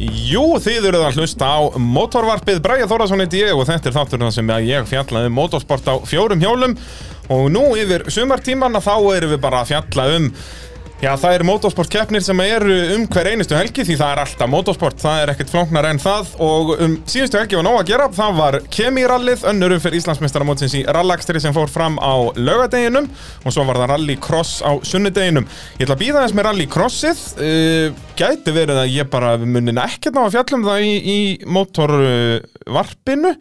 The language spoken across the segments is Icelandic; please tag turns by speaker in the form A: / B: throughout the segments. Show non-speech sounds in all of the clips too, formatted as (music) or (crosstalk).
A: Jú, þið eruð að hlusta á motorvarpið Bræja Þórason heiti ég og þetta er þátturinn þar sem að ég fjallaði um motorsport á fjórum hjólum og nú yfir sumartíman þá erum við bara að fjalla um Já, það eru motorsportkeppnir sem eru um hver einustu helgi því það er alltaf motorsport, það er ekkert flóknar en það og um síðustu helgi var nóg að gera, það var Kemi-rallið, önnurum fyrir Íslandsmeistaramótsins í rallakstri sem fór fram á laugadeginum og svo var það rallycross á sunnudeginum. Ég ætla að býða þess með rallycrossið, uh, gæti verið að ég bara munin ekkert ná að fjalla um það í, í motorvarpinu.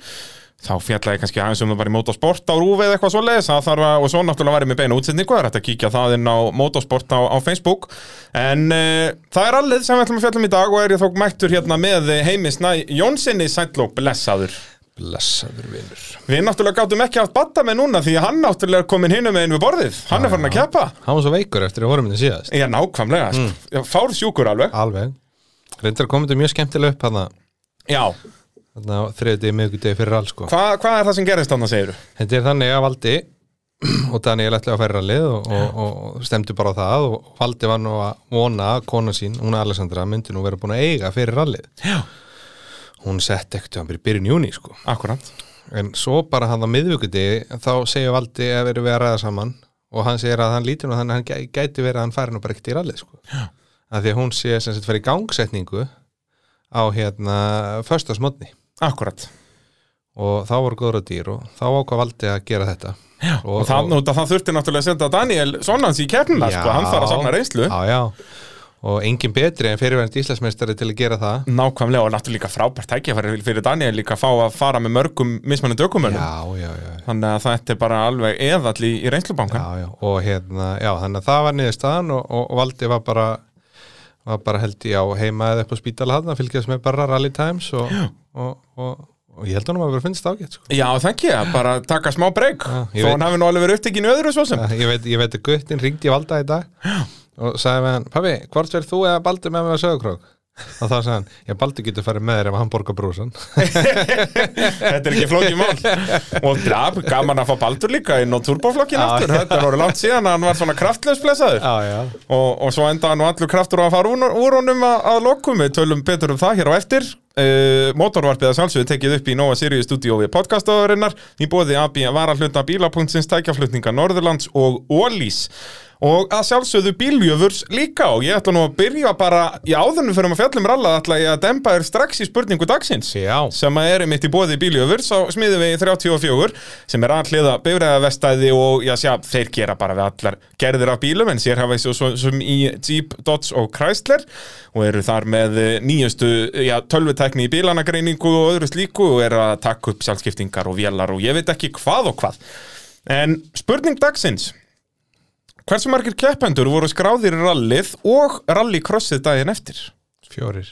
A: Þá fjalla ég kannski aðeins um það bara í motorsport á rúfi eða eitthvað svoleiðis það þarf að, og svo náttúrulega var ég með beina útsendingu það er hægt að kíkja það inn á motorsport á, á Facebook en uh, það er allið sem við ætlum að fjalla um í dag og er ég þók mættur hérna með heimisnæ Jónssoni Sæntló blessaður
B: Blessaður vinnur
A: Við náttúrulega gátum ekki haft batta með núna því að hann náttúrulega er komin hinum einu við borðið hann er farin að keppa
B: Hann var svo veikur eftir að horfum þetta síðast
A: Já, nákvæmlega, mm. fár sjúkur alveg
B: Alveg Reyndar komið þetta mjög skemmtilega upp hann
A: Já,
B: að þriðið degi miðgudegi fyrir all sko
A: hvað hva er það sem gerist þannig að segiru?
B: Þetta er þannig að Valdi (clears throat) og Daniel ætlaði að færa lið og, og, og stemdu bara á það og Valdi var nú að vona að kona sín, hún Alessandra myndi nú vera búin að eiga fyrir rallið
A: Já
B: Hún sett ekkert hann fyrir byrjun júni sko
A: Akkurant
B: En svo bara hann á miðvíkudegi þá segir Valdi að verið við að ræða saman og hann segir að hann lítur nú þannig að hann gæ- gæti verið að hann fari nú bara ekkert í rallið sko. að því að hún sé sem sagt fyrir gangsetningu á hérna föstasmotni
A: Akkurat
B: og þá voru góður og dýr og þá ákvað Valdi að gera þetta já, og,
A: og það, og... það þurfti náttúrulega að senda Daniel Sonnans í keppnina, sko, hann þarf að safna reynslu
B: já, já. og engin betri en fyrirverðandi íslensmestari til að gera það
A: nákvæmlega og náttúrulega líka frábært tækjafæri fyrir Daniel líka að fá að fara með mörgum mismannandi ökumönnum,
B: já, já, já,
A: þannig að þetta er bara alveg eðall í, í reynslubanka
B: já, já. og hérna, já, þannig að það var niðurstaðan og, og, og Valdi var bara var bara held ég á heima eða upp á spítala hann að fylgjast með bara Rally Times og, og, og, og, ég held hann að vera finnst ágætt sko.
A: Já, þekk ég, bara taka smá breyk
B: ég
A: þó
B: veit.
A: hann hafi nú alveg verið upptekinu öðru svo sem
B: Ja, Eh, ég veit, ég veit að guttin ringdi í Valda í dag og sagði með hann, pabbi, hvort verð þú eða Baldur með mig að sögurkrók? og þá sagði hann, já Baldur getur farið með þér ef hann borgar brúsan
A: þetta er ekki flókið mál og draf, gaman að fá Baldur líka inn á turboflokkin
B: Já.
A: aftur, þetta er orðið langt síðan að hann var svona kraftlaus blessaður
B: já, já,
A: og, og svo enda hann og allur kraftur á að fara úr- úr honum að, að lokum við tölum betur um það hér á eftir uh, motorvarpið að sjálfsögðu tekið upp í Nova Sirius Studio við podcastaðurinnar í bóði AB varahluta bíla.sins tækjaflutninga Norðurlands og Ólís og að sjálfsögðu bíljöfurs líka og ég ætla nú að byrja bara í áðunum fyrir að fjallum ralla ætla ég að dempa þér strax í spurningu dagsins
B: já,
A: sem að er mitt í bóði bíljöfur á smiðuvegi 34 sem er alliða bifræðavestæði og já, sjá, þeir gera bara við allar gerðir af bílum en sér hafa svo, svo, sem í Jeep, Dodge og Chrysler og eru þar með eh, nýjustu já, tölvutækni í bílanagreiningu og öðru slíku og eru að taka upp sjálfskiptingar og vélar og ég veit ekki hvað og hvað en spurning dagsins hversu margir keppendur voru skráðir í rallið og rallycrossið daginn eftir?
B: fjórir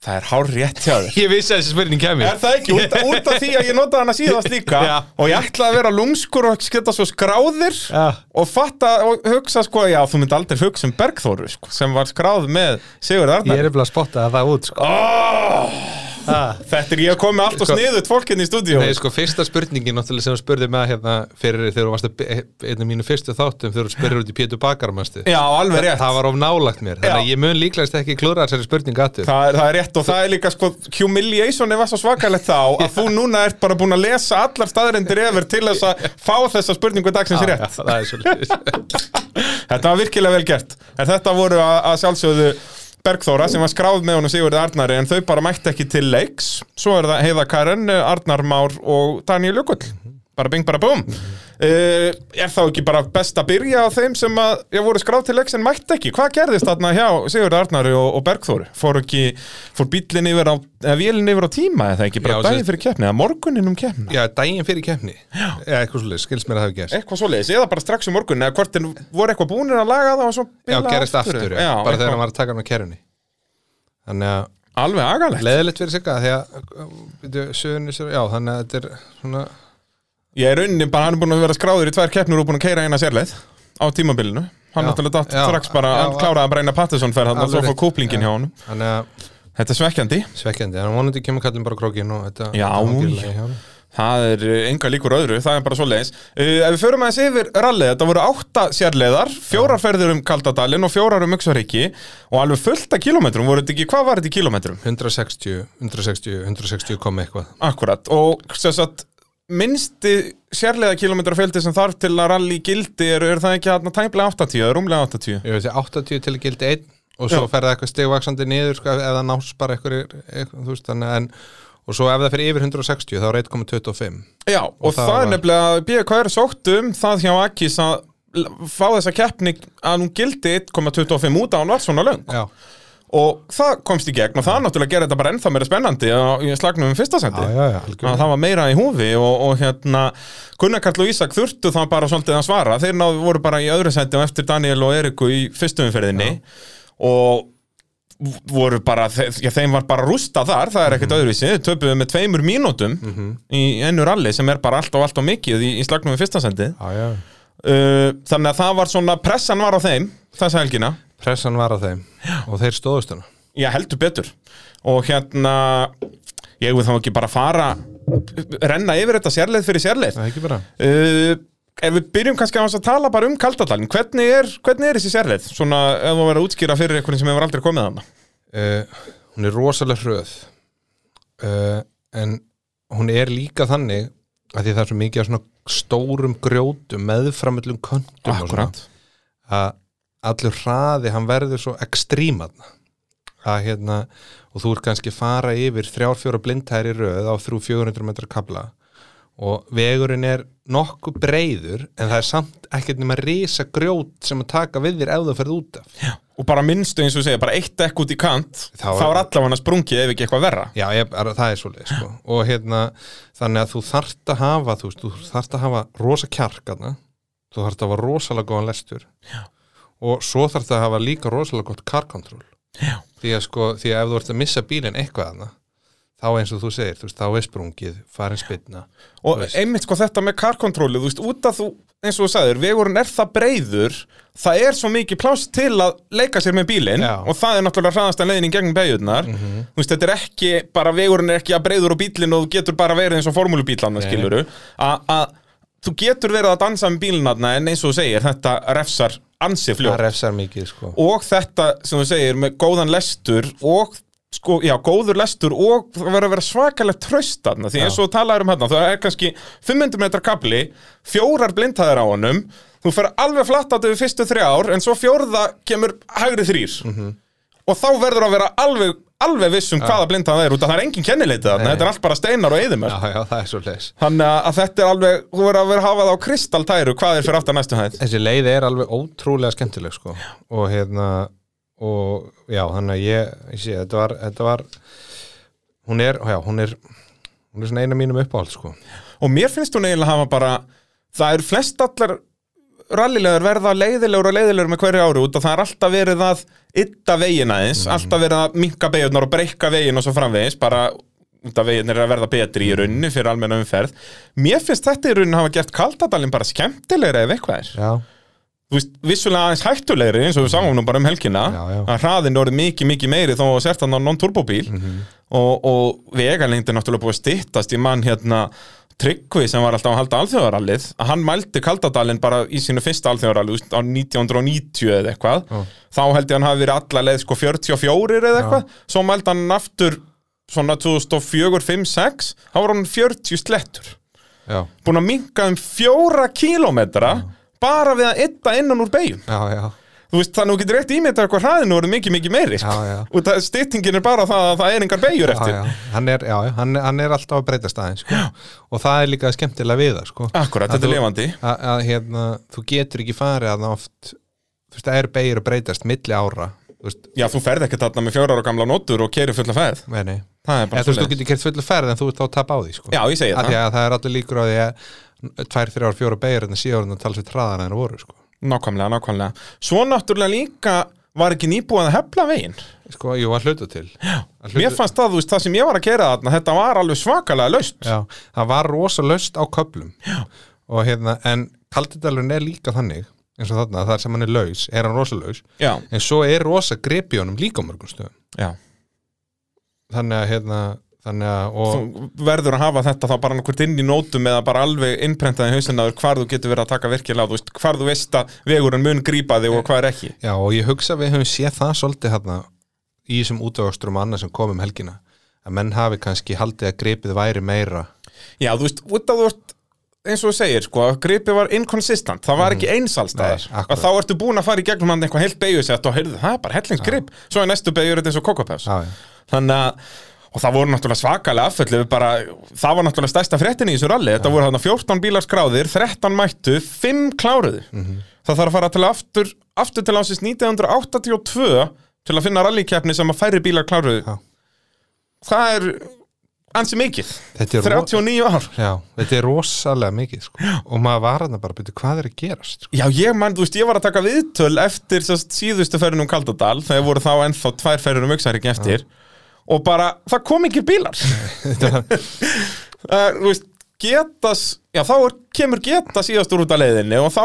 A: Það er hár rétt hjá þér
B: ég vissi að þessi spurning kemur
A: Er það ekki? Út, út af því að ég notaði hana síðast líka
B: Já.
A: og ég ætlaði að vera lúmskur og sketa svo skráðir
B: Já.
A: og fatta og hugsa sko já, þú myndi aldrei hugsa um Bergþóru sko, sem var skráð með Sigurð
B: ég
A: Arnar
B: er eftir að spotta það út sko.
A: oh,
B: Ah.
A: Þetta er ég að koma allt og
B: Sko-
A: sniðut fólkinn hérna í stúdíu
B: Nei, sko, fyrsta spurningin náttúrulega sem þú spurði með hérna fyrir þegar þú varst að be- einn af mínu fyrstu þáttum þegar þú spurði út í Pétur Bakar manstu.
A: Já, alveg rétt
B: það var of nálagt mér þannig að
A: Já.
B: ég mun líklegast ekki klúra þessari spurningu aftur
A: Það er, það er rétt og það er líka sko humiliation var svo svakalegt þá
B: (laughs)
A: að þú núna ert bara búin að lesa allar staðrendir yfir til þess að fá þessa spurningu dagsins rétt
B: Já, það er svolítið
A: (laughs) Þetta var virkilega vel gert En þetta voru að, að sjálfsögðu Bergþóra sem var skráð með honum Sigurði Arnari en þau bara mætti ekki til leiks Svo er það Heiða Karen, eh, Arnar Már og Daniel Jökull Bara bing, bara búm uh, Er þá ekki bara best að byrja á þeim sem að ég voru skráð til leiks en mætti ekki Hvað gerðist þarna hjá Sigurði Arnari og, og Bergþóru? Fór ekki, fór bíllinn yfir á, eða vélinn yfir á tíma eða ekki bara
B: Já,
A: daginn
B: sem-
A: fyrir keppni eða morguninn um keppni
B: Já, daginn fyrir keppni Eða eitthvað svolítið, skils mér að það hafi gerst
A: Eitthvað svoleiðis, eða bara strax um morgun eða hvort en voru eitthvað búnir að laga það og svo
B: Já,
A: bila
B: gerist aftur, já,
A: Já,
B: bara
A: eitthvað-
B: þegar hann var að taka hann á kerunni Þannig að
A: Alveg agalegt
B: leðilegt fyrir sigga Því að, byrju, söðunni sér Já, þannig að þetta er svona
A: Ég er unni bara, hann er búin að vera skráður í tvær keppnur og búin að keira eina sérleið á tímabilinu Hann
B: Já,
A: náttúrulega datt
B: já,
A: strax bara,
B: já,
A: hann kláraði bara eina Pattinson ferð hann og svo fór
B: Alveg rétt,
A: kúplingin
B: já.
A: hjá honum
B: Þannig að
A: Þetta er svekkjandi
B: svekkjandi, en vonandi kemur kallin bara krókin og þetta
A: Já,
B: þetta hangir í lagi hjá honum.
A: Það er enga líkur öðru, það er bara svo leiðis. Uh, ef við förum aðeins yfir rallið, þetta voru átta sérleiðar, fjórar ferðir um Kaldadalinn og fjórar um Uxaríki og alveg fullt af kilometrum, voru þetta ekki, hvað var þetta í kilometrum?
B: 160, 160, 160 kom eitthvað
A: Akkurat, og sem sagt, minnsti sérleiða kilometrafjöldi sem þarf til að ralli gildi eru, eru það ekki hérna tæmlega 80, eða rúmlega 80?
B: Ég veit því 80 til gildi einn og svo
A: Já.
B: fer það eitthvað stigvaksandi niður sko, ef- ef það nást bara eitthvað, eitthvað þú veist, þannig, en, og svo ef það fer yfir 160 þá er 1,25
A: Já, og,
B: það
A: það,
B: var-
A: er nefnilega BKR sótt um það hjá Akis að l- fá þessa keppni að hún gildi 1,25 út að hún var svona löng
B: Já,
A: og það komst í gegn og það náttúrulega gerir þetta bara ennþá meira spennandi á- í slagnum um fyrsta sendi
B: já, já,
A: Að
B: algjörlega
A: það var meira í húfi og, og hérna Gunnar Karl og Ísak þurftu það bara svolítið að svara þeir náðu voru bara í öðru sendi og eftir Daniel og Eriku í fyrstu umferðinni og v- voru bara, þe- já, þeim var bara rústa þar það er ekkert öðruvísi, þau töpuðu með tveimur mínútum í ennu ralli sem er bara allt og allt og mikið í, í slagnum við fyrsta sendi
B: Já, já
A: uh, þannig að það var svona, pressan var á þeim þessa helgina
B: Pressan var á þeim og þeir stóðust hana
A: Já, heldur betur Og hérna, ég vil þá ekki bara fara Renna yfir þetta sérleið fyrir sérleið
B: Það er ekki bara
A: uh, Ef við byrjum kannski á þess að tala bara um Kaldadalinn Hvernig er, hvernig er þessi sérleið? Svona, ef þú verður að útskýra fyrir einhvern sem hefur aldrei komið þarna
B: uh, Hún er rosalega hröð uh, en hún er líka þannig að því það er svo mikið af svona stórum grjótum meðframöllum köntum og svona, að allur hraði hann verður svo ekstrímatna að hérna og þú ert kannski að fara yfir þrjár fjóra blindhæri röð á þrjú 400 metra kabla og vegurinn er nokkuð breyður en það er samt ekkert nema risa grjót sem að taka við þér ef það ferð út af
A: Og bara minnstu eins og segja, bara eitt ekk út í kant Þá
B: Þá er-
A: er, er allavega sprungið ef ekki eitthvað verra
B: Já, ég, er- það er svolítið sko. og hérna, þannig að þú þarft að hafa þú, veist, þú þarft að hafa rosa kjarkana þú þarft að hafa rosalega góðan lestur Já. og svo þarft að hafa líka rosalega gott karkontról því að sko, því að ef þú ert að missa bílinn eitthvað hana, þá eins og þú segir, þú veist, þá er sprungið farin spilna
A: Og
B: Þú veist.
A: einmitt sko þetta með karkontróli Þú veist, út að þú, eins og þú sagðir Vegurinn er það breyður Það er svo mikið pláss til að leika sér með bílinn
B: Já. Mhm.
A: Og það er náttúrulega hraðasta leiðin í gegnum beigurnar Þú veist, þetta er ekki Bara vegurinn er ekki að breyður á bílinn Og þú getur bara verið eins og formúlubílanna skiluru Að þú getur verið að dansa með bílinnarna En eins og þú segir, þetta refsar ansi
B: það
A: fljótt
B: refsar mikið sko.
A: e- Og þetta, sem þú segir, með góðan lestur Og sko, já, góður lestur og það verður að vera svakalegt traust þarna, því eins og þú talaður um hérna það er kannski 500 metrar kapli fjórar blindhæðar á honum þú fer alveg flatt át yfir fyrstu þrjá ár en svo fjórða kemur hægri þrýr
B: Mhm.
A: og þá verður að vera alveg alveg viss um hvaða blindhæða er út að það er engin kennileiti þarna,
B: Nei.
A: þetta er allt bara steinar og eðumörk
B: Já, já, það er svo leis
A: þannig að- að þetta er alveg, þú verður að vera að hafa það á kristaltæru hvað er fyrir aftan næstu hæð
B: þessi leið er alveg ótrúlega skemmtileg sko. og hérna og já, þannig að ég, ég sé, þetta var, þetta var hún er, já, hún er hún er svona eina mínum uppáhald sko.
A: og mér finnst hún eiginlega hafa bara það er flest allar rallilegur verða leiðilegur og leiðilegur með hverju ári út og það er alltaf verið að ytta vegin aðeins, alltaf verið að minka beigurnar og breyka vegin og svo framvegis bara út af veginir er að verða betri í rauninni fyrir almenna umferð. Mér finnst þetta í rauninni hafa gert kaldadalinn bara skemmtilegri ef eitthvað er.
B: já,
A: Þú veist, vissulega aðeins hættulegri eins og við sáum nú bara um helgina
B: Já, já.
A: að hraðin er orðið mikið, mikið meiri þó að sért hann á non-turbóbíl
B: Mhm.
A: og, og vegalengd er náttúrulega búið að styttast í mann hérna Tryggvi sem var alltaf að halda alþjóðarallið að hann mældi Kaldadalinn bara í sínu fyrsta alþjóðarallið þú veist, á 1990 eða eitthvað
B: Já.
A: þá held ég hann hafi verið alla leið sko 44 eða eitthvað svo mældi hann aftur svona 2004, 5, 6 þá var hann 40 slettur
B: já,
A: búin að minka um fjóra kílómetra bara við að ytta innan úr beigjum
B: já, já
A: þú veist þannig að þú getur rétt ímyndað hvað hraðinu voru mikið mikið meiri sko.
B: Já, já.
A: (laughs) og það, styttingin er bara það að það er engar beigjur
B: Já,
A: eftir
B: já, hann er, já, já, hann, hann er alltaf að breyta staðin sko. og það er líka skemmtilega við það sko.
A: akkurat,
B: Að
A: þetta er
B: þú-
A: lifandi
B: að, að hérna, þú getur ekki farið að oft, þú veist, það er beigir að breytast milli ára, þú veist,
A: já, þú ferð ekki þarna með fjórar og gamla nótur og keri fulla fæð
B: nei, nei
A: það er
B: Eða,
A: bara
B: þú veist, þú
A: svoleiðis.
B: getur kert fullu ferð en þú ert þá að tapa á því sko.
A: já, ég segi
B: að
A: það,
B: því að það er alltaf líkur á því að tvær, þrjár, fjóra beigur en síðar en að tala sér traðan en voru sko.
A: nákvæmlega, nákvæmlega svo náttúrulega líka var ekki nýbúið að hefla veginn
B: sko, jú, að hluta til að
A: mér fannst það, þú veist, það sem ég var að kera þarna þetta var alveg svakalega laust
B: já, það var rosa löst á köplum já. og hérna, en kaldidalun er líka þannig, eins og þarna, þar sem hann er laus er hann rosa laus,
A: já,
B: en svo er rosa grip í honum líka á mörgum stöðum
A: já,
B: þannig að hérna, þannig að og,
A: Þú verður að hafa þetta þá bara nákvæmt inn í nótum eða bara alveg innprentaði hausinaður hvar þú getur verið að taka virkilega á, þú veist, hvar þú veist að vegurinn mun grípa þig
B: Eh.
A: og hvað er ekki
B: Já, og ég hugsa að við höfum séð það svolítið hérna í þessum útavöxturum og annað sem kom um helgina að menn hafi kannski haldið að gripið væri meira
A: Já, þú veist, út af þú ert eins og þú segir, sko, að gripið var inconsistent það var ekki einsalstæðar
B: Mm. Nei, akkurat.
A: og þá ertu búin að fara í gegnum hann eitthvað heilt beigjusett og heyrðu, það er bara hellingsgrip svo er næstu beigjur þetta eins og kokopefs
B: Já, já.
A: þannig að Og það voru náttúrulega svakalega afföll við bara, það var náttúrulega stærsta fréttin í þessu ralli, þetta voru þarna 14 bílar skráðir, 13 mættu, 5 kláruðu.
B: Mhm.
A: Það þarf að fara til aftur, aftur til ásins 1982 til að finna rallikeppni sem að færri bílar kláruðu.
B: Já.
A: Það er ansi mikið,
B: Þetta er ro-
A: 39 ár.
B: Já, þetta er rosalega mikið sko. og maður var hann bara að byrja hvað er að gerast sko.
A: Já, ég mann, þú veist, ég var að taka viðtöl eftir sest, síðustu ferðin um Kaldadal þegar voru þá ennþá tvær ferðin um Uxarík eftir og bara, það kom ekki bílar uh, þú veist, getas já, þá er, kemur geta síðast úr út af leiðinni og þá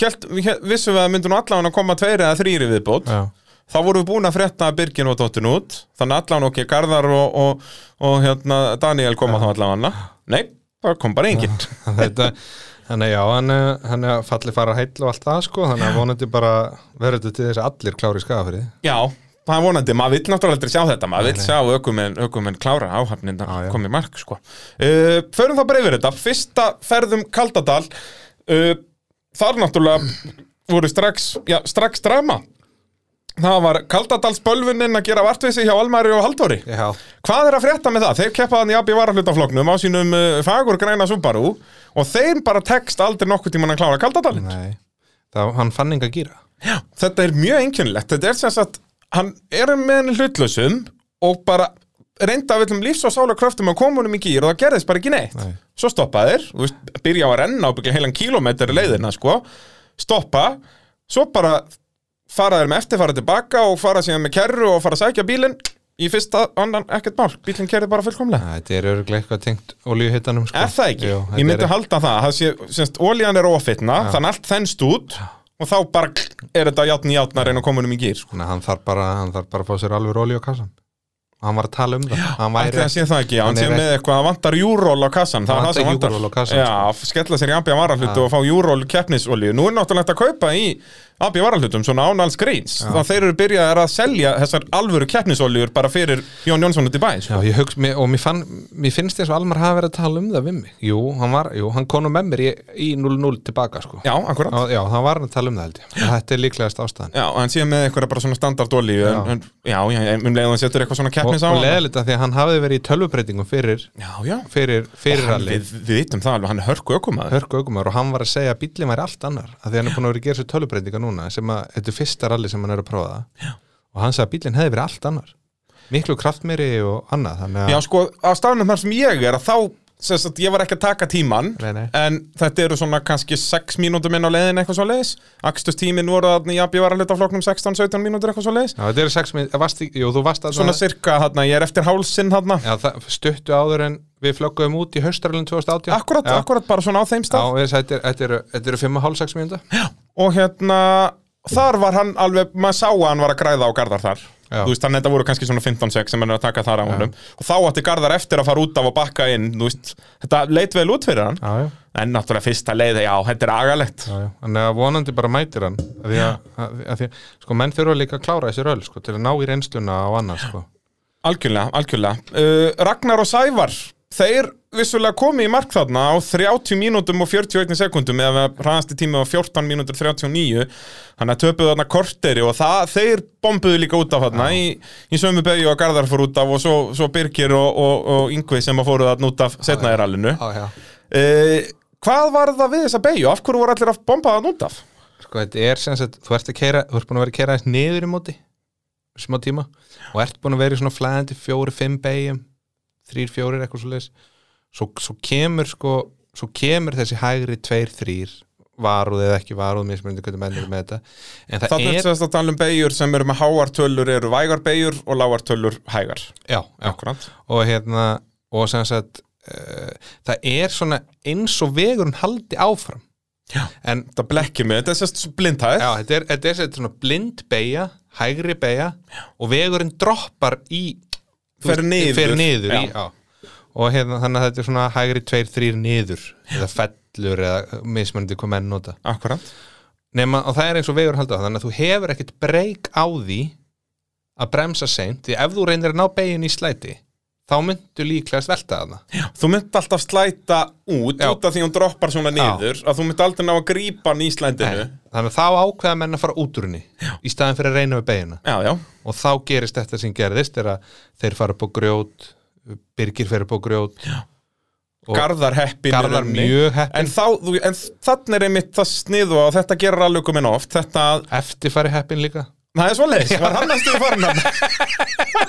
A: kjelt, vissum við að myndu nú allan að koma tveir eða þrýri viðbót
B: Já,
A: þá vorum við búin að frétta að Birgin og Dottin út þannig að allan okki, Garðar og, og, og hérna, Daniel koma þá allan nei, það kom bara enginn
B: þetta Þannig að já, hann, eh, hann er fallið fara heill og allt það sko, þannig að vonandi bara verður þetta til þess að allir klári skafrið.
A: já, það er vonandi, maður vill náttúrulega aldrei sjá þetta maður vill sjá aukumenn, aukumenn klára áhafnin
B: Já, já.
A: komið mark, sko uh, förum þá bara yfir þetta, fyrsta ferðum Kaldadal uh, þar náttúrulega voru strax já, strax drama það var Kaldadalsbölvunin að gera vartvísi hjá Almari og Halldóri
B: Já,
A: Hvað er að frétta með það? Þeir keppa þannig að býja hlutafloknum á sínum uh, fagur græna Subaru og þeir bara tekst aldrei nokkuð tímann að klára kaldadalinn.
B: nei, það, hann fann enga gýra.
A: Þetta er mjög einkennilegt. Þetta er sem sagt, hann er með henni hlutlausum og bara reynda af öllum lífs og sála kröftum að koma honum í gýr og það gerðist bara ekki neitt.
B: Nei.
A: Svo stoppa þeir, þú veist, byrja á að renna ábyggja heilan kílómetri leiðina, sko, stoppa, svo bara fara þeir með eftir, fara tilbaka og fara síðan með kerru og fara að sækja bílinn í fyrsta annan ekkert mál. Bílinn kerði bara fullkomlega.
B: Þetta er örglega eitthvað tengt olíuhittanum sko.
A: Er það ekki?
B: Jú,
A: ég
B: þetta
A: myndi
B: er-
A: halda það, það sé, semst, ólían er ofitna, þannig allt þennst út og þá bara kl- er þetta játn í játn að reyna að koma um í gýr.
B: Þannig að hann þarf bara, hann þarf bara að fá sér alveg róli á kassan. Og hann var að tala um það. hann
A: Ætli
B: væri
A: hann sé það ekki, já, hann
B: hann
A: sé
B: er
A: með eitthvað að vantar júról á kassan, það er
B: Hann
A: það sem
B: vantar
A: vantar.
B: júról á sko. kassann,
A: Já, f- skella sér í abbi að varahlutu og fá júról keppnisolíu. Nú er náttúrulega hægt að kaupa í abbi að varahlutum, svona án alls gríns. Það þeir eru byrjaðar að selja þessar alvöru keppnisolíur bara fyrir Jón Jónsson út í bæ.
B: Já,
A: sko.
B: ég hugst, mér- og mér, fann, mér finnst þess að Almar hafi verið að tala um það við mig. Jú, hann var, jú, hann konum með mér í, í 0-0 tilbaka, sko.
A: Já, akkurat.
B: Já, já, hann var að tala um það held ég. En Þetta er líklegast ástæðan.
A: Já, hann sé með eitthvað bara svona standardolíu, en,
B: Já.
A: en, já, já, en um leiðan setur eitthvað svona
B: Og,
A: keppnis á
B: og
A: hana.
B: leðilegt að því að hann hafi verið í tölvubreitingum fyrir,
A: Já, já.
B: fyrir, fyrir
A: Hann-
B: allir.
A: Við, við vitum það alveg, hann er hörku ökumæður
B: Hörku aukumar og hann var að segja að bíllinn væri allt annar að því hann er búin að vera að gera sér tölubreitinga núna sem að þetta er fyrsta rally sem hann er að prófa já. og hann sagði að bíllinn hefði verið allt annar miklu kraftmeri og annað þannig að
A: Já sko, á staðnum þar sem ég er að þá sem sagt, ég var ekki að taka tíman
B: Nei, nei.
A: en þetta eru svona kannski 6 mínútur inn á leiðin eitthvað svo leiðis Akstustímin voru að ég var að hluta flokknum 16-17 mínútur eitthvað svo leiðis
B: Já, þetta eru sex minn, varst, í- jú, þú varst að
A: Svona cirka þarna, ég er eftir hálsinn þarna
B: já, það, stuttu áður en við flöggum út í haustralun 2018
A: Akkurat,
B: já.
A: akkurat, bara svona á þeim
B: Já,
A: stað
B: þess að þetta er- þetta eru- þetta eru 5,5-6 mínúnda
A: Og hérna, þar var hann alveg, maður sá að hann var að græða á Garðar þar
B: Já.
A: Þú veist, þannig að þetta voru kannski svona 15-6 sem hann er að taka þar á honum Og þá átti Garðar eftir að fara út af og bakka inn, þú veist Þetta leit vel út fyrir hann
B: Já, já,
A: En náttúrulega fyrsta leið, já, þetta er agalegt
B: já, já Þannig að vonandi bara mætir hann að því að, að, að því að, sko, menn þurfa líka að klára þessi röl, sko, til að ná í reynsluna á annars, sko
A: Algjörlega, algjörlega uh, Ragnar og Sævar, þeir vissulega komi í mark þarna á 30 mínútum og 41 sekundum eða hraðasti tími á 14 mínútur 39 þannig að töpuðu þarna korteri og það, þeir bombuðu líka út af þarna í, í sömu beigju og Garðar fór út af og svo, svo Birgir og, og, og Yngvi sem að fóru þarna út af setna í rallinu
B: Já, já
A: uh, Hvað var það við þessa beigju? Af hverju voru allir að bomba þarna út af?
B: Sko, þetta er sem sagt, þú ert að keira, þú ert búin að vera að keira aðeins niður í móti, smá tíma, og ert búin að vera í svona flæðandi fjóri, fimm beigjum, þrýr, fjórir, eitthvað svo leis, svo, svo kemur sko, svo kemur þessi hægri tveir, þrýr, varuð eða ekki varuð, mér smyndi hvernig mennir með þetta, en það
A: Þannig er
B: er,
A: þess að tala um beigjur sem eru með háartölur eru vægar beigjur og lágartölur hægar.
B: já, já,
A: Akkurat.
B: og hérna, og sem sagt, uh, það er svona eins og vegurinn haldi áfram,
A: Já.
B: en
A: Þetta blekkir mig, þetta er sérst blindhæð.
B: Já, þetta er, þetta er sem sagt svona blind beigja, hægri beigja og vegurinn droppar í eh,
A: Fer niður.
B: fer niður í,
A: Já.
B: já. og hérna, þannig að þetta er svona hægri tveir, þrýr niður eða fellur eða mismunandi hvað menn nota
A: Akkurat
B: Nefna, og það er eins og vegur halda þannig að þú hefur ekkert breyk á því að bremsa seint því ef þú reynir að ná begin í slæti þá myndu líklegast velta þarna
A: Þú myndi alltaf slæta út
B: Já.
A: út af því hún droppar svona
B: Já.
A: niður að þú myndi aldrei ná að grípa hann í slændinu
B: þannig að þá ákveða menn að fara út úr henni í staðin fyrir að reyna við beginna
A: Já, já,
B: og þá gerist þetta sem gerðist er að þeir fara upp á grjót Birgir fer upp á grjót já. Og-
A: Garðar heppin
B: Garðar mjög heppinn.
A: En, þá, þú, en þannig er einmitt það sniðu og þetta gerir alveg komin oft þetta að
B: eftirfæri heppin líka
A: Það er svoleiðis, var hann að stuðu farin
B: (laughs)
A: hann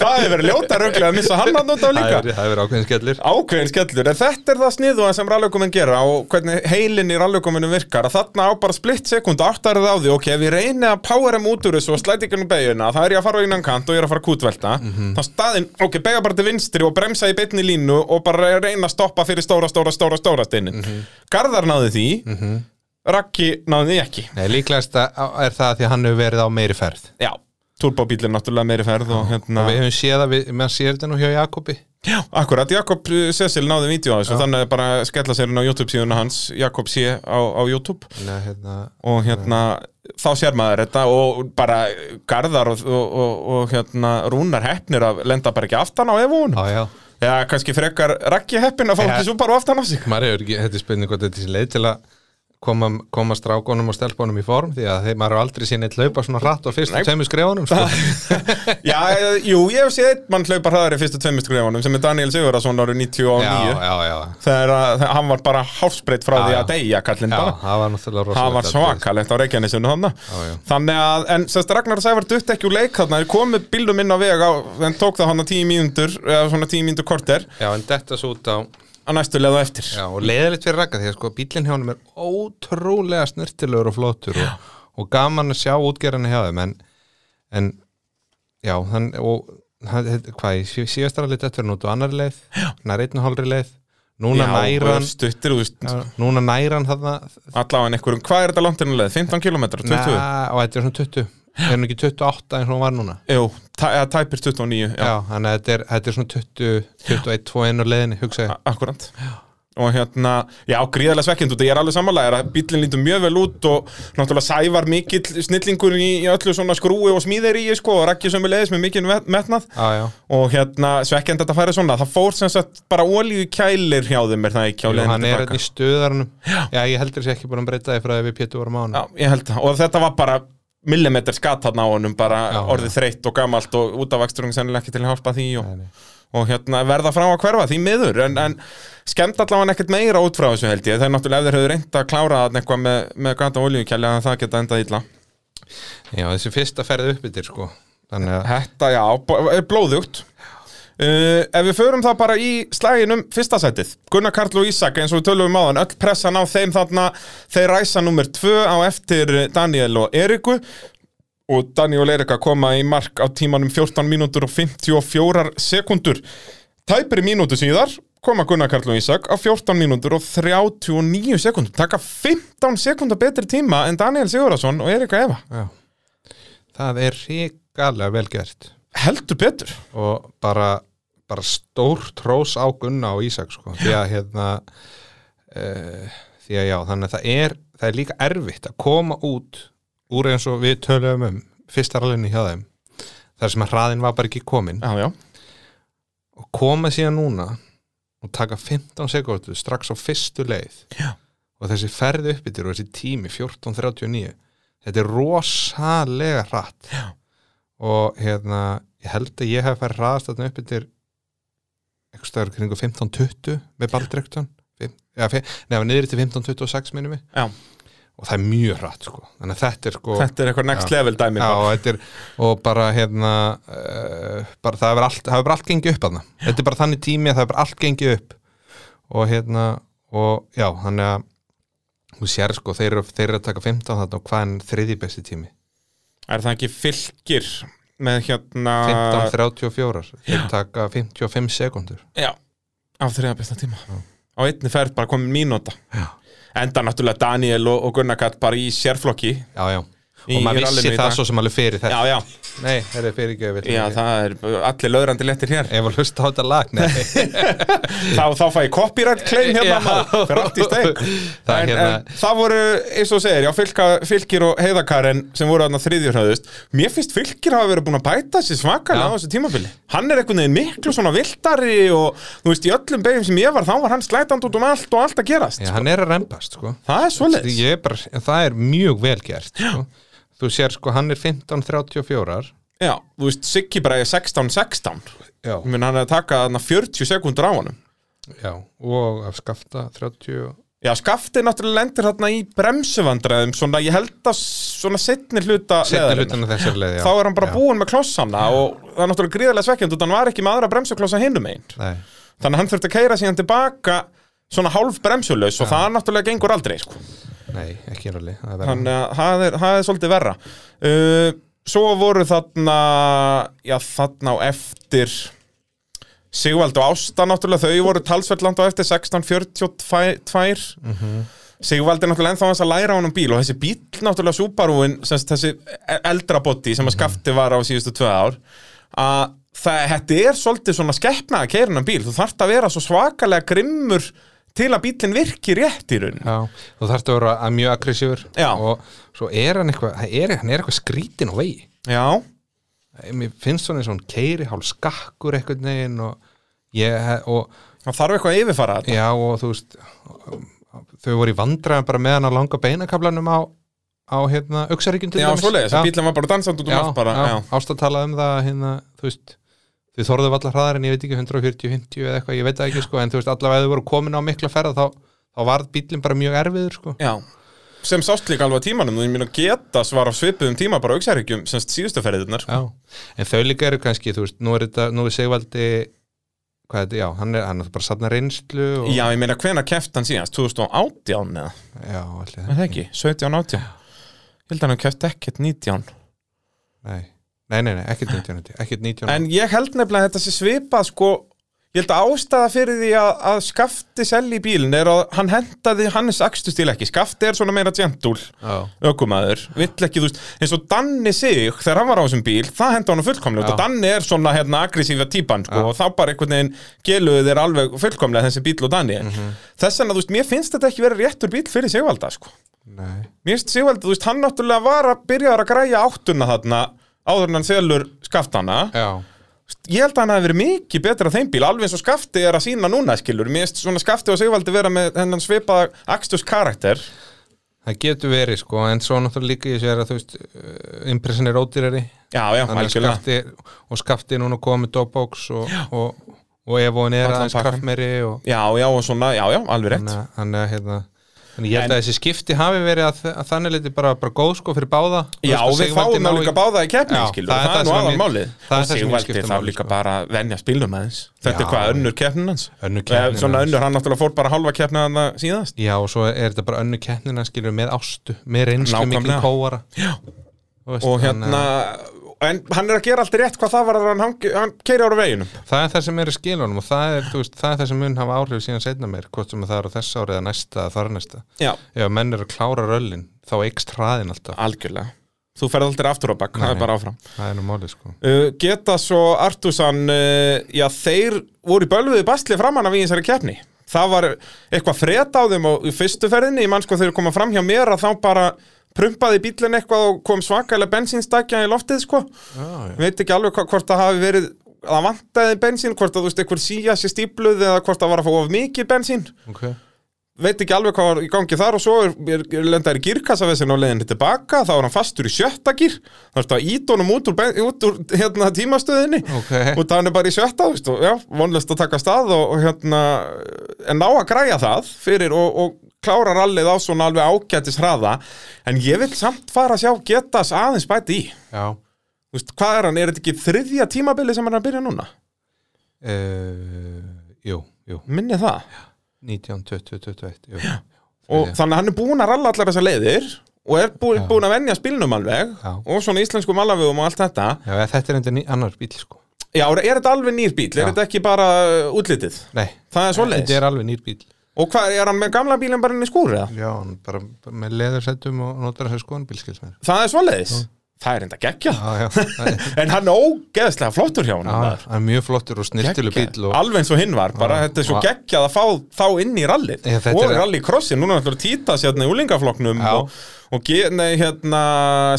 A: Það hefur verið ljóta röglega að missa hann hann út af líka
B: það hefur ákveðin skellir
A: Ákveðin skellur, en þetta er það sniðuða sem rallaukumenn gera og hvernig heilin í rallaukumunum virkar að þarna á bara splitt sekund áttarið á því, ok, ef ég reyni að powerum út úr þessu og slæti ekki um beiguna, það er ég að fara á innan kant og ég er að fara að kútvelta
B: Mhm.
A: þá staðin, ok, beiga bara til vinstri og bremsa í beinni línu og bara reyna að stoppa fyrir stóra, stóra, stóra, stóra steinin
B: Mhm.
A: Garðar náði því, Raggi náði því ekki
B: Nei, líklegast að- er það að því að hann hefur verið á meiri ferð
A: Já, turbóbíl er náttúrulega meiri ferð og hérna
B: og við hefum séð að við, mann sér þetta nú hjá Jakobi
A: Já, akkurat, Jakob uh, Cecil náði vídeo á þessu, þannig að bara skella sér inn á YouTube síðuna hans, Jakob sé á, á YouTube
B: Nei, hérna,
A: og hérna þá sér maður þetta og bara Garðar og, og, og, og hérna Rúnar heppnir að lenda bara ekki aftan á evun
B: á, já
A: Já, kannski frekar Raggi heppin að fá
B: Já.
A: ekki svo bara aftan á
B: (laughs)
A: sig
B: maður hefur ekki, þetta er spurning hvort þetta er leið til að koma, koma strákonum og stelpunum í form því að þeir, maður er aldrei sinni hlaupa svona hratt og fyrst
A: Nei.
B: og tveimur skrefunum sko.
A: (laughs) Já, eh, jú, ég hef séð einn mann hlaupa hraðar í fyrstu tveimistugleifunum sem er Daniel Sigurðarsson árið 99
B: já, já, já,
A: þegar að- þegar hann var bara hálfsbreytt frá
B: Já,
A: því
B: já.
A: að deyja kallinn
B: já
A: bara
B: það var náttúrulega rosalegt
A: það var
B: atriði.
A: svakalegt á Reykjanesinu hann
B: já.
A: þannig að, en sérst Ragnar Sævar dutt ekki úr leik þarna, þeir komu bílum inn á veg á, en tók það hann að tíu mínútur eða svona tíu mínútur korter
B: já, en þetta svo út á
A: að næstu leða eftir
B: já, og leiðilegt fyrir rakka því að sko bílinn hjá honum er ótrúlega snirtilegur og flottur og, og gaman að sjá útgerðan hjá þeim en, en já, hann og hann, þetta- hvað, í síðastara lit þetta verið nút á annar leið, nær einn og hálfri leið núna
A: og
B: næran
A: stuttir, þú veist,
B: núna næran þarna
A: allavega einhverjum hvað er þetta langt inn á leið, 15 km, 20 Næ.
B: Nei, og þetta er svona 20 er hún ekki 28 eins og hún var núna
A: jú, tæ, eða tæpir 29
B: já, þannig að þetta er, þetta er svona 20 21, 21 og leiðinni, hugsa ég
A: A- Akkurat Og hérna, já, gríðarlega svekkjandi út Ég er alveg sammálaðir að bíllinn lítur mjög vel út Og náttúrulega sævar mikill snillingur í, í öllu svona skrúi og smíðir í sko, Og rakki sömu leiðis með mikinn vet- metnað
B: já, já,
A: Og hérna, svekkjandi að þetta færi svona Það fór sem sagt bara olíu kælir hjá þeim Er það ekki á
B: Jú, hann
A: leiðinu
B: er
A: tilbaka
B: hérna í stöðarnum já, ég heldur þessi ekki búin að breyta því frá því við pétu vorum á hann
A: Já, ég held það Og þetta var bara millimetr skatt hann á honum Bara
B: Já,
A: orðið þreytt og gamalt Og út af eksturinn sennilega ekki til að hálpa því og,
B: Nei, nei.
A: og hérna verða frá að hverfa því miður en, en skemmt allavega ekkert meira út frá þessu held ég, þegar náttúrulega ef þeir höfðu reynt að klára þarna eitthvað með, með gata olíukjæli að það geta endað illa
B: já, þessi fyrsta ferði uppbyttir sko þannig að,
A: Þetta já, b- er blóðugt Uh, ef við förum það bara í slæginum fyrsta sætið, Gunnar Karl og Ísak eins og við tölum á þann, öll pressan á þeim þarna þeir ræsa nummer tvö á eftir Daniel og Eriku og Daniel og Erika koma í mark á tímanum 14 mínútur og 54 sekundur tæpri mínútu síðar koma Gunnar Karl og Ísak á 14 mínútur og 39 sekundum taka 15 sekundar betri tíma en Daniel Sigurðarsson og Erika Eva
B: já það er hrikalega vel gert
A: heldur betur
B: og bara, bara stór trós á Gunna og Ísak sko því að hérna uh, því að já, þannig að það er það er líka erfitt að koma út úr eins og við töluðum um fyrsta rallinni hjá þeim þar sem að hraðin var bara ekki komin
A: Já, já,
B: og koma síðan núna og taka 15 sekundur strax á fyrstu leið
A: Já.
B: og þessi ferði uppbyttir og þessi tími 14.39 þetta er rosalega hratt
A: Já.
B: og hérna ég held að ég hef farið hraðast þarna uppbyttir eitthvað stöður kringu 15.20 með baldrektan neða niður til 15.26 minnum við
A: Já.
B: og það er mjög hratt sko þannig að þetta er sko
A: þetta er eitthvað next
B: Já.
A: level dæmi
B: Já,
A: bara.
B: og, þetta er, og bara hérna uh, bara, það hefur allt, það hefur bara allt gengið upp hana. þetta er bara þannig tími að það hefur bara allt gengið upp og hérna og já, þannig að þú sér sko, þeir eru, þeir eru að taka 15 þarna og hvað er þriði besti tími
A: Er það ekki fylgir með hérna
B: 15.34, þeir taka 55 sekundur
A: Já, á þriða besta tíma Á einni ferð bara komin mínúta
B: Já.
A: Enda náttúrulega Daniel og, og Gunnar Katt bara í sérflokki
B: já, já, og maður vissi það
A: svo
B: svo sem alveg fyrir þetta
A: Já, já,
B: nei, það er fyrir ekki
A: já, það er allir löðrandi lettir hér
B: ef að hlusta á þetta lag
A: (laughs)
B: nei.
A: þá, þá fæ ég copyright claim hérna
B: Já.
A: maður, fyrir allt í steik
B: Það er
A: en,
B: hérna-
A: en það voru, eins og þú segir, já, fylka, fylgir og heiðakaren sem voru þarna þriðjurhauðust mér finnst fylgir hafa verið búin að bæta sér svakalega
B: Já.
A: á þessu tímabili hann er einhvern veginn miklu svona viltari og þú veist, í öllum beigum sem ég var þá var hann slætand út um allt og allt að gerast
B: já, hann er að rempast sko.
A: það er svoleiðis
B: Ég er bara, það er mjög vel gert sko. þú sér sko, hann er 15.34
A: já, þú veist, Siggi bara er 16-16
B: já.
A: Ég meina, hann er að taka þarna 40 sekundur á honum
B: já, og af skafta 30
A: Já, skafti náttúrulega lendir þarna í bremsuvandræðum svona, ég held að s- svona setni hluta
B: setja
A: leiðarinnar.
B: hlutina þessari leið já.
A: þá er hann bara
B: Já.
A: búinn með klossana og það er náttúrulega gríðarlega svekkjandi og hann var ekki með aðra bremsuklossa hinum einn
B: Nei.
A: þannig að hann þurfti að keira síðan tilbaka svona hálf bremsulaus og það náttúrulega gengur aldrei sko.
B: Nei, ekki ralli það er verra.
A: þannig að það er, það er svolítið verra uh, svo voru þarna já þarna á eftir Sigvald og Ásta náttúrulega þau voru talsverðland á eftir 1642 mm Sigvald er náttúrulega ennþá hans að læra á honum bíl og þessi bíl náttúrulega Subaruin sem sagt, þessi e- eldra body sem að skafti var á síðustu tvö ár að það, þetta er svolítið svona skeppna að keira hann bíl, þú þarft að vera svo svakalega grimmur til að bílinn virki rétt í raun
B: Já, þú þarfst að vera að mjög aggressífur
A: Já.
B: og svo er hann eitthvað hann er, hann er eitthvað skrítin á vegi
A: Já,
B: mér finnst svona eins og hann keiri hálf skakkur eitthvað neginn og, ég, og,
A: það þarf eitthvað að yfirfara þetta
B: já, og þú veist þau voru í vandræðan bara með hann á langa beinakablanum á, á hérna, auksaríkjum
A: Já, svoleiðis,
B: já,
A: bílum var bara dansand út um
B: já,
A: allt bara já.
B: já, Ásta talaði um það hérna, þú veist þau þorðu allar hraðar en ég veit ekki 140, 50 eða eitthvað, ég veit það ekki sko, en þú veist allavega ef þau voru komin á mikla ferða þá, þá varð bílinn bara mjög erfiður sko.
A: Já. Sem sást líka alveg á tímanum, þú minn að getas var á svipuðum tíma bara auksærhyggjum semst síðustu ferðirnar
B: Já, en þau líka eru kannski, þú veist, nú er þetta, nú er Sigvaldi, hvað er þetta, já, hann er, hann er bara safna reynslu og,
A: Já, ég meina hvenær keft hann síðast, 2018 eða,
B: já allir
A: er
B: það,
A: það ekki, 17, 18 Ég held að hann keft ekkert 19
B: nei, nei, nei, nei, ekkert 19, ekkert 19,
A: En ég held nefnilega að þetta sé svipað sko Ég held að ástæða fyrir því að, að skafti selli í bílinn er að hann hendaði hans akstustíl ekki. Skafti er svona meira gentle
B: já,
A: ökumæður, vill ekki, þú veist eins og Danni sig, þegar hann var á þessum bíl það henda honum fullkomlega,
B: Já.
A: og Danni er svona hérna, aggressífa típan, sko,
B: Já.
A: og þá bara einhvern veginn geluðu þeir alveg fullkomlega þessi bíl og Danni,
B: Mhm.
A: þess vegna, þú veist, mér finnst þetta ekki verið réttur bíl fyrir Sigvalda, sko
B: nei,
A: mér finnst Sigvalda, þú veist, hann náttúrulega var að byrja að græja áttuna þarna áður en hann selur skaftana
B: já,
A: ég held að hann hafi verið mikið betra á þeim bíl alveg eins og skafti er að sína núna skilur mér finnst svona skafti og Sigvaldi vera með hennan svipaða akstus karakter
B: það getur verið, sko, en svo náttúrulega líka ég sér að, þú veist, uh, impressin er ódýrari,
A: já, já,
B: þannig að
A: algjörlega
B: skafti, og skafti núna komið með dopbox og, og, og ef hún er
A: Allan
B: aðeins
A: pakkan.
B: kraftmeri og,
A: já, já, og svona, já, já, alveg rétt
B: þannig að- þannig að, hérna, Þannig ég
A: En-
B: held að þessi skipti hafi verið að, að þannig liti bara, bara góð sko fyrir báða Þú
A: Já,
B: veist að
A: við
B: Sigvaldi
A: fáum
B: nái-
A: það líka báða í keppni,
B: Já,
A: skilur, það, það er nú
B: sem að
A: aðan
B: mér-
A: málið. Og
B: það er það sem mér
A: Sigvaldi
B: skiptir
A: þá
B: máli,
A: líka
B: sko.
A: bara að venja spilum aðeins. Þetta
B: Já.
A: er hvað, önnur keppnin hans?
B: Önnur
A: Eh,
B: keppnin
A: Svona
B: hans.
A: önnur, hann náttúrulega fór bara halva keppni að það síðast.
B: Já, og svo er þetta bara önnu keppnina skilur með ástu, með reynslu miklu
A: Nákvæmlega.
B: kóara Já veist,
A: Og
B: þannig
A: hérna, en hann er að gera allt rétt hvað það var að hann, hangi- hann keiri ára veginum.
B: að Það er það sem er í skilunum og það er, þú veist, það er það sem mun hafa áhrif síðan setna meir, hvort sem það eru þess ári eða næsta eða þar næsta
A: Já,
B: Ef að menn eru að klára röllin, þá eikst hraðin alltaf
A: algjörlega. Þú ferð aldrei aftur á bakk, það er
B: nei.
A: bara áfram.
B: Það er nú málið sko
A: Uh, geta svo Artusan uh, já þeir voru í bölviði bastli framan af í þessari keppni það var eitthvað fret á þeim og í fyrstu ferðinni, ég mann sko þeir koma fram hjá mér að þá bara prumpaði bílinn eitthvað og kom svakalega bensínstakja í loftið sko,
B: Ah, Já,
A: ég veit ekki alveg hva- hvort það hafi verið það vantaði bensín, hvort að þú veist eitthvað síja sér stípluð eða hvort það var að fá of mikið bensín
B: ok
A: veit ekki alveg hvað var í gangi þar og svo er, er, er lendar í girkassafessin á leiðinni tilbaka, þá er hann fastur í sjötta gir þá er þetta ídónum út úr, ben- út úr hérna, tímastöðinni
B: Ok.
A: og það hann er bara í sjötta, veist, og, já, vonlust að taka stað og, og hérna en ná að græja það fyrir og, og klára rallið á svona alveg ágætis hraða, en ég vil samt fara að sjá getas aðeins bæti í
B: Já
A: Þú veist, hvað er hann, er þetta ekki þriðja tímabili sem hann er að byrja núna?
B: uh, Jú, jú
A: Minni það
B: 19, 20, 21 jú. Já,
A: og þannig að hann er búinn að ralla allar þessar leiðir og er búinn,
B: Já.
A: búinn að venja spilnum alveg
B: Já.
A: og svona íslensku malavegum og allt þetta
B: Já, þetta er enda ný- annar bíl sko
A: Já, er þetta alveg nýr bíl? Er
B: Já.
A: þetta ekki bara uh, útlitið?
B: Nei,
A: Það er svoleiðis
B: þetta er alveg nýr bíl
A: Og hvað, er hann með gamla bílinn bara inn í skúr eða?
B: Já, hann bara með leðursettum og notar þessu skoðanbíl, skils mér.
A: Það er svoleiðis Það er enda geggja
B: Já, já, (laughs) það er-
A: (laughs) En hann er ógeðslega flottur hjá hann
B: já, það er mjög flottur og snirtilu bíl og
A: Alveg eins og hinn var, bara
B: Já.
A: þetta er svo
B: Já.
A: geggjað að fá þá inn í rallið
B: Já, þetta
A: og
B: er-
A: rallycrossin, núna er náttúrulega títas hérna í úlingaflokknum
B: Já.
A: og, og ge- nei, hérna,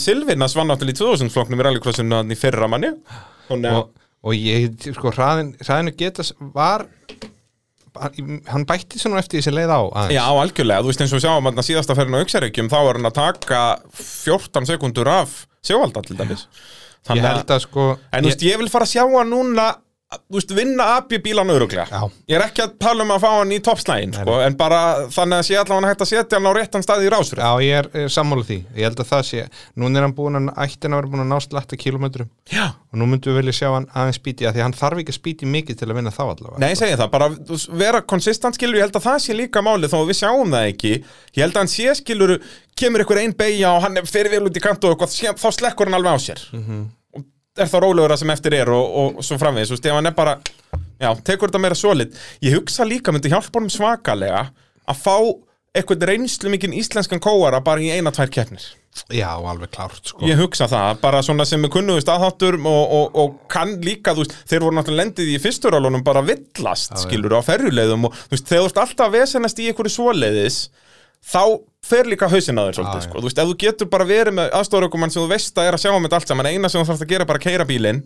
A: Silvinas var náttúrulega í 2000 flokknum í rallycrossinu hann í fyrra manni Þannig að,
B: og, og ég, sko, hraðin, hraðinu getas var, hann bætti sér nú eftir því sem leið á aðeins.
A: já algjörlega, þú veist eins og við sjáum hann síðasta ferðin á Uxaríkjum, þá var hann að taka 14 sekundur af sjóvalda til dæmis
B: ég
A: Þannig að-
B: held að sko,
A: En þú veist, ég vil fara að sjá hann núna þú veist, vinna AB bílan öruglega
B: Já.
A: Ég er ekki að tala um að fá hann í toppslægin sko, en bara þannig að sé allavega hægt að setja hann á réttan stað í rásur
B: já, ég er, er sammála því, ég held að það sé, núna er hann búin að, ættin að vera búin að ná slætta kilometrum
A: Já.
B: og nú myndum við vilja sjá hann aðeins spýti að því að hann þarf ekki að spýti mikið til að vinna þá allavega.
A: Nei, ég segi það, bara þú veist, vera konsistant skilur, ég held að það sé líka málið þó að við sjáum það ekki Ég held að hann sé skilur, kemur ykkur ein beigja og hann fer vel út í kant og eitthvað, sé- þá slekkur hann alveg á sér og er þá rólegur að sem eftir er og, og svo framvegis, þú veist, ef hann er bara já, tekur þetta meira solid Ég hugsa líka myndi hjálpa honum svakalega að fá eitthvað reynslu mikinn íslenskan kóara bara í eina, tvær keppnir
B: Já, alveg klárt sko.
A: Ég hugsa það, bara svona sem er kunnuðist aðháttur og, og, og kann líka, þú veist, þeir voru náttúrulega lendið í fyrsturálunum bara villast, skilur, á ferjuleiðum og þú veist, þegar þú ert alltaf að vesenast í einhverju svoleiðis, þá fer líka hausinn að þér svolítið,
B: Já,
A: sko, þú veist, ef þú getur bara verið með aðstofarökumann sem þú veist að er að sjá um þetta allt saman, eina sem þú þarfst að gera er bara að keira bílinn,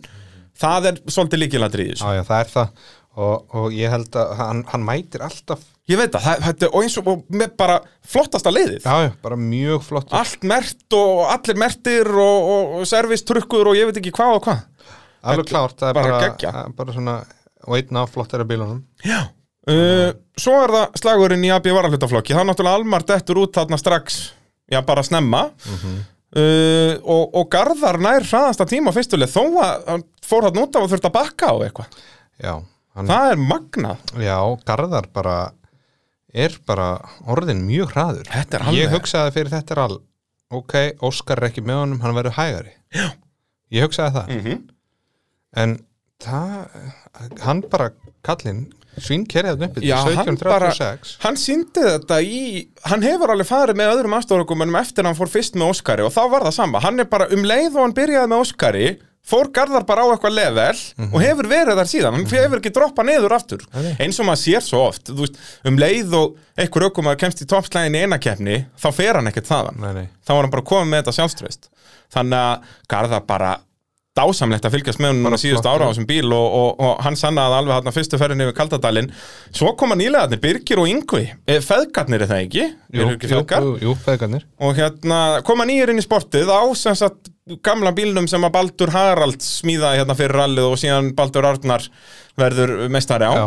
A: það er svolítið sko. líkilandriðis.
B: Já, já, það er það og, og ég held að hann, hann mætir alltaf
A: Ég veit það, það, þetta er og eins og og með bara flottasta leiðið.
B: já, já, bara mjög flott
A: Allt mert og allir mertir og, og, og servistrukkur og ég veit ekki hvað og hvað.
B: alveg klárt, það er
A: Ah, bara
B: bara,
A: geggjað.
B: bara, bara svona og einn af flottara bílunum
A: Já uh, Svo er það slagurinn í AB varahlutaflokki Það er náttúrulega Almar dettur út þarna strax Já, bara snemma uh, og, og Garðar nær hraðasta tíma á fyrstuleg Þó að hann fór hann út af að þurft að bakka á eitthvað
B: já, hann,
A: Það er magnað
B: já, Garðar bara er bara orðin mjög hraður
A: Þetta er alveg-
B: ég hugsaði fyrir þetta er all ok, Óskar er ekki með honum, hann verður hægari já. ég hugsaði það
A: Mhm.
B: en það hann bara, kallinn svínkerjaðum uppið
A: Já, hann bara,
B: 1736
A: hann síndi þetta í, hann hefur alveg farið með öðrum aðstofarökumennum eftir hann fór fyrst með Óskari og þá var það sama, hann er bara um leið og hann byrjaði með Óskari, fór Garðar bara á eitthvað level og hefur verið þar síðan, hann hefur ekki droppað niður aftur
B: Mhm. Nei.
A: eins og maður sér svo oft, þú veist, um leið og einhver ökum að kemst í toppslægin í eina keppni, þá fer hann ekkert þaðan
B: nei, nei
A: þá var hann bara komið með þetta sjálfströst þannig að Garðar bara dásamlegt að fylgjast með hann
B: Bara
A: á síðustu
B: flott,
A: ára á þessum bíl og, og, og hann sannaði alveg hann fyrstu ferðin yfir Kaldadalinn svo koma nýlegaðnir, Birgir og Yngvi e, feðgarnir er það ekki,
B: Jú,
A: eru ekki feðgar
B: jú, jú, feðgarnir
A: og hérna koma nýjir inn í sportið á sem sagt gamla bílnum sem að Baldur Harald smíðaði hérna fyrir rallið og síðan Baldur Arnar verður mestari á
B: Já.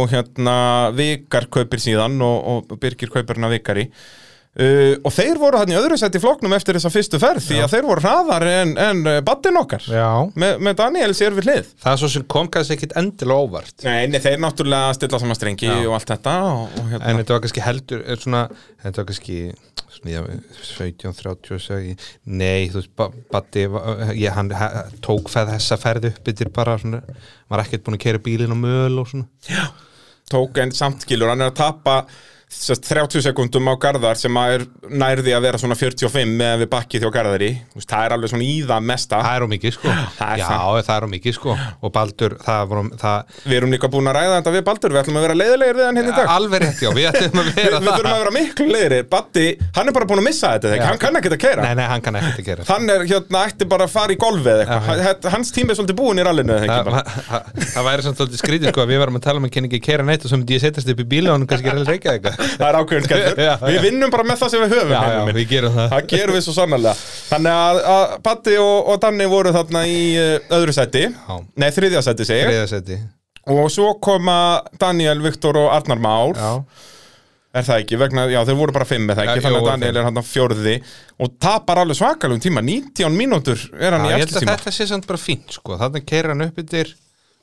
A: og hérna Vikar kaupir síðan og, og Birgir kaupir hana Vikari uh, og þeir voru hann í öðru sett í floknum eftir þessa fyrstu ferð því að þeir voru hraðar en, en battin okkar
B: Já,
A: Me, með Daniel sér við hlið
B: það er svo sem kom kannski ekkit endilega óvart
A: Nei, nei, þeir náttúrulega stilla saman strengi
B: Já.
A: og allt þetta og, og hérna.
B: en þetta var kannski heldur er svona, þetta var kannski svona, já, 17, 30 segi, nei, þú veist, Ba- Batti var- ég, hann he- tók feð þessa ferð upp yfir bara svona, var ekkert búin að keira bílinn á möl og svona
A: tók en samt skilur, hann er að tapa sest, 30 sekundum á Garðar sem að er nærði að vera svona 45 meðan við bakkið hjá Garðari Þú veist, það er alveg svona í það mesta
B: það er á mikið sko,
A: (laughs) það er
B: já, það er á mikið sko og Baldur, það var það,
A: við erum líka búin að ræða þetta við Baldur, við ætlum að vera leiðilegir við hann hérna í dag
B: alveg rétt, já, við ætlum að
A: við,
B: vera
A: við þurfum að
B: það
A: vera miklu leiðilegir, Batti hann er bara búin að missa þetta,
B: Já.
A: þegar hann kann ekki að keira
B: nei, nei, hann kann ekkert að gera það,
A: hann er hérna, ætti bara að fara í golfi eða eitthvað, Hann- hans tími er svolítið búin í rallinu eða ekki
B: það,
A: bara.
B: það, það væri samt svolítið skrítið sko að við varum að tala um að kenna ekki að keira neitt og svo myndi ég setjast upp í bíla og hann kannski er alveg reykja eitthvað
A: það er ákveðin skellur,
B: (laughs) Já, já.
A: við vinnum bara með það sem við höfum
B: já, já,
A: Heimir minn.
B: við gerum það
A: Það gerum við svo sannarlega Þannig að, að Patti og, og Danni voru þarna í uh, öðru sæti Nei, þriðja sæti segi ég
B: þriðasetti
A: Og svo koma Daniel, Viktor og Arnar Már Er það ekki? Vegna, já, þeir voru bara fimm með það
B: Já,
A: ekki
B: jú,
A: Þannig að
B: voru
A: Daniel
B: fimm.
A: er hann fjórði Og tapar alveg svakalum tíma 19 mínútur er hann
B: ég
A: í
B: held að
A: eftir tíma
B: þetta sé samt bara fínt sko. þannig keir hann upp yfir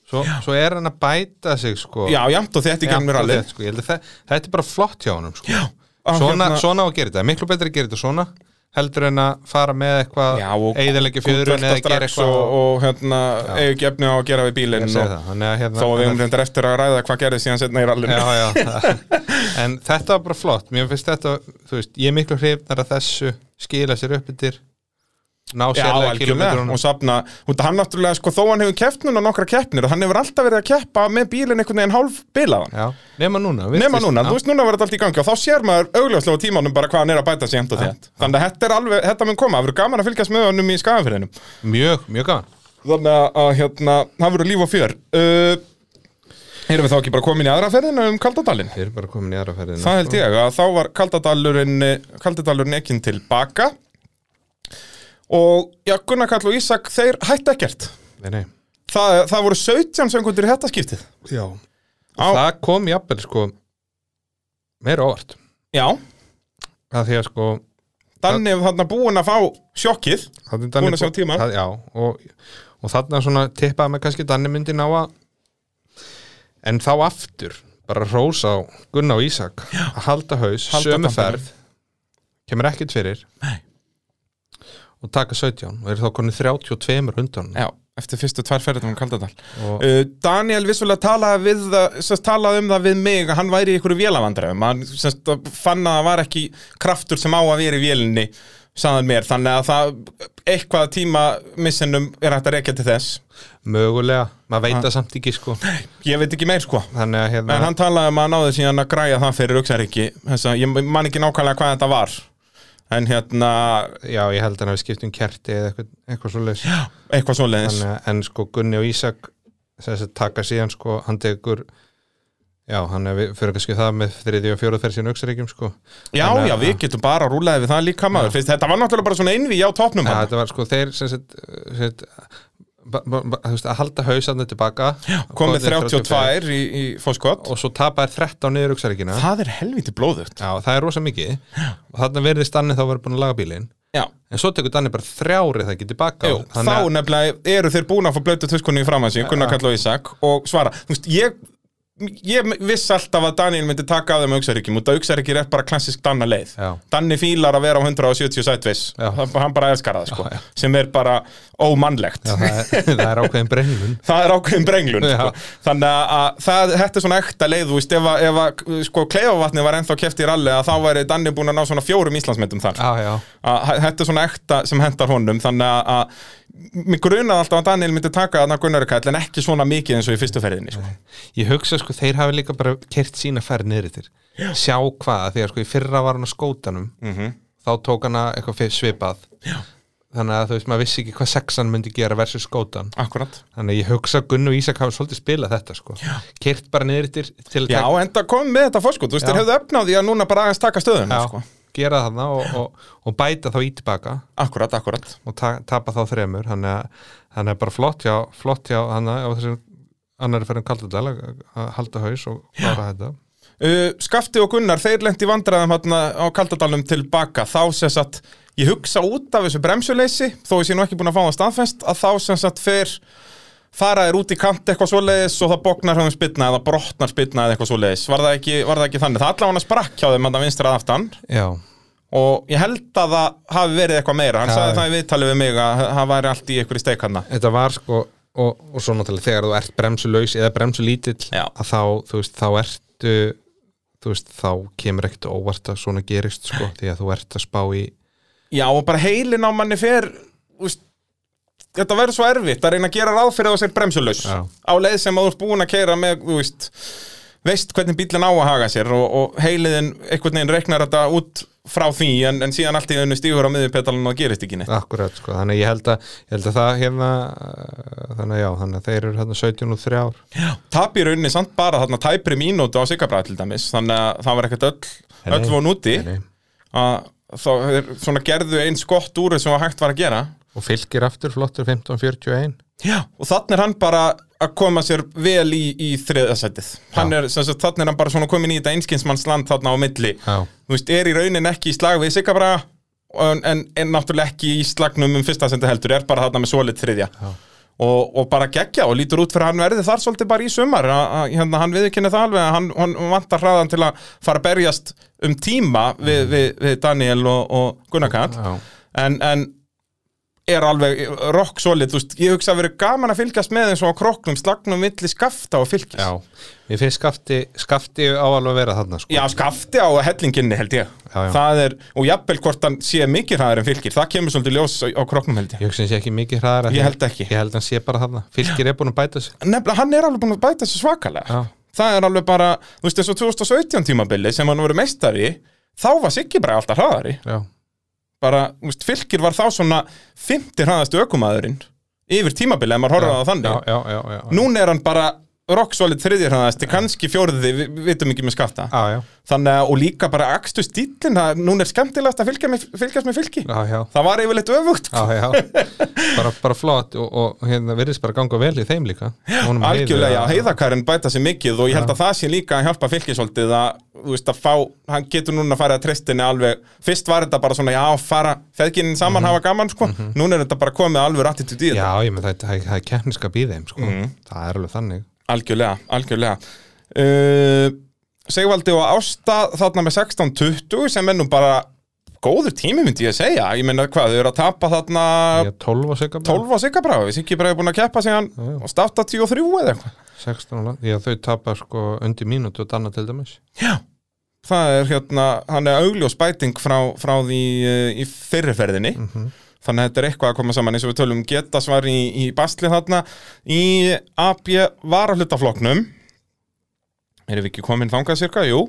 B: svo, svo er hann að bæta sig sko.
A: Já, jæmt og þetta
B: Já,
A: í gangi mér alveg
B: þetta, sko. Ég held að það, þetta er bara flott hjá hann sko.
A: Á,
B: svona,
A: hérna-
B: svona á að gera þetta, miklu betra að gera þetta svona heldur en að fara með eitthvað
A: Já, og
B: eigðilegja fjöðrun
A: Gúlvelta
B: eða gera
A: strax
B: eitthvað
A: og, og hérna, eigu ekki efni á að gera við
B: Ég
A: bílinn
B: segi
A: og
B: það, þannig að (laughs)
A: Þó að við
B: hérna
A: umrindar eftir að ræða hvað gerði síðan setna í rallinu
B: Já, (laughs) já, það- en þetta var bara flott, mér finnst þetta þú veist, ég er miklu hrifnar að þessu skila sér upp yfir ná
A: Já,
B: sérlega
A: algjörlega,
B: kilometrunum
A: og safna út, að hann náttúrulega, sko, þó hann hefur keppt núna nokkra keppnir, hann hefur alltaf verið að keppa með bílinn einhvern veginn hálf bilaðan
B: Já, nema núna virtist-
A: Nefna núna,
B: Já.
A: þú veist núna var þetta allt í gangi og þá sér maður augljóslega á tímanum bara hvað hann er að bæta sig jæmt og þétt. Þannig að þetta, er alveg, þetta mun koma, það verður gaman að fylgjast með honum í skagafyrðinum.
B: mjög, mjög gaman
A: Þannig að, að hérna, það verður líf og fjör. Uh, erum við þá ekki bara komin í aðra ferðina um Kaldadalinn?
B: Þeir eru bara komin í aðra ferðina sko.
A: Það held ég að þá var Kaldadalurinn, eh, Kaldadalurinn ekkin til baka og já, Gunnar Kall og Ísak, þeir hætti ekkert.
B: Nei, nei.
A: Það, það voru 17 söngundir í þetta skiptið.
B: Já.
A: Á,
B: Það kom jafnvel sko meira óvart
A: Já,
B: að því að sko
A: Danni hefur þarna búin að fá sjokkið.
B: Búin
A: Búin að sjá tímann.
B: það, Já, og, og þarna svona tippaði með kannski Danni myndi ná að en þá aftur bara hrós á Gunna og Ísak já. að halda haus,
A: Halda
B: sömu
A: dampanum.
B: ferð kemur ekkert fyrir
A: Nei.
B: og taka 17 og eru þá konið 32 hundan
A: Já, eftir fyrstu tvær ferðum um Kaldadal
B: og
A: uh, Daniel vissulega talaði, við, það- sem sagt, talaði um það við mig að hann væri í ykkur vélavandræðum hann sem sagt, fann að það var ekki kraftur sem á að vera í vélinni sagðan mér, þannig að það eitthvað tíma missinum er hægt að rekja til þess
B: mögulega, maður veit það samt ekki sko
A: ég veit ekki meir sko
B: þannig að hérna
A: en hann talaði um að hann náði síðan að græja það fyrir auksaríki þess að ég man ekki nákvæmlega hvað þetta var en hérna
B: já, ég held hann að við skiptum kerti eða eitthvað, eitthvað svo leys
A: eitthvað svoleiðis
B: en, en sko Gunni og Ísak þess að taka síðan sko hann tekur já, hann er við- fyrir kannski það með þriði og fjóruð ferð síðan auksaríkjum sko
A: já,
B: Þannig að-
A: já, við getum bara rúlaði við það líka maður Fyrst, þetta var náttúrulega bara svona einví á topnum
B: ja,
A: hann
B: þetta var sko þeir sem sagt, sem sagt ba- ba- ba- þú veist, að halda hausandu tilbaka já,
A: komið 32 í, í fóskott
B: og svo tapaði 13 niður auksaríkina
A: það er helviti blóðugt
B: já, það er rosa mikið og þarna verðist Danni þá verið búin að laga bílinn
A: já,
B: en svo tekur Danni bara þrjárið það ekki tilbaka
A: Jú,
B: Þannig
A: þá
B: að-
A: nefnilega eru þeir búin að fá blötu tuskunni í fram að sín, Gunnar Kall og Ísak og svara, þú veist, ég ég viss alltaf að Daniel myndi taka að þeim auksaríkjum út að auksaríkjir er bara klassisk danna leið
B: Já. (laughs)
A: Danni fílar að vera á 170 sætvis
B: Já.
A: hann bara elskar það sko sem er bara ómannlegt
B: Já, það, er, það er ákveðin brennun
A: það er ákveðin brenglun
B: Já.
A: sko. þannig að- að það, þetta er svona ekta leið þú veist, ef, að- ef að, sko, kleifavatni var ennþá keft í ralli að þá væri Danni búin að ná svona fjórum Íslandsmyndum þar
B: já, já,
A: að hæ- þetta er svona ekta sem hendar honum þannig að- að mér grunaði alltaf að Daniel myndi taka þarna Gunnari Kall en ekki svona mikið eins og í fyrstu ferðinni sko.
B: Ég hugsa sko, þeir hafi líka bara kert sína færð niður yfir Sjá hvað, því að sko í fyrra var hann á skótanum
A: Mhm.
B: -hmm. Þá tók hann að eitthvað fi- svipað Já. Þannig að þú veist, maður vissi ekki hvað sexan myndi gera versus skótan
A: akkurat
B: Þannig að ég hugsa að Gunn og Ísak hafa svolítið spilað þetta sko Kert bara niður yfir til að
A: Já,
B: taka-
A: enda kom með þetta fórskot, þú veist,
B: Já.
A: þeir hefðu efnaði að núna bara aðeins taka stöðuna,
B: Já,
A: sko.
B: gera þarna og, og, og bæta þá í tilbaka
A: Akkurat, akkurat.
B: og ta tapa þá þremur Þannig að hann er bara flott hjá, flott hjá hann á þessum annar fyrir Kaldadal að að halda haus og klára þetta
A: Uh, Skafti og Gunnar, þeir lendi í vandræðum hérna á Kaldadalum tilbaka, þá sem sagt, ég hugsa út af þessu bremsuleysi, þó ég sé nú ekki búin að fá það staðfest, að þá sem sagt fer fara þér út í kant eitthvað svoleiðis og það bóknar höfum spilna eða brotnar spilna eða eitthvað svoleiðis, var það ekki, var það ekki þannig, það allavega sprakk hjá þeim hann að vinstra að aftan
B: Já,
A: og ég held að það hafi verið eitthvað meira, hann
B: Já,
A: sagði
B: já.
A: það í viðtalið við mig að það væri allt í einhverju steik hann
B: þetta var sko og, og svo náttúrulega þegar þú ert bremsulaus eða bremsulítill
A: Já.
B: að þá, þú veist, þá ertu þú veist, þá kemur ekkert á óvart að svona gerist sko, því að þú ert að spá í
A: Já, og bara heilin á manni fer úst, Þetta verður svo erfitt að reyna að gera ráð fyrir að þú sér bremsulaus
B: Já.
A: á leið sem að þú ert búin að keira með þú veist, veist hvernig bílinn á að haga sér og, og heiliðin einhvern veginn reiknar þetta út frá því en, en síðan allt í einu stígur á miðjumpetalun og gerist ekki neitt
B: akkurat, sko, þannig að ég held að ég held að það hérna uh, þannig að já, þannig að þeir eru hérna 17 og 3 ár
A: Tap í rauninni samt bara þarna tæpri mínútu á Sigabræð til dæmis þannig að það var ekkert öll,
B: Nei,
A: öll von úti
B: Nei.
A: að þá þeir svona gerðu eins gott úr sem var hægt var að gera
B: og fylgir aftur flottur 15-41
A: Já, og þannig er hann bara að koma sér vel í, í þriðasætið hann er, sem sagt, þannig er hann bara svona komin í þetta einskinsmannsland þarna á milli
B: Já.
A: þú veist, er í raunin ekki í slag við Sigabra en, en, en náttúrulega ekki í slagnum um fyrsta sendi heldur, er bara þarna með svolit þriðja og, og bara geggja og lítur út fyrir að hann verði þar svolítið bara í sumar að, að, hérna, hann viðurkenni það alveg að hann, hann vantar hraðan til að fara að berjast um tíma við, við, við Daniel og, og Gunnar Karl
B: Já.
A: en, en er alveg rock solid, þú veist, ég hugsa að verið gaman að fylgjast með eins og á kroknum, slagnum milli skafta og fylgis.
B: Já, mér finnst skafti, skafti á alveg að vera þarna sko.
A: Já, skafti á hellinginni held ég.
B: Já, já.
A: Það er, og jafnvel hvort hann sé mikið hræður en fylgir, það kemur svolítið ljós á, á kroknum held ég.
B: Ég hugsa hans ekki mikið hraðar
A: Ég held ekki.
B: Ég held hann sé bara þarna Fylgir er búin að bæta sig
A: Nefnilega, hann er alveg búin að bæta sér svakalega.
B: Já.
A: Það er alveg bara, þú veist, eins og 2017 tímabili sem hann voru meistari, þá var Siggi bara alltaf hraðari.
B: Já,
A: Bara, þú veist, fylgir var þá svona 50 hraðastu ökumaðurinn yfir tímabili, ef maður horfði á það þannig.
B: já, já, já, já.
A: Núna er hann bara rock solid þriðir hann þessi, kannski fjóriði, við við vitum ekki með skafta
B: já, já,
A: þannig að, og líka bara akstu stílin það, núna er skemmtilegt að fylgja með, fylgjast með fylgi
B: já, já.
A: það var yfirleitt öfugt
B: Já, já, bara, bara flott og, og hérna virðist bara ganga vel í þeim líka Honum
A: algjörlega, já, Ah.
B: heiður að-
A: heiðakarinn bæta sér mikið og ég held að það sé líka að hjálpa fylgisóltið að, þú veist, að fá, hann getur núna að fara að tristinni alveg, fyrst var þetta bara svona já, fara, feðginin saman hafa gaman sko, núna er þetta bara komið alveg attitúti í þetta,
B: Já, ég með það, það, það er keppniskap í þeim sko.
A: Mhm.
B: Það er alveg þannig
A: algjörlega, algjörlega uh, Segvaldi og Ásta þarna með 16-20 sem er nú bara góður tími myndi ég að segja, ég meina hvað, þau eru að tapa þarna
B: Ég er 12 og segja
A: 12 á Sigga Braga, við Siggi Braga er búin að keppa síðan og starta 83 eða eitthvað
B: 16 og land Já, þau tapar sko undir mínútu og danna til dæmis
A: Já, það er hérna hann er augljós bæting frá, frá því uh, í fyrriferðinni þannig að þetta er eitthvað að koma saman eins og við tölum geta svar í, í basli þarna í AB varahlutafloknum erum við ekki komin þangað cirka, jú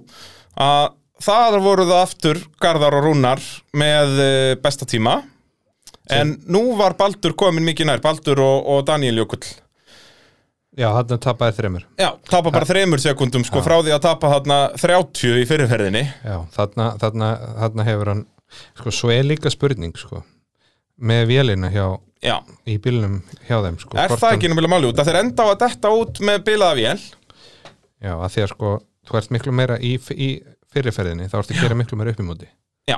A: að það voru það aftur Garðar og Rúnar með eh, besta tíma en nú var Baldur komin mikið nær Baldur og, og Daniel Jökull
B: Já, þarna tapaði þreymur
A: Já, tapa bara þremur sekundum sko frá því að tapa þarna 30 í fyrirferðinni
B: Já, þarna, þarna, þarna hefur hann sko, svo er líka spurning sko, með vélina hjá,
A: Já,
B: í bílnum hjá þeim sko,
A: er
B: hvort
A: það
B: hann-
A: ekki náttúrulega máli út að þeir enda á að detta út með bilaða vél
B: Já, að því að sko, þú ert miklu meira í, í fyrirferðinni, þá ertu að gera miklu meira upp í móti
A: Já,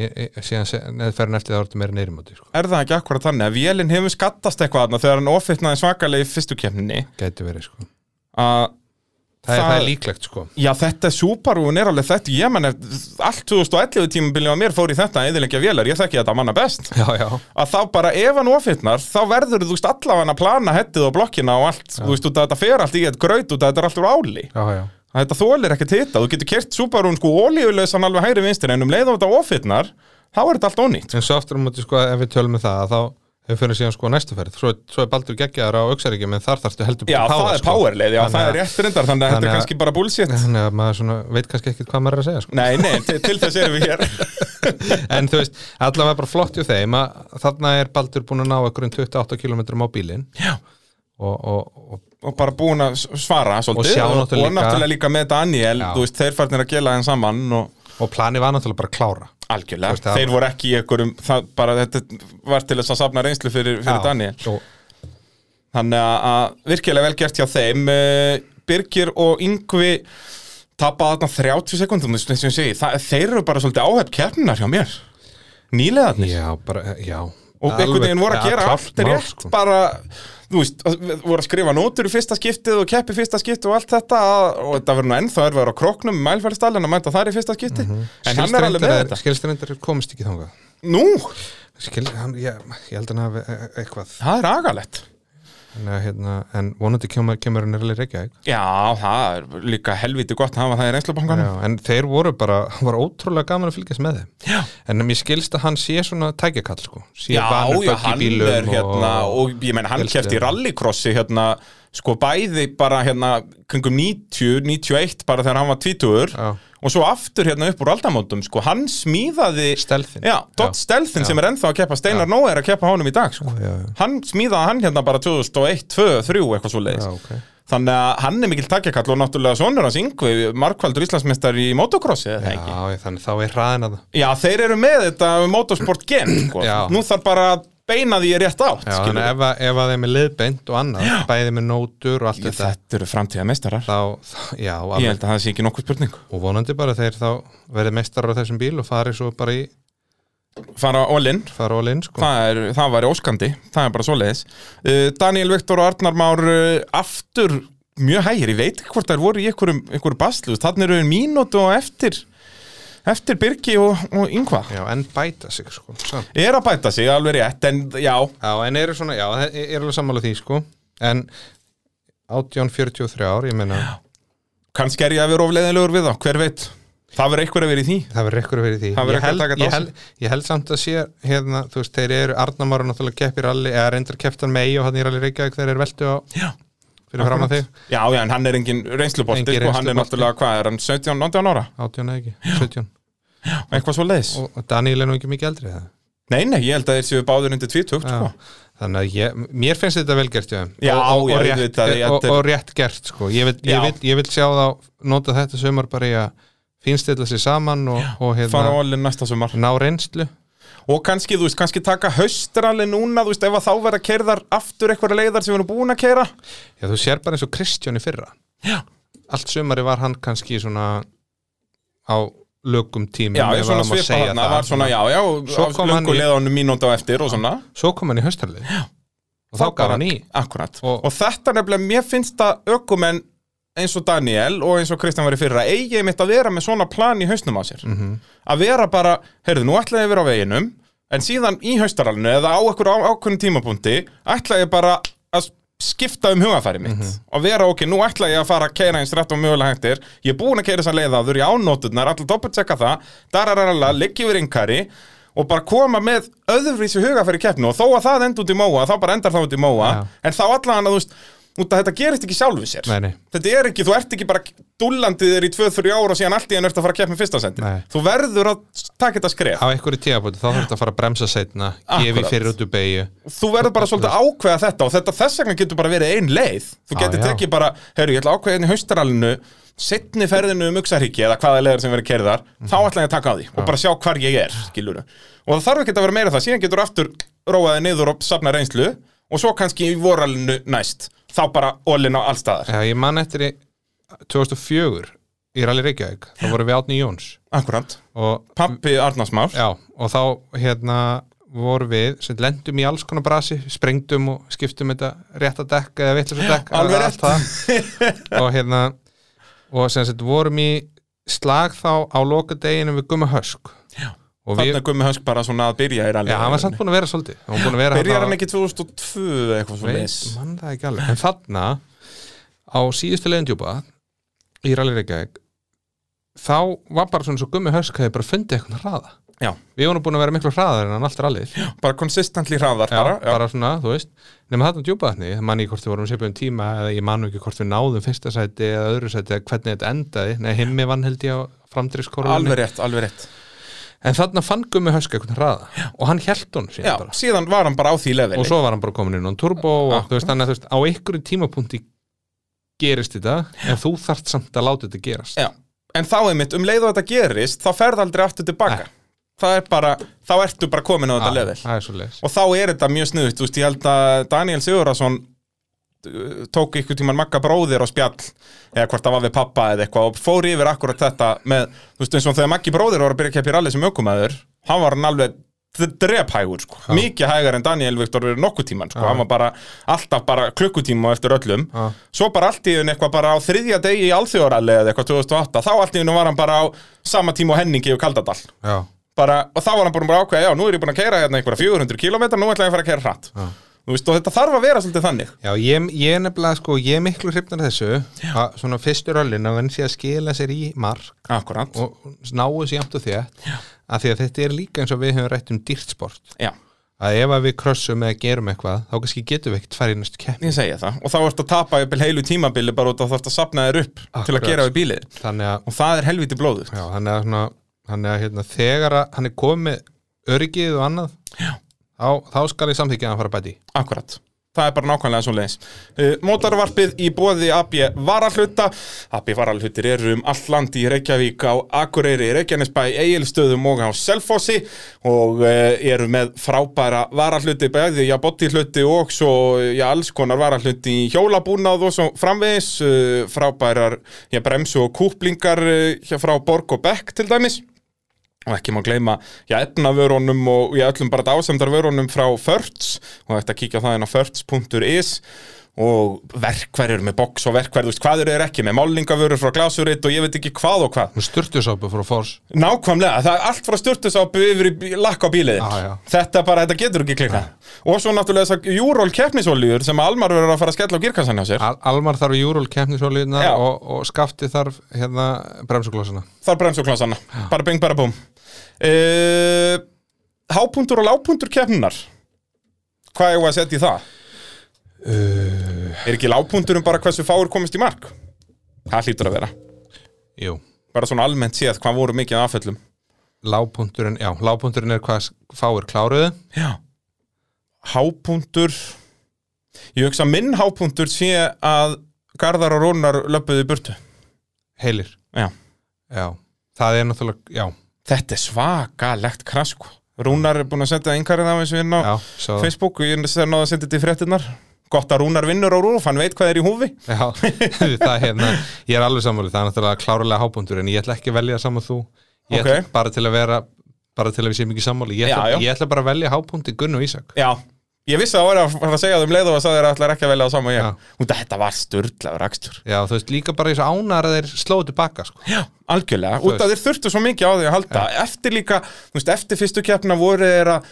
B: Ég- ég- síðan se- neðferðin eftir þá ertu meira neyri móti sko.
A: er það ekki akkurat þannig að vélinn hefur skattast eitthvað þarna þegar hann ofitnaði svakalegi í fyrstu kemni
B: gæti verið sko.
A: að
B: það, er,
A: Það-
B: það er líklegt sko.
A: Já, þetta Subaru er alveg þetta, ég menn allt 2011 tímabilið á mér fór í þetta að eðilegja vélar, ég þekki þetta manna best
B: já, já,
A: að þá bara ef hann ofitnar þá verður þú veist allavega að plana hettið og blokkina og allt, þú veist, út að þetta fer allt í eitt graut út að þetta er allt úr áli
B: já, já.
A: að þetta þólir ekkert hita, þú getur kert Subaru sko ólíulausan alveg hægri vinstir en um leið á þetta ofirnar, þá er þetta allt ónýtt
B: en svo aftur á móti sko, ef við tölum með það að þá hefur fyrir síðan sko næstu ferð svo, svo er Baldur geggjaður á auksaríkjum en þar þarftu heldur
A: Já,
B: betur
A: það er
B: sko.
A: powerleið, já,
B: Þannig
A: það
B: að-
A: er rétt reyndar þannig að þetta
B: þannig
A: er
B: að-
A: kannski bara bullshit
B: sko. Þannig að maður svona, veit kannski ekkert hvað maður er að segja sko.
A: (laughs) Nei, nei, til, til þess erum við hér
B: en þú veist, allavega bara flott hjá þeim að þarna er Baldur búin að ná einhverjum 28 km á bílinn
A: Já.
B: og, og, og
A: og bara búin að s- svara svolítið
B: sjá náttúrulega
A: og
B: líka-
A: náttúrulega líka með Daniel,
B: Já.
A: þú veist, þeir farnir að gela þeim saman og
B: og planið var náttúrulega bara að klára
A: algjörlega,
B: Þú veist, það-
A: þeir voru ekki í einhverjum, það bara þetta var til þess að safna reynslu fyrir, fyrir Daniel
B: og,
A: Þannig að- að virkilega vel gert hjá þeim Eh, Birgir og Yngvi tapa þarna 30 sekundum eins og ég segi, það, þeir eru bara svolítið áhefn keppninar hjá mér nýlegaðnir
B: Já, bara, já
A: og einhvern veginn voru að gera allt rétt
B: sko.
A: bara, þú veist, að- voru að skrifa nótur í fyrsta skiptið og keppi í fyrsta skiptið og allt þetta að- og þetta verður nú ennþá erfiðar á kroknum mælfæristallin að mænta þar í fyrsta skipti en hann er alveg með Mhm. þetta
B: Skilstrendar komist ekki þangað
A: Nú,
B: Skil, hann, ég, ég held hann hafi eh, eitthvað
A: það er agalegt
B: en, hérna, en vonandi kemur, kemur hann erlega reykja
A: Já, það er líka helviti gott að hafa það í reynslubankanum
B: en þeir voru bara, (laughs) hann var ótrúlega gaman að fylgjast með þeim
A: Já.
B: en mér skilst að hann sé svona tækjakall sko. sé
A: Já,
B: vanur
A: já,
B: bögg í
A: hann
B: bílum
A: er hérna og, ég meina hann
B: Elsti
A: kæft í
B: er.
A: rallycrossi hérna, sko bæði bara hérna kringum 90, 91 bara þegar hann var 20
B: Já.
A: og svo aftur hérna upp úr aldamótum, sko hann smíðaði
B: Stealth-in.
A: Já, Dodd Stelfin sem er ennþá að keppa Steinar Nóa er að keppa honum í dag, sko
B: Já, já.
A: Hann smíðaði hann hérna bara 2001, 2002, 2003 eitthvað svo leiðis
B: Já, ok.
A: Þannig að hann er mikill takkjakall og náttúrulega sonur hans yngvi, markvaldur Íslandsmeistar í motocrossi eða það ekki
B: Já, ég- þannig þá er hraðin að það
A: Já, þeir eru með þetta motorsport
B: (clears throat)
A: gen sko.
B: Já.
A: Nú þarf bara að beina því rétt átt
B: Já,
A: skilurðu.
B: þannig ef, að- ef að þeim er leiðbeint og annað bæði með nótur og allt
A: Ég,
B: þetta
A: þetta eru framtíða meistarar
B: þá, þá, já,
A: Ég
B: alveg,
A: held að það sé ekki nokkuð spurning
B: og vonandi bara þeir þá verði mestarar á þessum bíl og fari svo bara í
A: Fara all-in,
B: fara ól inn sko.
A: það, er- það væri óskandi Það er bara svoleiðis uh, Daniel Viktor og Arnar Már uh, aftur mjög hægir, ég veit ekki hvort þær voru í einhverjum, einhverjum baslu, þannig eru mínútu og eftir eftir Birgi og, og Yngva
B: Já, en bæta sig sko samt.
A: er að bæta sig alveg rétt en já,
B: Já, en eru svona, já, það er alveg sammála því sko En 1843 ár, ég meina
A: kannski er ég að vera ofleiðilegur við þá, hver veit það verður einhver að vera í því
B: Það verður ekkur að vera í því
A: Það verður
B: ég
A: einhver
B: held,
A: að taka þetta
B: ég,
A: á
B: held, ég held samt að sé hérna, þú veist, þeir eru Arnamáru náttúrulega keppir allir, eða reyndar keftan með og hann er allir reykjaðið þeir eru veldu á
A: Já.
B: fyrir fram að þig,
A: já, já, en hann er engin reynslubolti
B: Engin
A: og hann er
B: reynslubolti.
A: náttúrulega, hvað er hann, 17, 18 ára
B: 18 eða ekki, 17
A: eitthvað svo leiðis,
B: og, og Daniel er nú ekki mikið eldri það
A: nei, nei, ég held að þeir séu báður undir 20, sko
B: Þannig að ég, mér finnst þetta vel gert hjá þeim.
A: Já,
B: og, og,
A: já,
B: og, rétt,
A: auðvitað, ég-
B: og, og rétt gert sko. ég, vil,
A: Já.
B: ég, vil, ég vil sjá þá nota þetta sömur bara í að finnstilla sér saman og, og
A: fara á
B: hérna,
A: allir næsta sumar
B: ná reynslu
A: og kannski, þú veist, kannski taka haustrali núna, þú veist, ef að þá verða kerðar aftur eitthvað leiðar sem við erum búin að kera
B: Já, þú sér bara eins og Kristján í fyrra
A: Já.
B: Allt sömari var hann kannski svona á lögum tímum
A: já,
B: ef
A: ég svona
B: það má
A: svipa
B: segja
A: þarna,
B: það.
A: var svona, já, já
B: Svo
A: svo
B: kom hann
A: lungu
B: í-
A: leiðanum mínúnda á eftir og svona
B: Svo kom hann í höstarlið og þá
A: Þá
B: gaf
A: bara-
B: hann í
A: akkurat,
B: Og-
A: og, þetta nefnilega, mér finnst að ökumenn eins og Daniel og eins og Kristján var í fyrra eigið mitt að vera með svona plan í hausnum á sér
B: Mhm.
A: að vera bara, heyrðu, nú ætla ég að vera á veginum en síðan í haustaralinu eða á ekkur ákveðnum tímapunkti ætla ég bara að skipta um hugafæri mitt
B: Mhm.
A: og vera, ok, nú ætla ég að fara að keira eins rætt og mögulega hægtir ég er búin að keira þess að leiðaður, ég ánóturnar allir doppeltsekka það, darararala, liggi yfir yngari og bara koma með öðruvísi hugafæri í keppnu og þó að það enda út í móa, þá bara endar það út í móa
B: Já.
A: en þá allan að þú veist, út að þetta gerist ekki sjálfu sér
B: Nei, nei.
A: þetta er ekki, þú ert ekki bara dullandið þér í 2-3 ára og síðan allt í enn ert að fara að keppa með fyrsta sendi
B: Nei.
A: þú verður að taka þetta skref
B: á einhverju tíðabóti, þá þurfti að fara að bremsa setna gefi
A: Akkurat.
B: fyrir út úr beigju
A: þú verður bara svolítið að ákveða þetta og þetta þess vegna getur bara verið ein leið þú
B: Já,
A: getur
B: já.
A: tekið bara, heyrðu, ég ætla að ákveða hérna í haustaralinu setni ferðinu um Uxaríki eða hvaða leiðar sem verður kerðar, þá
B: Mhm.
A: ætla ég að taka á því og bara sjá hvar ég er, skilur og það þarf ekki að vera meira það, síðan getur aftur róaði niður og safna reynslu og svo kannski í voralinu næst þá bara ólinn á allstaðar
B: Já, ég man eftir í 2004 í Rally Reykjavík, þá vorum við Átni Jóns
A: Akkurant,
B: og,
A: pappi Arnars Már
B: já, og þá hérna vorum við, sem lendum í alls konar brasi sprengdum og skiptum þetta rétt að dekka eða vitlega að dekka
A: Alveg rétt.
B: og hérna og sem sagt vorum í slag þá á lokadeginu við Gumma Hösk já, og
A: Þannig
B: við,
A: að Gummi Hösk bara svona að byrja í rallinu
B: já, hann var samt búin að vera svolítið hann var búin að vera
A: Byrjar
B: þarna-
A: hann ekki 2002 eða eitthvað svo
B: veit, mann það ekki alveg en þarna á síðustu leiðin djúpa í Rally Reykjavík þá var bara svona svo gummi hösk hefði bara fundið eitthvað hraða
A: Já,
B: við vorum búin að vera miklu hraðar en hann alltaf rallið já,
A: bara konsistentli hraðar bara, já.
B: bara svona, þú veist nema þarna djúpa þarna, ég man ekki hvort við vorum sérpjum tíma eða ég manu ekki hvort við náðum fyrsta sæti eða öðru sæti eða hvernig þetta endaði Nei, himmi vann held ég á
A: Alveg
B: framdriðskorunni
A: rétt, alveg rétt
B: en þarna fann gummi hösk eitthvað hraða og hann held hún
A: Já,
B: síðan bara
A: síðan var hann bara á því leveli
B: og svo var hann bara komin inn á turbo og þú veist þannig að þú veist á einhverjum tímapunkti gerist þetta en þú þarft samt að láta þetta gerast
A: Já, en þá einmitt um leið og þetta gerist þá ferð aldrei aftur tilbaka
B: Nei.
A: Það er bara, þá ertu bara komin á þetta
B: það
A: level
B: það er svo leis
A: Og þá er þetta mjög snuðt, þú veist, ég held að Daniel Sigurðarsson uh, tók ykkur tíman Magga bróðir á spjall eða hvort það var við pappa eða eitthvað og fór yfir akkurat þetta með, þú veist, eins og þegar Maggi bróðir var að byrja að keppa í rally sem ökumæður hann var hann alveg d- drephægur sko. mikið hægar en Daniel Viktor verið nokkuð tíman sko. hann var bara, alltaf bara klukkutíma á eftir öllum
B: Já.
A: svo bara allt í einu eitthvað bara á þriðja degi í alþjóðaralli eða eitthvað 2008 þá allt í einu var hann bara á sama tíma og Henning yfir Kaldadal
B: já,
A: bara, og þá var hann búin að ákveða, já, nú er ég búin að keira hérna einhverja 400 km, nú ætla ég að fara að keira hratt þú veist, og þetta þarf að vera svolítið þannig
B: já ég, ég er nefnilega sko ég er miklu hrifnar þessu að svona fyrstu röllin að hann sé að skila sér í mark
A: akkurat,
B: og náu sér jæmt og þétt af því að þetta er líka eins og við höfum rætt um dýrt sport
A: já,
B: að ef að við krossum eða gerum eitthvað þá kannski getum við ekkert farið í næstu keppni
A: ég segja það og þá ertu að tapa jafnvel heilu tímabili bara út og þarftu að sapna þér upp til
B: Akkurat.
A: að gera við bílið
B: þannig að
A: og það er helviti blóðugt
B: Já, hann er svona hann er hérna, þegar að hann er komið öryggið og annað
A: Já.
B: þá, þá skal ég samþykja að hann fara að bæti í.
A: Akkurat Það er bara nákvæmlega svo leiðis. Mótarvarpið í bóði AB Varahluta. AB Varahlutir eru um allt land í Reykjavík á Akureyri, Reykjanesbæ, Egilstöðum og á Selfossi og eh, eru með frábæra varahluti bæði, já, bottihluti og svo, já, alls konar varahluti í hjólabúnað og svo framvegis, eh, frábærar, já, bremsu og kúplingar eh, hjá- frá Borg og Beck til dæmis og ekki má gleyma já, efnavörunum og já, öllum bara dásemdarvörunum frá Förts og þetta kíkja á það inn á förts.is og verkverjur með box og verkverjur, þú veist, hvað eru þeir ekki með málningavörur frá glasurit og ég veit ekki hvað og hvað
B: Hún sturtusápu frá Fors
A: Nákvæmlega, það er allt frá sturtusápu yfir í lakk á bíliðin
B: Já, já.
A: Þetta bara, þetta getur ekki klika Og svo náttúrulega þessar júról keppnisolíur sem Almar verður að fara að skella á girkassan hjá sér
B: Al Almar þarf júról keppnisólíðna
A: Já.
B: og, og skafti þarf hérna bremsuglósana
A: Þar bremsuklansana, bara bing, bara búm uh, Hápundur og lápundur keppninar Hvað er að setja í það?
B: uh,
A: Er ekki lápundurum bara hversu fáur komist í mark? Það hlýtur að vera
B: Jú,
A: Bara svona almennt séð hvað voru mikið af afföllum
B: lágpunturinn Já, lágpunturinn er hvað s- fáir kláruðu
A: Já Hápuntur Ég hugsa að minn hápuntur sé að Garðar og Rúnar löpuðu í burtu
B: Heilir
A: Já
B: Já, það er náttúrulega Já,
A: Þetta er svakalegt krasko Rúnar er búin að senda einhverjum af þessu inn á
B: já, svo,
A: Facebook og ég er náða að senda þetta í fréttinnar Gott að Rúnar vinnur á Rúf, hann veit hvað er í húfi
B: já (laughs) það, er hérna, Ég er alveg sammálið, það er náttúrulega klárulega hápuntur en ég ætla ekki að velja saman þú ég ætla,
A: Ok.
B: bara til að vera bara til að við séum ekki sammáli ég, ætla-
A: Já, já.
B: ég ætla bara að velja hápunkti Gunn og Ísak
A: Já Ég vissi að það var að fara að segja það um leið og að sagði þér að ætlar ekki að velja það saman og
B: Já.
A: ég Út að þetta var sturglaður akstur
B: Já, þú veist, líka bara eins og ánar að þeir slóðu tilbaka sko.
A: Já, algjörlega, út að þeir þurftu svo mikið á því að halda Eftir líka, þú veist, eftir fyrstu keppna voru þeir að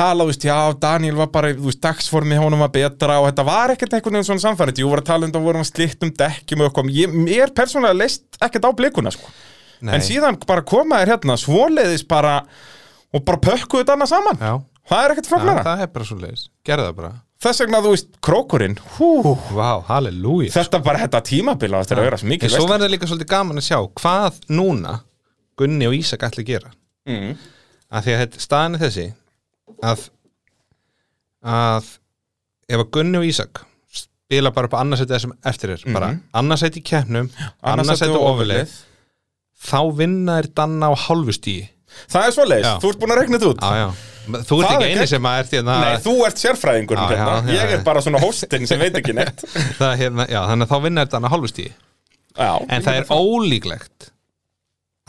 A: tala, þú veist, já, Daniel var bara, þú veist, dagsformi honum var betra og þetta var ekkert einhvern veginn svona samfærið Jú, voru að tala um það vorum slitt um dekkjum og eitthvað Ég- Mér persónulega leist ekkert á blikuna, sko
B: Nei.
A: En síðan bara koma þeir hérna svoleiðis bara og bara pökkuðu þetta annað saman
B: Já,
A: Það er ekkert
B: það,
A: flóknara
B: það er bara svo leiðis Gerðu það bara
A: Þess vegna, þú veist, krókurinn, hú,
B: Vá, halleluja
A: þetta bara, þetta tímabila, þetta er að vera svo
B: En
A: mikið
B: svo
A: veisla.
B: verður líka svolítið gaman að sjá hvað núna Gunni og Ísak ætla að gera
A: Mm.
B: að því að þetta staðan er þessi að, að ef að Gunni og Ísak spila bara upp á annarsæti þessum eftir þér bara annarsæti í keppnum annarsæti og ofurleið þá vinna þér danna á hálfustíi
A: Það er svoleiðis,
B: Já.
A: þú ert búin að regna þetta út
B: Já, já. Þú ert
A: Það
B: ekki
A: er
B: eini
A: gegn-
B: sem að ert hérna
A: Nei, þú ert sérfræðingur
B: Já,
A: hérna.
B: já, já,
A: Ég
B: já.
A: er bara svona hóstinn sem veit ekki neitt
B: það, er hérna, já, þannig að þá vinna þetta hann að hálfustíi
A: Já,
B: en það er ólíklegt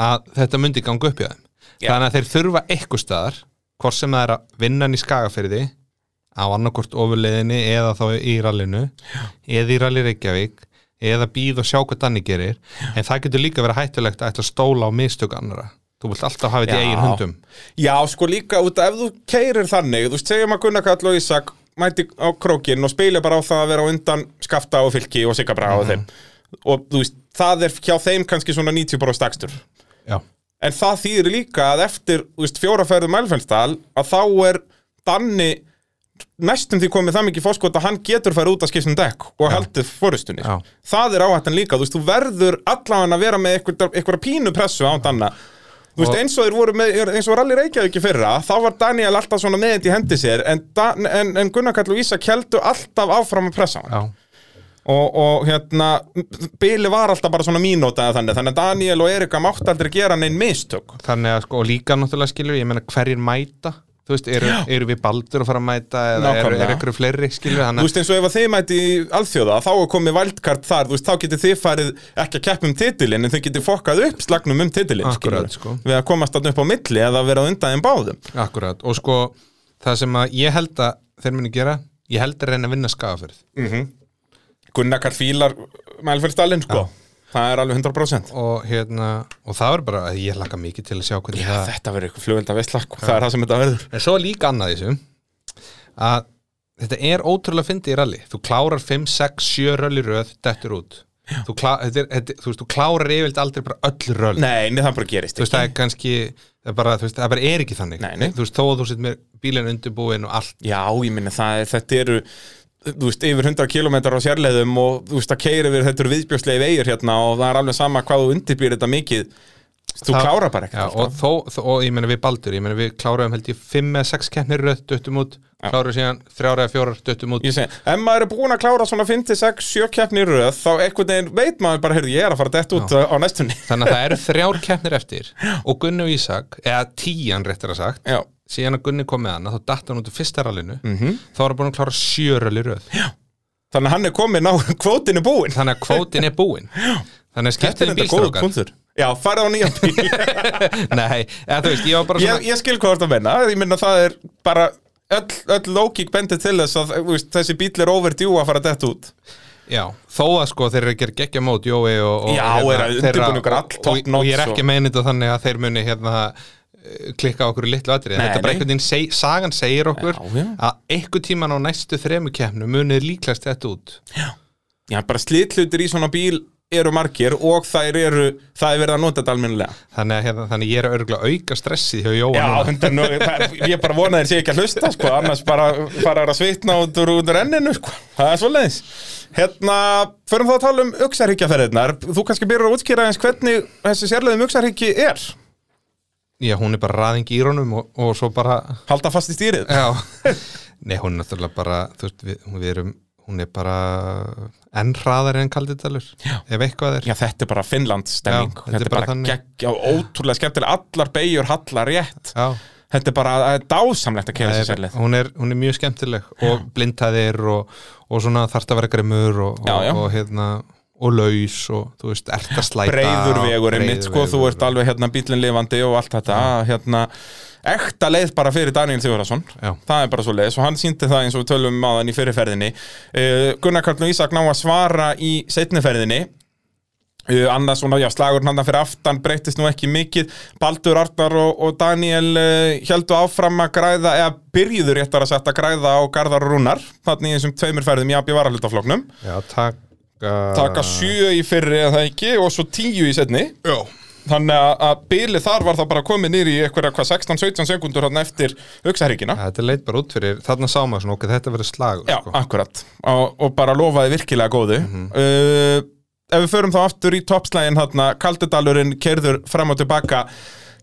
B: að þetta myndi ganga upp í þeim
A: Já.
B: þannig að þeir þurfa eitthvað staðar hvort sem það er að vinna hann í skagaferði á annarkvort ofurleiðinni eða þá í rallinu eða í ralli Reykjavík eða býð og sjá hvað danni gerir en það getur líka verið hættulegt að ætla að stóla á mistök annara þú vilt alltaf hafa þetta í
A: Já.
B: eigin hundum
A: Já, sko líka út að ef þú keirir þannig Þú veist, segjum að Gunnar Kall og Ísak mæti á krókinn og spila bara á það að vera á undan skafta og fylki og sigabra
B: Mhm.
A: og þeim og þú veist, það er hjá þeim kannski svona 90% stakstur
B: já,
A: En það þýðir líka að eftir þú veist, fjóraferðu Mælfellsdal að þá er Danni næstum því komið það mikið fórskot að hann getur færi út að skipta um dekk og haldið fórustunni.
B: Já.
A: Það er áhættan líka, þú veist, þú verður allavega að vera með eitthvað, eitthvað pínu pressu á Danna. Þú veist,
B: Og-
A: eins og þeir voru með, eins og Rally Reykjavík í fyrra, þá var Daniel alltaf svona með þetta í hendi sér, en, Dan, en, en Gunnar Kall og Ísa keldu alltaf áfram að pressa hann
B: já,
A: og, og hérna Bili var alltaf bara svona mínótaði þannig þannig að Daniel og Erika mátti aldrei gera neinn mistök
B: þannig að sko og líka náttúrulega skilur, ég meina hverjir mæta þú veist, eru, eru við baldur að fara að mæta eða eru,
A: Nákvæmlega.
B: eru ykkur fleiri skilur þannig að-
A: Þú veist eins og ef að þið mæti í alþjóða þá er komið valdkart þar, þú veist þá getið þið farið ekki að keppa um titilin en þið getið fokkað upp slagnum um titilin
B: Akkurat,
A: skilurðu,
B: sko.
A: við að komast þarna upp á milli eða að vera á undan þeim báðum
B: Akkurat, og sko það sem að ég held að þeir muni gera ég held að reyna að vinna skagafyrð
A: Gunnar Karl Fílar mælfélstalinn sko, það er alveg 100%
B: og hérna, og það verður bara að ég hlakka mikið til að sjá hvernig það
A: Þetta verður eitthvað flugvelda veistla það er það sem þetta verður
B: en svo er líka annað í þessu að þetta er ótrúlega fyndið í rally þú klárar 5, 6, 7 rally röð dettur út þú, klá, þetta er, þetta, þú veist, þú klárar yfirleitt aldrei bara öll röll
A: Nei, nei, það bara gerist
B: þú veist, það er kannski það er bara, þú veist, það bara er ekki þannig
A: Nei, nei.
B: þú veist, þó að þú sitt með bílinn undirbúin og allt
A: Já, ég minna það er, þetta eru þú veist, yfir 100 km á sérleiðum og þú veist, það keiri við þetta eru viðbjóðslegi vegir hérna og það er alveg sama hvað þú undirbýr þetta mikið þú
B: Það-
A: klárar bara ekkert sko.
B: Já, og,
A: alltaf.
B: þó, þó, og ég meina við Baldur, ég meina við kláruðum held ég 5 eða 6 keppnir röð, döttum út kláruðum síðan 3 eða 4 döttum út
A: Ég segi, ef maður er búin að klára svona 5-6-7 keppni í röð þá einhvern veginn veit maður bara, heyrðu, ég er að fara dett út uh, á næstunni (laughs)
B: þannig að það eru 3 keppnir eftir og Gunni og Ísak, eða 10 réttir að sagt
A: Já,
B: síðan að Gunni kom með hana, þá datt hann út úr fyrsta rallinu
A: Mhm.
B: -hmm. þá var hann búin að klára 7 rall í röð
A: þannig að hann er komin á (laughs) kvótinu búin
B: þannig að kvótin er búin þannig að
A: Þetta
B: skiptum
A: er þetta góður
B: bílstrókar
A: punktur Já, farið á nýja bíl
B: (laughs) nei, eða þú veist, ég var bara svona
A: ég, ég skil hvað þú ert að menna, ég minna það er bara öll, öll lókík bendir til þess að þú veist, þessi bíl er overdue að fara dett út
B: Já, þó að sko þeir eru að gera geggja mót Jói og, og
A: Já, er að undirbúningur all
B: og-
A: top
B: og, og
A: notch
B: ég er
A: og-
B: ekki meinin þetta þannig að þeir muni hérna eh, klikka á okkur í litlu atrið
A: Nei,
B: Þetta er bara
A: nei.
B: einhvern veginn, seg, sagan segir okkur
A: Já, já.
B: að einhvern tíman á næstu þremu kemnu munið líklast þetta út
A: Já, bara slitlutir í svona bíl eru margir og þær eru, það er verið að nota þetta almennilega
B: þannig, að, hérna, þannig að ég er að örgulega auka stressið hjá Jóa
A: Já,
B: núna.
A: hundar, nú, það, er- ég bara vona þeir sé ekki að hlusta sko, annars bara fara að svitna út úr, út úr enninu sko. það er svoleiðis Hérna, förum þá að tala um uxarhyggjaferðirnar þú kannski byrjar að útskýra eins hvernig þessi sérlegum uxarhyggji er
B: Já, hún er bara raðing í rónum og, og svo bara
A: halda fast í stýrið (laughs)
B: Já, nei hún er náttúrulega bara þú veist, við, hún, við erum, hún er bara enn hraðari en kaldidalur ef eitthvað er
A: Já, þetta er bara Finnland stemming
B: Já,
A: þetta, er bara
B: þannig.
A: gegg, já, ótrúlega skemmtilega allar beigjur hallar rétt
B: Já,
A: þetta er bara það er dásamlegt að kera þessi
B: er,
A: sérleið
B: hún, er, hún er mjög skemmtileg og blindhæðir og, og svona þarft að vera grimmur og, og,
A: Já, já.
B: og hérna og laus og þú veist, ert að slæta
A: breyður
B: og
A: vegur einmitt
B: breiður
A: sko, þú
B: vegur.
A: ert alveg hérna bílinn lifandi og allt þetta hérna, ekta leið bara fyrir Daniel Sigurðarsson
B: Já.
A: það er bara svo leiðis og hann síndi það eins og við tölum um aðan í fyrirferðinni uh, Gunnar Karl og Ísak ná að svara í setniferðinni uh, annars svona, já, slagurinn hann fyrir aftan breytist nú ekki mikið Baldur Arnar og, og Daniel uh, heldu áfram að græða, eða byrjuður réttar að setja að græða á Garðar og Rúnar þannig í þessum tveimur ferðum í AB Varahlutafloknum
B: Já, taka
A: taka sjö í fyrri eða það ekki og svo tíu í setni
B: Já,
A: Þannig að, að bilið þar var það bara komið nýri í eitthvað 16-17 sekundur hann eftir auksaríkina.
B: þetta leit bara út fyrir þarna sá maður svona, ok, þetta verður slagur
A: Já,
B: sko.
A: akkurat. Og, og bara lofaði virkilega góðu. uh, ef við förum þá aftur í toppslægin þarna, Kaldudalurinn kerður fram og tilbaka.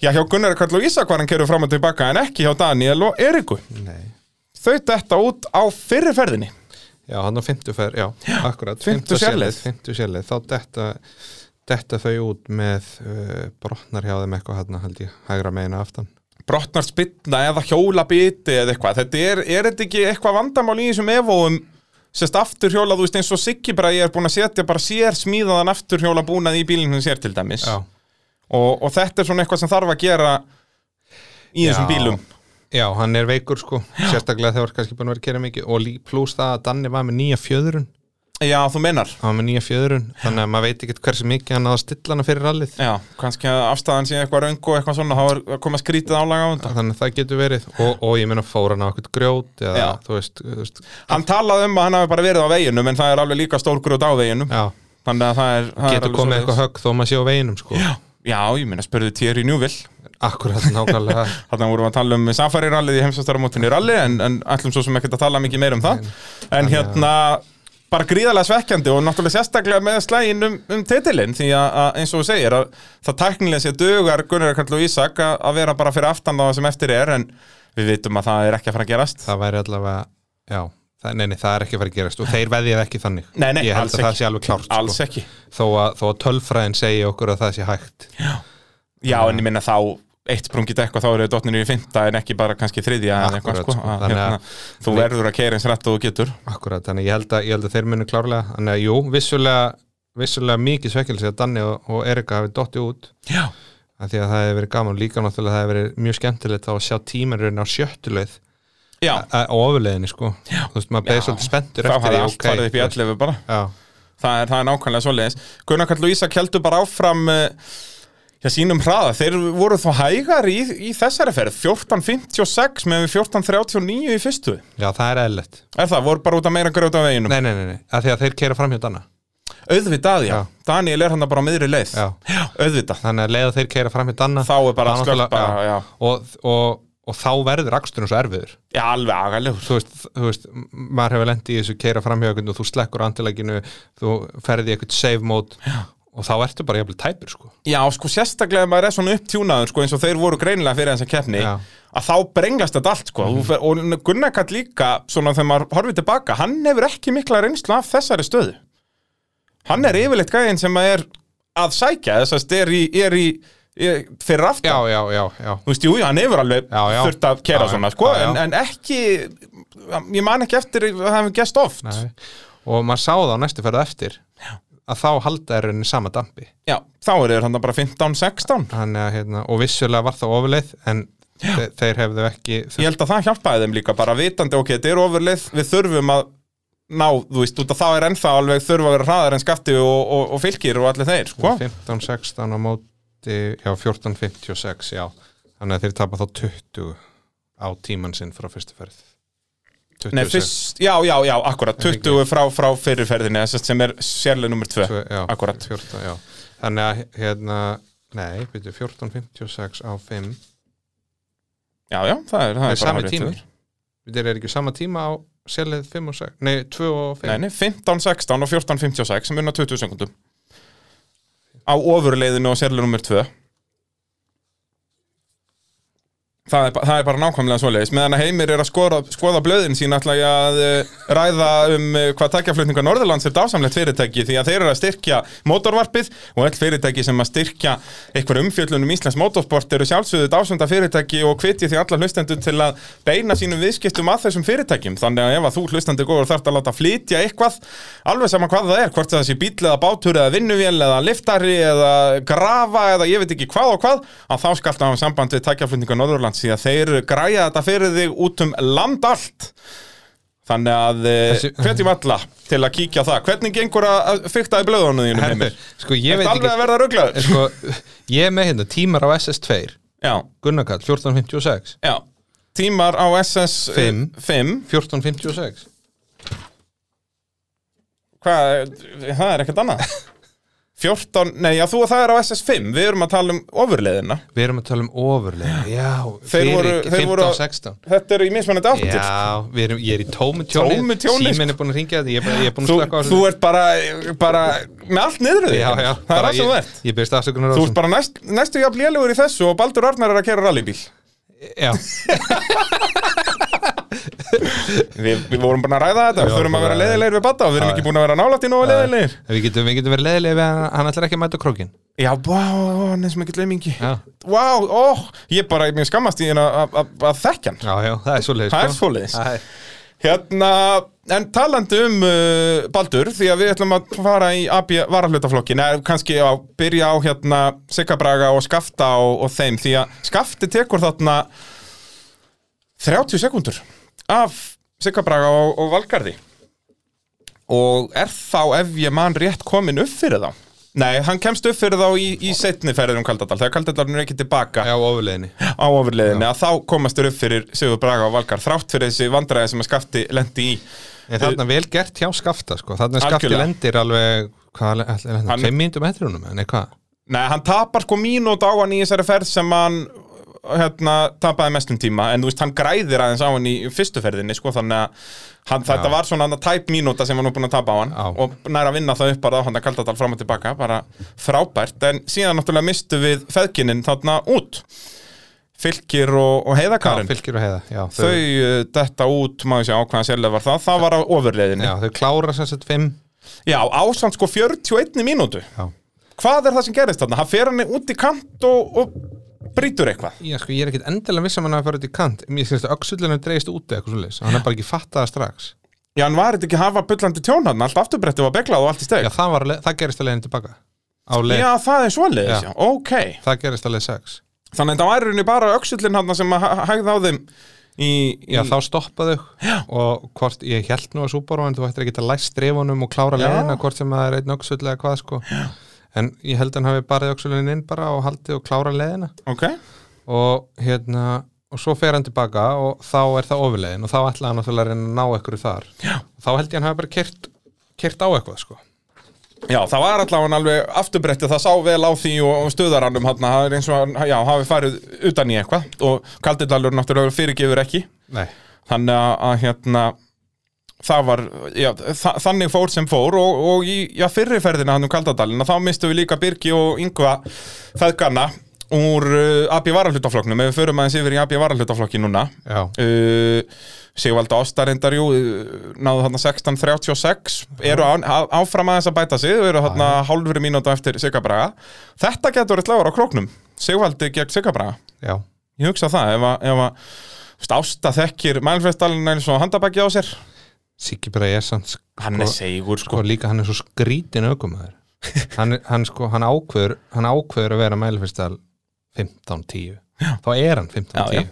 A: Já, hjá Gunnar Karl og Ísak var hann kerður fram og tilbaka en ekki hjá Daniel og Eriku.
B: Nei.
A: Þau þetta út á fyrriferðinni.
B: Já, hann á 50 fer, já, akkurat
A: fimmtu sérleið.
B: 50 sérleið, þá detta, detta þau út með uh, brotnar hjá þeim eitthvað hérna held ég, hægra meina aftan
A: Brotnar spilna eða hjólabiti eða eitthvað. Þetta er, er þetta ekki eitthvað vandamál í þessum evóum sérst aftur hjóla, þú veist eins og Siggi bara ég er búin að setja bara sér smíðaðan aftur hjóla búnað í bílinn hún sér til dæmis
B: Já,
A: og, og þetta er svona eitthvað sem þarf að gera í þessum
B: Já.
A: bílum
B: já hann er veikur sko, sérstaklega þegar kannski búin að vera að kera mikið og lí- pluss það að Danni var með nýja fjöðrun
A: Já, þú menar
B: hann var með nýja fjöðrun, þannig að maður veit ekkert hversu mikið hann hafa stilla hana fyrir rallið
A: Já, kannski að afstæðan sé eitthvað röng og eitthvað svona, þá er komið að skrítið álaga á þetta
B: þannig að það getur verið og, og ég meina fór hann á eitthvað grjót eða,
A: Já.
B: þú veist, þú veist
A: Hann talaði um að hann hafi bara verið á veginum en það er alveg líka stór grjót á veginum
B: já,
A: Þannig að það er það er
B: getur
A: alveg
B: komið
A: svoleiðis.
B: eitthvað högg þó maður sé á veginum sko,
A: Já, ég meina, spurðu Thierry Newville
B: akkurat
A: (laughs)
B: nákvæmlega
A: Þannig vorum við að tala um safari-rallið í heimsastarumótinu ralli en, en ætlum svo sem ekkert að tala mikið meir um það en hérna bara gríðarlega svekkjandi og náttúrulega sérstaklega með slægin um, um titilinn því að, að eins og þú segir að það tæknilega sé dugar Gunnar Karl og Ísak að, að vera bara fyrir aftan það sem eftir er en við vitum að það er ekki að fara að gerast
B: það væri allavega, já það, nei, nei, það er ekki að fara að gerast og þeir veðjað ekki þannig
A: Nei, nei,
B: ég
A: alls
B: held að það
A: ekki.
B: sé alveg klárt
A: alls
B: sko.
A: ekki
B: þó, að, þó að tölfræðin segi okkur að það sé hægt
A: Já en ég minna þá eitt sprungið eitthvað þá eru dotninu í fymta en ekki bara kannski þriðja eða eitthvað,
B: Akkurat,
A: sko,
B: sko.
A: að,
B: Þannig
A: hérna,
B: að-
A: þú verður að keira eins rætt og þú getur
B: akkurat, þannig ég held að, ég held að þeir munu klárlega þannig að jú, vissulega, vissulega mikið svekkelsi að Danni og, og Erika hafi dotti út
A: Já,
B: af því að það hefur verið gaman líka náttúrulega það hefur verið mjög skemmtilegt þá að sjá tímarinn á sjöttuleið
A: Já.
B: á ofuleiðinni sko já. þú veist, maður beðið svolítið spenntur
A: þá
B: eftir
A: hafði
B: því,
A: allt farið upp í 11 bara
B: já,
A: það er, það er nákvæmlega svoleiðis Gunnar Karl og Ísak heldur bara áfram eh, já, sínum hraða, þeir voru þá hægar í, í þessari ferð 14.56 með 14.39 í fyrstu
B: já, það er eðlilegt
A: er það, voru bara út að meira grjóta á veginum
B: nei, nei, nei, nei, af því að þeir keira fram hjá Danna
A: auðvitað, já.
B: Já.
A: Daniel er hann bara á miðri leið
B: Já.
A: auðvitað,
B: þannig að leiða þeir keira fram hjá Danna
A: þá er bara
B: Það
A: slögt
B: náttúrulega-
A: bara, já.
B: og, og, og þá verður aksturinn svo erfiður
A: já, alveg agalegur
B: þú veist, þú veist, m- maður hefur lendið í þessu keira framhjóðkund og þú slekkur antileginu þú ferði í eitthvað save mode og þá ertu bara jafnvel tæpur sko
A: já, sko sérstaklega ef maður er svona upptjúnaður sko, eins og þeir voru greinilega fyrir þessa keppni
B: Já.
A: að þá brenglast þetta allt sko.
B: Mhm.
A: mm. fer, og Gunnar Karl líka, svona þegar maður horfið tilbaka hann hefur ekki mikla reynslu af þessari stöðu hann er yfirleitt gæðin sem að er að sækja þessast er í, er í er, fyrir aftan
B: já, já, já, já,
A: Þú veist, jú, jú, hann hefur alveg
B: Já, já.
A: þurft að kera
B: Já, já.
A: svona, sko,
B: Já, já.
A: En, en ekki, ég man ekki eftir að það hefur gest oft.
B: Nei. og maður sá það á næstu ferð á eftir já. að þá halda er henni sama dampi
A: Já, þá eru þeir hann bara 15-16.
B: Þannig að, hérna, og vissulega var það ofuleið en Þe, þeir hefðu ekki
A: Ég held að það hjálpaði þeim líka bara vitandi, ok, þetta er ofurlið, við þurfum að ná, þú veist, út að það er ennþá alveg þurfa að vera hraðar en skatti og, og, og fylgir og allir þeir, sko.
B: 15-16 á móti já, 14-56, já þannig að þeir tapa þá 20 á tíman sinn frá fyrstu ferð 20
A: Nei,
B: sem-
A: fyrst, já, já, já, akkurat, 20 frá, frá fyrirferðinni, þess að sem er sérlega nummer 2.
B: tvö- já,
A: akkurat.
B: 14, já. þannig að hérna nei, byrju 14-56 á 5
A: Já, já, það er, það er
B: Nei,
A: bara
B: sami
A: hárrétt hjá
B: tími.
A: þér.
B: þeir eru ekki sama tíma á sérleð 5 og 6 nei, 2 og 5
A: Nei, nei, 15, 16 og 14, 56 sem unna 20 sekundum á ofurleiðinu og sérlega nummer 2 það er, ba- það er bara nákvæmlega svoleiðis meðan að Heimir er að skora, skoða blöðin sín ætla ég að eh, ræða um eh, hvað takkjaflutninga Norðurlands er dásamlegt fyrirtæki því að þeir eru að styrkja mótorvarpið og öll fyrirtæki sem að styrkja einhver umfjöllun um Íslands mótorsport eru sjálfsögðu dásunda fyrirtæki og hviti því alla hlustendur til að beina sínum viðskiptum að þessum fyrirtækjum þannig að ef að þú hlustendur góður þarft að láta flytja eitthvað alveg sama hvað það er hvort það sé bíl eða bátur eða vinnuvél eða liftari eða grafa eða ég veit ekki hvað og hvað að þá skalta hafa samband við tækjaflutninga Norðurlands því að þeir græja þetta fyrir þig út um land allt þannig að eh, Þessi...
B: Þessi-
A: hvetjum alla til að kíkja á það hvernig gengur að að fikta í blöðunum þínum
B: Herðu,
A: heimir
B: sko ég
A: Ertu
B: veit
A: alveg
B: ekki
A: að verða rugglaður
B: (laughs) sko, ég er með hérna tímar á SS2
A: Já,
B: Gunnarkall 1456
A: já Tímar á eh, SS
B: Fimm.
A: 5
B: 1456
A: Hvað, það er ekkert annað
B: (laughs)
A: 14, nei já þú og það er á SS5 Við erum að tala um ofurleiðina
B: Við erum að tala um ofurlega Já,
A: Þeir
B: fyrir
A: voru-
B: ekki,
A: þeir voru að-
B: 15-16
A: Þetta eru í mismunandi áttir
B: Já, við erum, ég er í tómu tjóni
A: Tómu tjóni,
B: Síminn er búin að ringja þetta, ég er bara- ég er búin að
A: þú,
B: slökka á
A: þú
B: þessu
A: ert bara, bara með allt niður við
B: Já, já,
A: það er
B: bara
A: allt sem
B: ég-
A: þú ert
B: Ég byrst afsökunar á
A: þú ert bara næst, næstu jafn lélugur í þessu og Baldur Arnar er að kera rallybíl
B: Já,
A: við, við vorum bara að ræða þetta, við
B: Já,
A: þurfum að vera
B: bara-
A: leiðilegir við Baldur, við erum
B: Já,
A: ekki búin að vera nálætt í nógu leiðilegir
B: við getum, við getum verið leðilega við hann, hann ætlar ekki að mæta á krókin
A: já, vá, hann er sem ekki leimingi
B: Já,
A: vá, ó, ég bara, mér skammast í hérna að- að að þekkja hann
B: já, já það er svoleiðis
A: það er
B: sko.
A: svoleiðis
B: Það er-
A: Hérna, en talandi um uh, Baldur, því að við ætlum að fara í AB varahlutaflokkin, eða kannski að byrja á hérna Siggabraga og Skafta og, og þeim, því að Skafti tekur þarna 30 sekundur af Siggabraga og, og Valgarði og er þá ef ég man rétt komin upp fyrir þá Nei, hann kemst upp fyrir þá í, í setni ferðir um Kaldadal, þegar Kaldadal er ekki tilbaka
B: Já, ofurleginni
A: á ofurliðinni að þá komast þér upp fyrir Sigur Braga og Valgar þrátt fyrir þessi vandræði sem að skafti lendi í
B: En þarna vel gert hjá Skafta, sko Þarna er Skafti
A: Algjörlega.
B: lendir alveg, hvað, allir
A: Hann-
B: hann, tveim mínútum eftir húnum, en eitthvað
A: Nei, hann tapar sko mínút á hann í þessari ferð sem hann hérna, tapaði mestum tíma en þú veist, hann græðir aðeins á hann í fyrstu ferðinni sko, þannig að hann, þetta var svona hann tæp mínúta sem hann var búin að tapa á hann
B: Já.
A: og næra að vinna það upp bara á hann að kalda þetta fram og tilbaka, bara frábært en síðan náttúrulega mistu við feðkinin þarna út Fylkir og, og
B: Já,
A: heiðakarinn
B: fylgir og heiða, já
A: þau uh, detta út, maður sé á hvaðan sérlega var það, það var á ofurleiðinni
B: Já, þau klára sem sett fimm
A: Já, ásamt sko 41 mínútu
B: Já.
A: Hvað er það sem gerist þarna? Hann fer hann út í kant og, og brýtur eitthvað
B: Já, sko, ég er ekkit endilega viss að hann hafi farið út í kant Mér skilst að öxullinu dreigist út eða eitthvað svoleiðis Hann er bara ekki fattað það strax
A: Já, hann var þetta ekki að hafa bullandi tjón hann Allt afturbretti var beglað og allt í steg
B: Já,
A: Já,
B: það, var, le- það gerist að leiðin tilbaka Á leið,
A: það er svoleiðis,
B: Já.
A: já, ok
B: það gerist að leið 6
A: Þannig að það væri henni bara öxullin hann sem að hæ- hægði á þeim í, í...
B: Já, þá stoppaðu Já. og hvort, ég held nú að Subaru en þú ættir ekki að læst drefunum og klára
A: Já.
B: leiðina hvort sem það er einn öxull eða hvað sko Já. En ég held hann hafi barið öxullinu inn bara og haldið og klára leiðina
A: Ok,
B: og hérna og svo fer hann tilbaka og þá er það ofurleiðin og þá ætla hann náttúrulega að reyna að ná ekkur þar Já. þá held ég hann hafi bara kert, kert á eitthvað sko
A: já, það var allavega hann alveg afturbretti Það sá vel á því og, og stöðarannum hann um Það er eins og, hann- já, hafi farið utan í eitthvað Og Kaldidalur náttúrulega fyrirgefur ekki
B: Nei.
A: þannig að, að hérna það var, já, þa þannig fór sem fór og, og í já, fyrri ferðina hann um Kaldadalina þá mistum við líka Birgi og Yngva feðgana úr uh, AB varahlutaflokknum, ef við förum aðeins yfir í AB varahlutaflokki núna
B: Já.
A: uh, Sigvalda Ástarindar jú, uh, náðu þarna 16.36 eru á, á, áfram aðeins að bæta sig og eru þarna hálfri mínúta eftir Sigabraga þetta getur verið sláður á króknum Sigvaldi gegn Sigabraga
B: Já.
A: Ég hugsa það, ef að, ef að þú veist, Ásta þekkir Mælfestalinn eins og handabæki á sér
B: Siggi bara er samt sko,
A: Hann er segur sko
B: sko líka hann er svo skrítin aukumæður hann, er- hann sko, hann ákveður hann ákveður að vera mælifestal 15-10 þá er hann 15
A: Já,
B: og
A: já.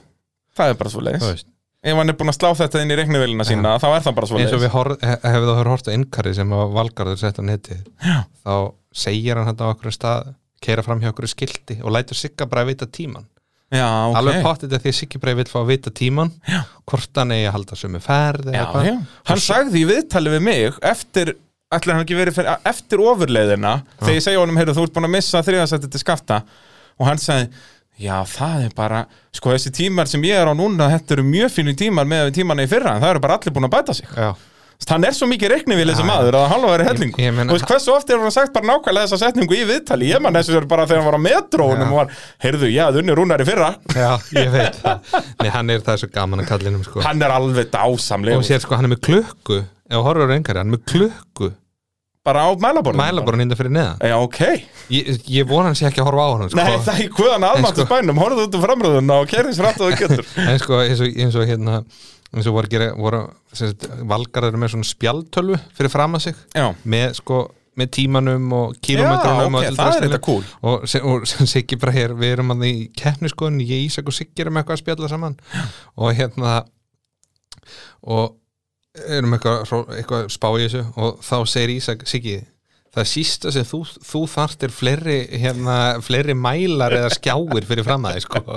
B: 10
A: það er bara svo
B: Þú
A: leiðis
B: veist,
A: ef hann er búin að slá þetta inn í reiknivélina sína þá er það bara svo
B: eins og
A: leiðis
B: við hor- he- hefðu þá horft á innkari sem að Valgarður sett á neti já. þá segir hann þetta á okkur stað keira fram hjá okkur skilti og lætur Sigga bara að vita tíman
A: já, ok
B: alveg pottit að því að Siggi bara vil fá að vita tíman já. hvort hann eigi að halda sömu ferð
A: já, já. hann sagði í viðtali við mig eftir ætlar hann ekki verið fyrir, eftir ofurleiðina þegar ég segi honum, heyrðu, þú ert búin að missa þriðansætti til skafta og hann sagði já, það er bara, sko þessi tímar sem ég er á núna, þetta eru mjög fínum tímar með við tímana í fyrra, en það eru bara allir búin að bæta sig
B: Já.
A: hann er svo mikið reikni við þessi
B: Já, já.
A: maður að halva verið
B: Ég-
A: hellingu
B: ég meina-
A: og veist hversu oft er hann sagt bara nákvæmlega þessa setningu í viðtali ég mann þessu er bara þegar hann var á metróunum
B: Já.
A: og var, heyrðu, já, þunni rúnar í fyrra
B: já, ég veit það Nei, hann er það er svo gaman að kallinum sko.
A: hann er alveg dásamleg
B: og sér sko, hann er með klukku ef þú horfður á einhverja, hann er með klukku
A: bara á mælaborðinu
B: mælaborun innan fyrir neðan
A: já, ok
B: ég, ég vona hann sé ekki að horfa á hann sko.
A: Nei, það er hvaðan aðmáttu spænum, horfðu út um framröðuna og kerðis rætt og þú getur
B: en sko, eins og, eins og hérna eins og voru að gera voru, sem sagt, valgarður með svona spjaldtölvu fyrir fram að sig
A: Já,
B: með sko með tímanum og kílometrunum
A: Já, ok,
B: og öllu
A: það er
B: draslinu.
A: þetta cool.
B: og, sem- og (laughs) sem Siggi bara hér, við erum að í keppniskoðun, ég Ísak og Siggi erum eitthvað að spjalla saman og hérna og erum eitthvað, hró- eitthvað að spá í þessu og þá segir Ísak, Siggi það sísta sem þú, þú þarft er fleiri, hérna, fleiri mælar eða skjáir fyrir fram að þig sko.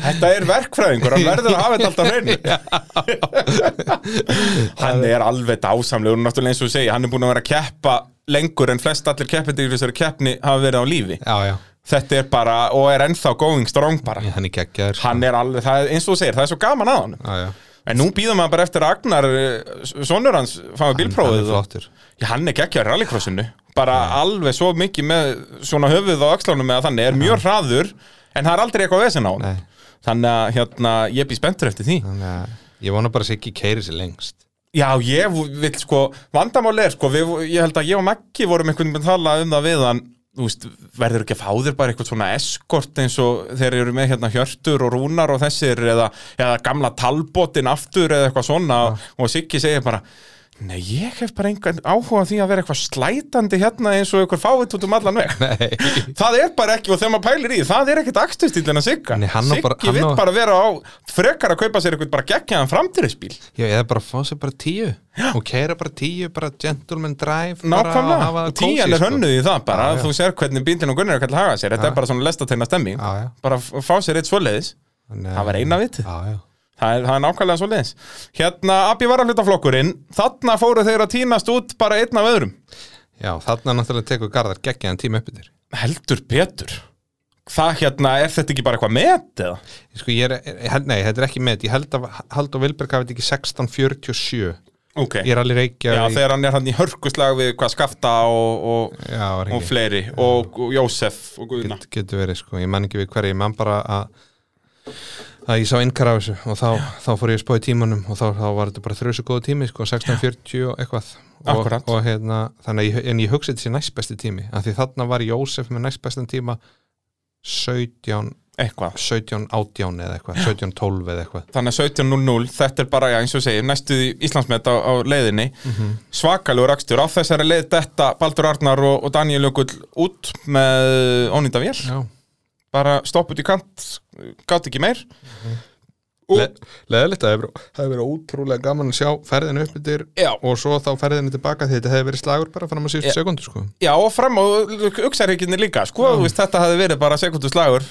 A: þetta er verkfræðingur, hann verður að hafa þetta alltaf
B: (laughs)
A: hreinu Hann er alveg dásamlegur, og náttúrulega eins og þú segir, hann er búin að vera að keppa lengur en flest allir keppendur í þessari keppni hafa verið á lífi
B: já, já,
A: Þetta er bara, og er ennþá going strong bara
B: hann er geggjaður sko.
A: Hann er alveg, það er, eins og þú segir, það er svo gaman að hann
B: já, já.
A: En nú býðum maður bara eftir að Agnar, eh, sonur hans, fáið
B: hann er
A: bílprófið og
B: flottur
A: Já, hann er geggjar í rallycrossinu bara alveg svo mikið með svona höfuð og axlánum með að þannig er mjög hraður en það er aldrei eitthvað vesen á hann
B: Nei.
A: þannig að hérna, ég bý spenntur eftir því
B: þannig að ég vona bara að Siggi keiri sér lengst
A: já, ég vil sko, vandamáli er sko við, ég held að ég og Maggi vorum einhvern veginn að tala um það við hann þú veist, verður ekki að fá þér bara eitthvað svona eskort eins og þeir eru með hérna hjörtur og rúnar og þessir eða, eða gamla talbótin aftur eða eitthvað svona og Siggi segir bara Nei, ég hef bara engan áhuga á því að vera eitthvað slætandi hérna eins og eitthvað fáið út um allan veg.
B: Nei.
A: Það er bara ekki, og þegar maður pælir í, því, það er ekkert akstustílinn að Sigga.
B: Nei, hann á
A: Siggi
B: bara- hann
A: vill
B: á-
A: bara vera á, frekar að kaupa sér eitthvað bara geggjaðan framtíðisbíl.
B: Já, eða bara fá sér bara tíu og keira bara tíu, bara gentleman drive bara að hafa
A: Nákvæmlega,
B: það
A: og tíjan
B: kósí,
A: er
B: sko.
A: hönnuð í það bara,
B: Já, já.
A: þú sér hvernig bílinn og Gunnar er að haga sér, þetta er bara svona lestategna stemming,
B: Já, já.
A: bara f- fá sér eitt svoleiðis,
B: Þannig að-
A: það var eina vitið,
B: Já, já,
A: það er, það er nákvæmlega svoleiðis. Hérna, Abbi var að hluta flokkurinn, þarna fóru þeir að tínast út bara einn af öðrum,
B: já þarna náttúrulega tekur Garðar geggjaðan tíma uppi þér
A: heldur Petur, það hérna, er þetta ekki bara eitthvað met eða?
B: Sko, ég er, er- held- nei, þetta er ekki með ég held að Haldur Vilberg hafði ekki 1647
A: Ok,
B: ég er alveg reykja
A: já þegar hann er hann í hörkuslag við hvað skafta og, og,
B: já, var
A: og
B: ekki
A: fleiri, og, og Jósef og Guðna.
B: get, getur verið, sko, ég man ekki við hverju ég man bara að að ég sá innkar á þessu og þá, þá fór ég að spá í tímanum og þá, þá var þetta bara þrjusu góðu tími, sko, 16.40 og eitthvað og,
A: Akkúrat.
B: og hérna, þannig að ég, en ég hugsa þetta sé næst besti tími, af því þarna var Jósef með næst bestan tíma 17,
A: eitthvað.
B: 17 átján eða eitthvað, 17 12 eða eitthvað
A: þannig að 17.00, þetta er bara, já, eins og segir, næstu því Íslandsmet á, á leiðinni svakalegur akstur, á þessari leið þetta Baldur Arnar og, og Daniel Jökull út með ónýnda vél
B: Já,
A: bara stopp út í kant, gátt ekki meir og,
B: Le leðilegt að það hefur verið ótrúlega gaman að sjá ferðinu uppbyttir
A: já,
B: og svo þá ferðinu tilbaka því þetta hefur verið slagur bara fram að síðustu sekundu sko
A: já, og fram á uksarhyggjinni líka, sko, þú veist, þetta hafði verið bara sekunduslagur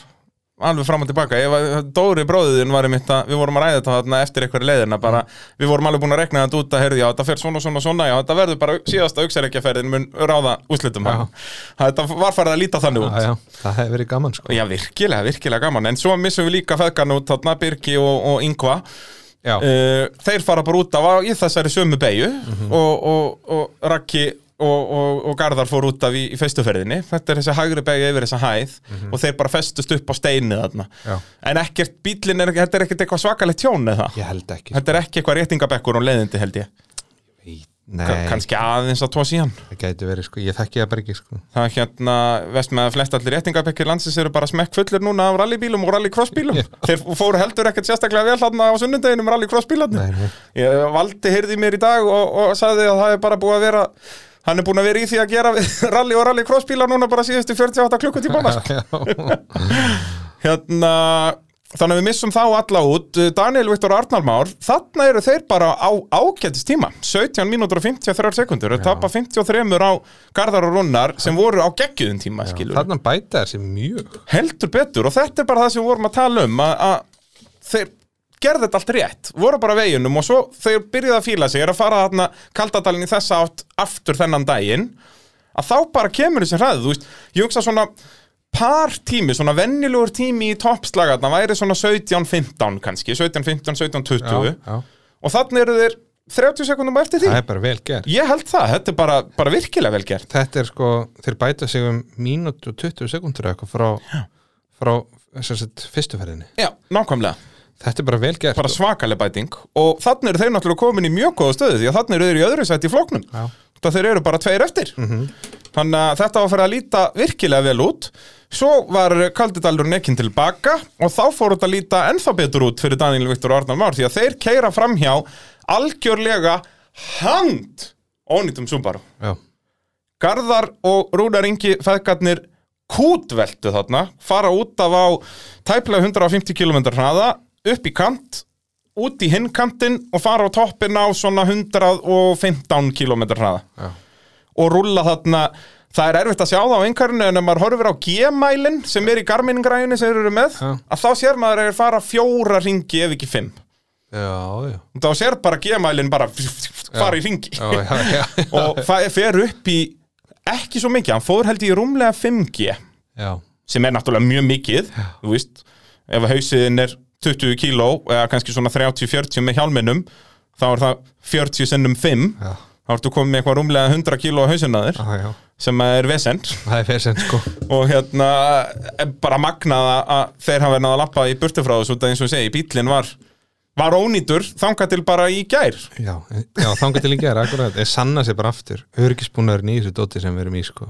A: alveg fram og tilbaka, ég var, Dóri bróðiðin var einmitt að, við vorum að ræða þetta þarna eftir einhverju leiðina, bara,
B: Mm.
A: við vorum alveg búin að rekna þetta út að, heyrðu, já, þetta fer svona, svona, svona já, þetta verður bara síðasta auksareikjaferðin mun ráða úslitum hann, þetta var farið að líta þannig út,
B: Já, já, það hefur verið gaman sko
A: já, virkilega, virkilega gaman en svo missum við líka feðgan út, þarna Birgi og, og Ingva,
B: Já,
A: uh, þeir fara bara út af á- í þessari sömu beigju
B: Mhm.
A: og, og, og Raki og, og, og Garðar fór út af í, í festuferðinni þetta er þessi hægri beigja yfir þessa hæð
B: Mhm.
A: og þeir bara festust upp á steinið þarna
B: Já.
A: en ekkert, bíllinn er, þetta er ekkert eitthvað svakalegt tjón eða
B: ég held ekki sko.
A: þetta er ekki eitthvað réttingabekkur og leiðindi held ég Ka-
B: Nei,
A: kannski aðeins að tóa síðan
B: það gæti verið sko, ég þekki það bara ekki sko
A: það er hérna, veist með að flest allir réttingabekkir landsins eru bara smekk fullir núna af rallybílum og
B: (laughs)
A: rallycrossbílum, þeir fóru heldur ekkert sérstaklega vel hérna á sunnundeginum
B: Nei,
A: rallycrossbílarnir
B: nei.
A: ég valdi heyrði í mér í dag og, og sagði að það er bara búið að vera hann er búin að vera í því (laughs)
B: (laughs)
A: að gera við rally og rallycrossbílar núna bara síðustu 48 klukkutíma
B: Já,
A: hérna, þannig að við missum þá alla út Daniel Viktor Arnalmár, þarna eru þeir bara á ágætis tíma 17 mínútur og 53 sekundur og tapa 53 á Garðar og Rúnar sem voru á geggjum tíma skilur
B: Þarna bæta þessi mjög
A: heldur betur og þetta er bara það sem við vorum að tala um að, að þeir gerði þetta allt rétt, voru bara á veginum og svo þeir byrjuði að fíla sig, er að fara þarna kaldadalinn í þessa átt aftur þennan daginn að þá bara kemur þessi hraðið, þú veist, ég hugsa svona par tími, svona vennilegur tími í toppslagarna væri svona 17-15 kannski, 17-15, 17-20
B: já.
A: og þannig eru þeir 30 sekundum á eftir því,
B: Það er bara vel gert
A: ég held það, þetta er bara, bara virkilega vel gert
B: Þetta er sko, þeir bæta sig um mínútu og 20 sekundur eitthvað frá, frá sem sagt, fyrstu ferðinni
A: Já, nákvæmlega
B: Þetta er bara vel gert
A: bara svakaleg bæting og þannig eru þeir náttúrulega komin í mjög góða stöðu því að þannig eru þeir í öðru sætti í flóknum
B: Já. Mhm.
A: það þeir eru bara tveir eftir þannig að þetta var að fara að líta virkilega vel út svo var Kaldidalur nekin tilbaka og þá fór þetta að líta ennþá betur út fyrir Daniel Viktor og Arnar Már því að þeir keira framhjá algjörlega hand ónýtum Subaru
B: Já,
A: Garðar og Rúnar Ingi feðgarnir kútveltu þarna fara út af á tæplega 150 km hraða upp í kant út í hinn kantinn og fara á toppin á svona 115 km hraða
B: já,
A: og rúlla þarna það er erfitt að sjá það á einhverjum en ef maður horfir á G-mælin sem er í Garmin-græjunni sem þeir eru með
B: Já.
A: að þá sér maður að þeir fara fjóra ringi ef ekki fimm
B: já, já.
A: þá sér bara G-mælin bara fara í ringi
B: já, já, já.
A: (laughs)
B: (laughs)
A: og það fer upp í ekki svo mikið, hann fór held ég í rúmlega 5G
B: já.
A: sem er náttúrulega mjög mikið þú veist, ef að hausiðin er 20 kíló eða kannski svona 30-40 með hjálminum þá er það 40 sinnum 5
B: Já.
A: þá ertu komið með eitthvað rúmlega 100 kíló á hausinn að þér
B: Já, já.
A: sem að er vesend
B: Það er fyrir sem sko
A: og hérna er bara magnað að- að þeir hafa náða að lappa í burtu frá þessu út að eins og ég segi, bíllinn var var ónýtur, þangað til bara í gær
B: Já, já þangar til í gera, akkurat Ég sanna sér bara aftur Örgisbúnaðurinn í þessu dóti sem við erum í sko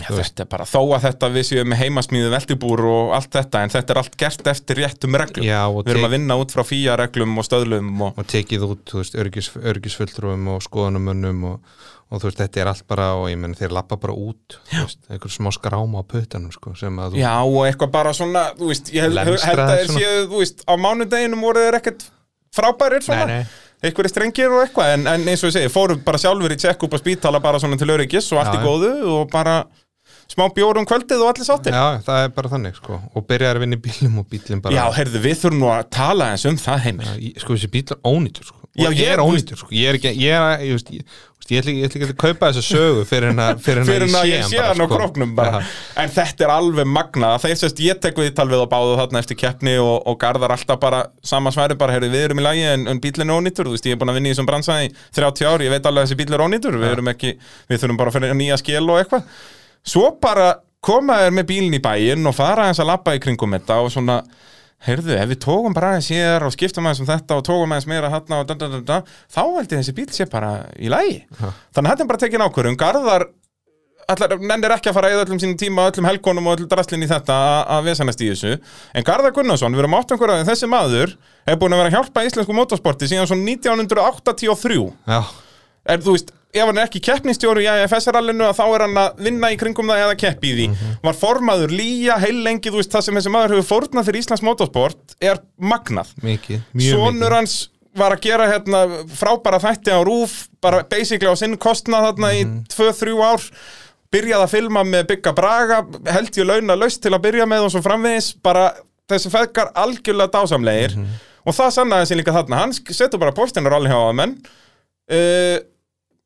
A: Já, þetta er bara, þó að þetta við séum með heimasmíðu veltibúr og allt þetta, en þetta er allt gert eftir réttum reglum.
B: Já, og,
A: við erum að
B: tek,
A: vinna út frá fíja reglum og stöðlum og...
B: og tekið út, þú veist, örgis, örgisfulltrúum og skoðanumönnum og, og þú veist, þetta er allt bara og ég menn þeir lappa bara út þú veist, einhver smá skráma á puttanum sko sem að þú
A: Já, og eitthvað bara svona, þú veist, ég held-
B: Lemstraðir
A: held að þeir
B: svona.
A: séu, þú veist, á mánudeginum voru þeir ekkert frábærir svona.
B: Nei, nei.
A: Einhverjir strengir og eitthvað, en, en eins og ég segi, fórum bara sjálfur í tjekk upp á spítala bara svona til öryggis og allt í
B: Já, já.
A: góðu og bara smá bjór um kvöldið og allir sáttir.
B: Já, það er bara þannig sko og byrjar að vinna í bílum og bílum bara
A: Já, heyrðu, við þurfum nú að tala eins um það heimir.
B: Já, ég- sko þessi bíl er ónýtur sko.
A: Já,
B: og ég
A: ég-
B: er ónýtur sko. ég er ekki, ég er að- ég, veist, ég, veist, ég, ætla ekki- ég ætla ekki að kaupa þessa sögu fyrir en að, fyrir en
A: fyrir en að ég
B: hann
A: sé hann á
B: sko.
A: króknum bara.
B: Já,
A: en þetta er alveg magnað þeir sérst ég tek við tal við á báðu þarna eftir keppni og, og garðar alltaf bara sama sværi bara heyrðu við erum í lagi en, en bílinn er ónýtur þú veist ég er búin að vinna í þessum bransa í 30 ár ég veit alveg að þessi bíl er ónýtur við erum ekki við þurfum bara að finna nýja skil og eitthvað svo bara koma þér með bílinn í bæinn og fara eins að labba í kringum þetta og svona heyrðu, ef við tókum bara aðeins hér og skiptum aðeins um þetta og tókum aðeins meira hann og da, da, da, da, þá held ég þessi bíl sé bara í lagi þannig að þetta er bara tekin ákvörðum Garðar allar, nennir ekki að fara að eða öllum sínum tíma öllum helgonum og öllum drastlinn í þetta að- að vesanast í þessu en Garðar Gunnarsson, við erum átt einhverja en þessi maður er búin að vera að hjálpa íslensku motorsporti síðan svo 1983
B: já,
A: er þú veist ef hann er ekki keppnistjóri í AFS-rallinu þá er hann að vinna í kringum það eða keppi í því var formaður lýja heilengi þú veist það sem þessi maður hefur fórnað fyrir Íslands motorsport er magnað
B: mikið, mjög
A: Sónur
B: mikið
A: hans var að gera hérna, frábæra þætti á rúf bara basically á sinn kostnað þarna
B: Mhm.
A: í 2-3 ár byrjaði að filma með Bygga Braga held ég launa laust til að byrja með og svo framvegis bara þessi feðgar algjörlega dásamlegir
B: Mhm.
A: og það sannaði sér líka þarna hann sk- setur bara póstinu rolli hjá að menn uh,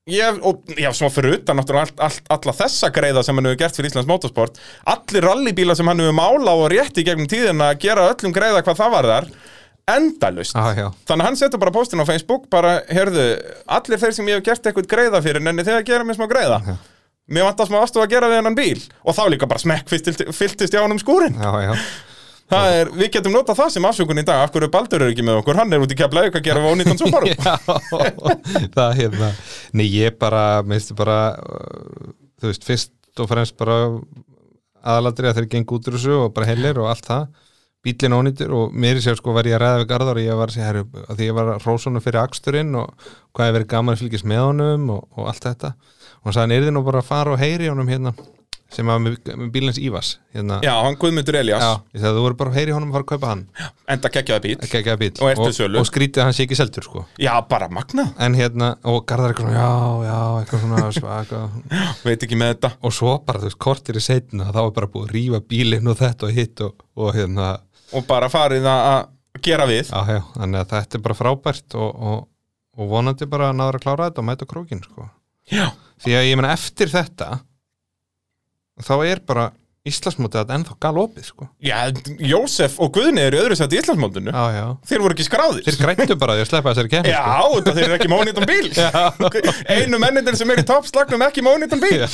A: ég, og, já, svo fyrir utan náttúrulega allt, allt, alla þessa greiða sem hann hefur gert fyrir Íslands motorsport allir rallybíla sem hann hefur mála og rétt í gegnum tíðina að gera öllum greiða hvað það var þar endalust
B: já, já,
A: Þannig að hann setur bara postin á Facebook bara, heyrðu, allir þeir sem ég hef gert eitthvað greiða fyrir nenni þegar að gera mér smá greiða Mér vantar smá aðstofa að gera við hennan bíl og þá líka bara smekk fylltist- fylltist í ánum skúrin
B: já, já.
A: Það er, við getum notað það sem afsökun í dag af hverju Baldur er ekki með okkur, hann er út í keflaug að gera við ónýttan svo
B: (laughs)
A: bara
B: já það hérna nei, ég bara, minnstu bara uh, þú veist, fyrst og fremst bara aðalatri að þeir geng út úr þessu og bara heilir og allt það bílinn ónýtur og mér sér sko var ég að ræða við Garðar og ég var að segja, herru, að því ég var rósonu fyrir aksturinn og hvað er verið gaman að fylgjast með honum og, og allt þetta og hann sagði, hann er þið nú bara að fara og heyri honum hérna sem var með, með bílins Ívas hérna.
A: Já, hann Guðmundur Elias,
B: Já, ég sagði þú voru bara að heyri honum að fara að kaupa hann
A: enda geggjaði bíl
B: ekki ekki að bíl
A: Og er til sölu.
B: og, og skrítið að hann sé ekki seldur sko
A: Já, bara magna,
B: en hérna, og Garðar eitthvað svona já, já, eitthvað svona (laughs) svaka
A: veit ekki með þetta
B: og svo bara, þú veist, kortir í setna þá er bara búið að rífa bílinn og þetta og hitt og, og hérna,
A: Og bara farið að að gera við
B: já, já, þannig að þetta er bara frábært og, og, og vonandi bara að náður að klára þetta og mæta krókin sko.
A: Já,
B: því að ég meina eftir þetta þá er bara Íslandsmótið að ennþá galopið sko.
A: já Jósef og Guðni eru í öðru sætt í Íslandsmóndinu
B: já, já,
A: Þeir voru ekki skráðir
B: þeir græntu bara því að sleppa þessari sko. kemur
A: Já, þetta þeir eru ekki mónitan bíl (laughs) Einu mennindir sem er í toppslagnum ekki mónitan bíl
B: Já.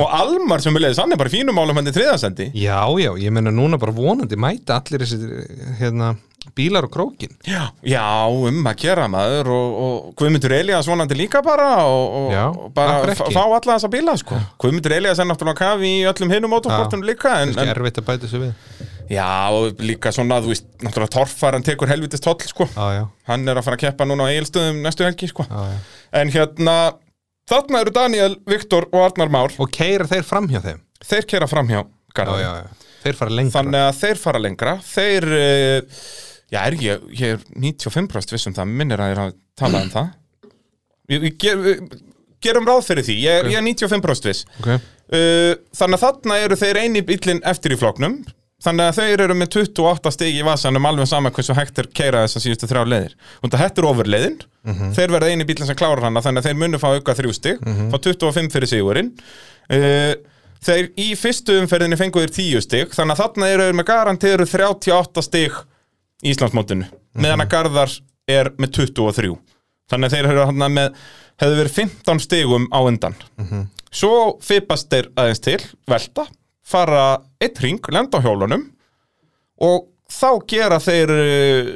A: Og Almar sem viljaði sannig bara í fínum málum hann í þriðansendi
B: já, já, ég meina núna bara vonandi mæta allir þessi hérna, bílar og krókin
A: Já, já, um að gera maður og, og Guðmundur Elias vonandi líka bara og, og,
B: Já,
A: og bara
B: akkur
A: f-
B: ekki?
A: fá alla þessa bíla sko. Guðmundur Elias er náttúrulega á kafi í öllum hinum motorsportunum líka en,
B: Kannski
A: en,
B: erfitt að bæta þessu við
A: Já, og líka svona, þú veist, náttúrulega torfar hann tekur helvitist toll, sko
B: Já, já,
A: Hann er að fara að keppa núna á Egilstöðum næstu helgi, sko
B: já, já.
A: En hérna, þarna eru Daniel, Viktor og Arnar Már
B: Og keira þeir fram hjá þeim
A: Þeir kera framhjá,
B: já,
A: Garðar
B: já, já. Þeir fara lengra
A: Þannig að þeir fara lengra Þeir, eh, já er ég, ég er 95% vissum um það, minnir að ég er að tala um það Ég, ég ger, við gerum ráð fyrir því, ég, ég er 95% viss
B: okay.
A: uh, Þannig að þarna eru þeir eini bíllinn eftir í flokknum Þannig að þeir eru með 28 stig í vasanum alveg sama hversu hægt er keira þess að síðustu þrjá leiðir Og þetta hættur ofurleiðin, þeir verða eini bíllinn sem klárar hana Þannig að þeir munu fá auka þrjú stig, fá 25 fyrir sigurinn uh, Þeir í fyrstu umferðinni fengu þeir 10 stig Þannig að þarna eru þeir með garantiður 38 stig í Íslandsmótinu Meðan að Garðar er með 23 Þannig að þeir eru þarna með, hefðu verið 15 stigum á undan Svo fipast þeir aðeins til, velta, fara eitt ring, lenda á hjólunum og þá gera þeir, eh,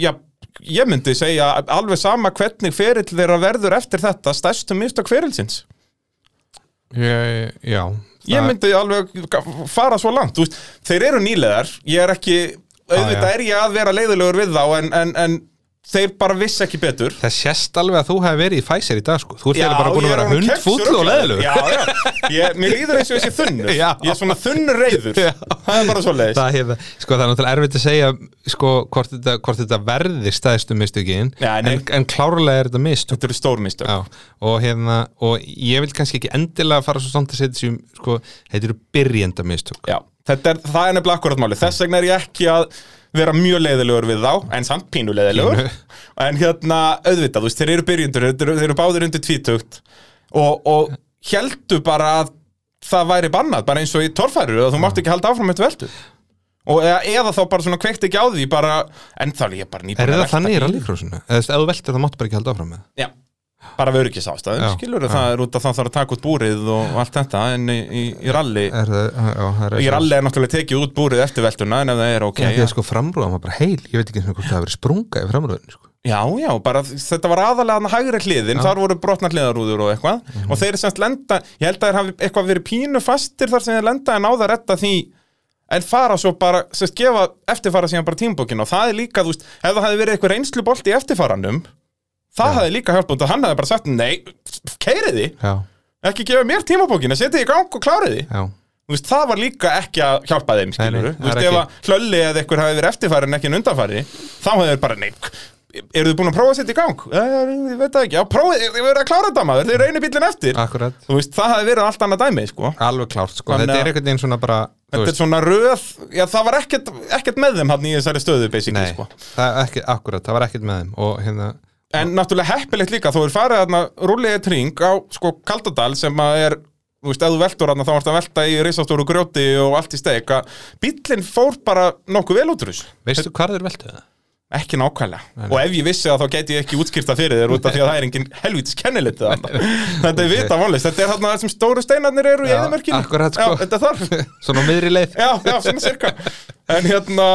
A: já, ég myndi segja alveg sama hvernig ferill þeirra verður eftir þetta stærstu mistök ferilsins.
B: ég, Já
A: Ég myndi alveg ga- fara svo langt, þú veist, þeir eru nýlegar, ég er ekki, auðvitað
B: já.
A: er ég að vera leiðilegur við þá en, en, en þeir bara vissi ekki betur.
B: Það sést alveg að þú hefði verið í Pfizer í dag sko. Þú ert
A: Já,
B: eiginlega bara búin
A: ég er
B: að vera
A: orðinn
B: hundfúll
A: kexur
B: og leðilug
A: Já, já, ég, mér líður eins og þessi þunnur
B: Já.
A: Ég er svona þunnur reyður
B: Já.
A: Það er bara svo leiðis
B: það, hérna, sko, það er náttúrulega erfitt að segja sko, hvort, þetta, hvort þetta verði stæðstu mistökin
A: Já,
B: en,
A: nei.
B: en klárlega er þetta mistök
A: Þetta eru stór mistök
B: Já, og, hérna, og ég vil kannski ekki endilega fara svo samt að setja sem sko, þetta eru byrjenda mistök
A: Já, þetta er, það er nefnilega akkurat máli Þess vegna er ég ekki að vera mjög leiðilegur við þá En samt pínu leiðilegur
B: Pínu.
A: En hérna, auðvitað, þú veist, þeir eru byrjundur Þeir eru, þeir eru báðir undir tvítugt og, og heldu bara að það væri bannað Bara eins og í torfæru Að þú mátt ekki halda áfram eitt veldu Og eða, eða þá bara svona kveikt ekki á því bara, En þá er ég bara nýbúin
B: Er
A: að
B: það
A: velta
B: þannig í
A: bíl.
B: rallycrossinu? Eða þú veist, ef þú veltir það máttu bara ekki halda áfram með það?
A: Já, bara við öryggis ástæðum
B: Já,
A: skilur
B: já.
A: það er út að það þarf að taka út búrið og allt þetta en í, í, í ralli
B: Er það, já, það er
A: í ralli er náttúrulega tekið út búrið eftir veltuna en ef það er ok
B: Já, því
A: já,
B: að sko framrúðan var bara heil, ég veit ekki einu sinni hvort það hafi verið sprunga í framrúðan sko.
A: já, já, bara þetta var aðalega hann hægri hliðin, þar voru brotnar hliðarúður og eitthvað
B: Mhm.
A: og þeir semst lenda, ég held að þeir hafi eitthvað verið pínu fastir þar sem þeir lenda en áða að retta því en fara svo bara, semst gefa eftirfara síðan bara tímbókin og það er líka, þú veist, ef það hefði verið eitthvað reynslubolt í eftirfaranum það hefði líka hjálpund og hann hefði bara sagt, nei, keiriði
B: Já,
A: ekki gefa mér tímabókina, setja í gang og kláriði
B: já,
A: Þú veist, það var líka ekki að hjálpa þeim
B: Nei,
A: skilur
B: nei,
A: Þú
B: það er
A: veist, ef að hlölli eða einhver hafi verið eftirfæri en ekki en undanfæri þá hefur þeir bara, nei, eru þið búin að prófa að setja í gang? "Eh, Ég veit það ekki, já, prófið, þið verður að klára þetta maður, þið reynir bílinn eftir
B: akkurat
A: Þú veist, það hefði verið allt annað dæmi, sko
B: Alveg klárt, sko,
A: Þannig
B: þetta
A: að-
B: er einhvern veginn svona bara þú
A: Þetta er svona röð, já, það var ekkert, ekkert með þeim hann í þessari stöðu, basically,
B: Nei,
A: sko
B: það er ekki, akkurat, það var ekkert með þeim og hérna,
A: En náttúrulega heppilegt líka, þú er farið þarna rúlega tring á sko Kaldadal sem að er, þú veist, ef þú veltur þarna þá varst að velta í risastóru grjóti og allt í steg að bíllinn fór bara nokkuð vel út úr þessu,
B: veistu hvar þeir veltu
A: (laughs)
B: það?
A: ekki nákvæmlega og ef ég vissi það þá gæti ég ekki útskýrta fyrir þér út af því að það er engin helvítis kennilegt þarna, þetta er vita vonlist, þetta er þarna þar sem stóru steinarnir eru í
B: Já,
A: eðimerkinu,
B: akkurat, sko.
A: já, þetta er þar
B: Svona á miðri leið
A: já, já, svona cirka en hérna,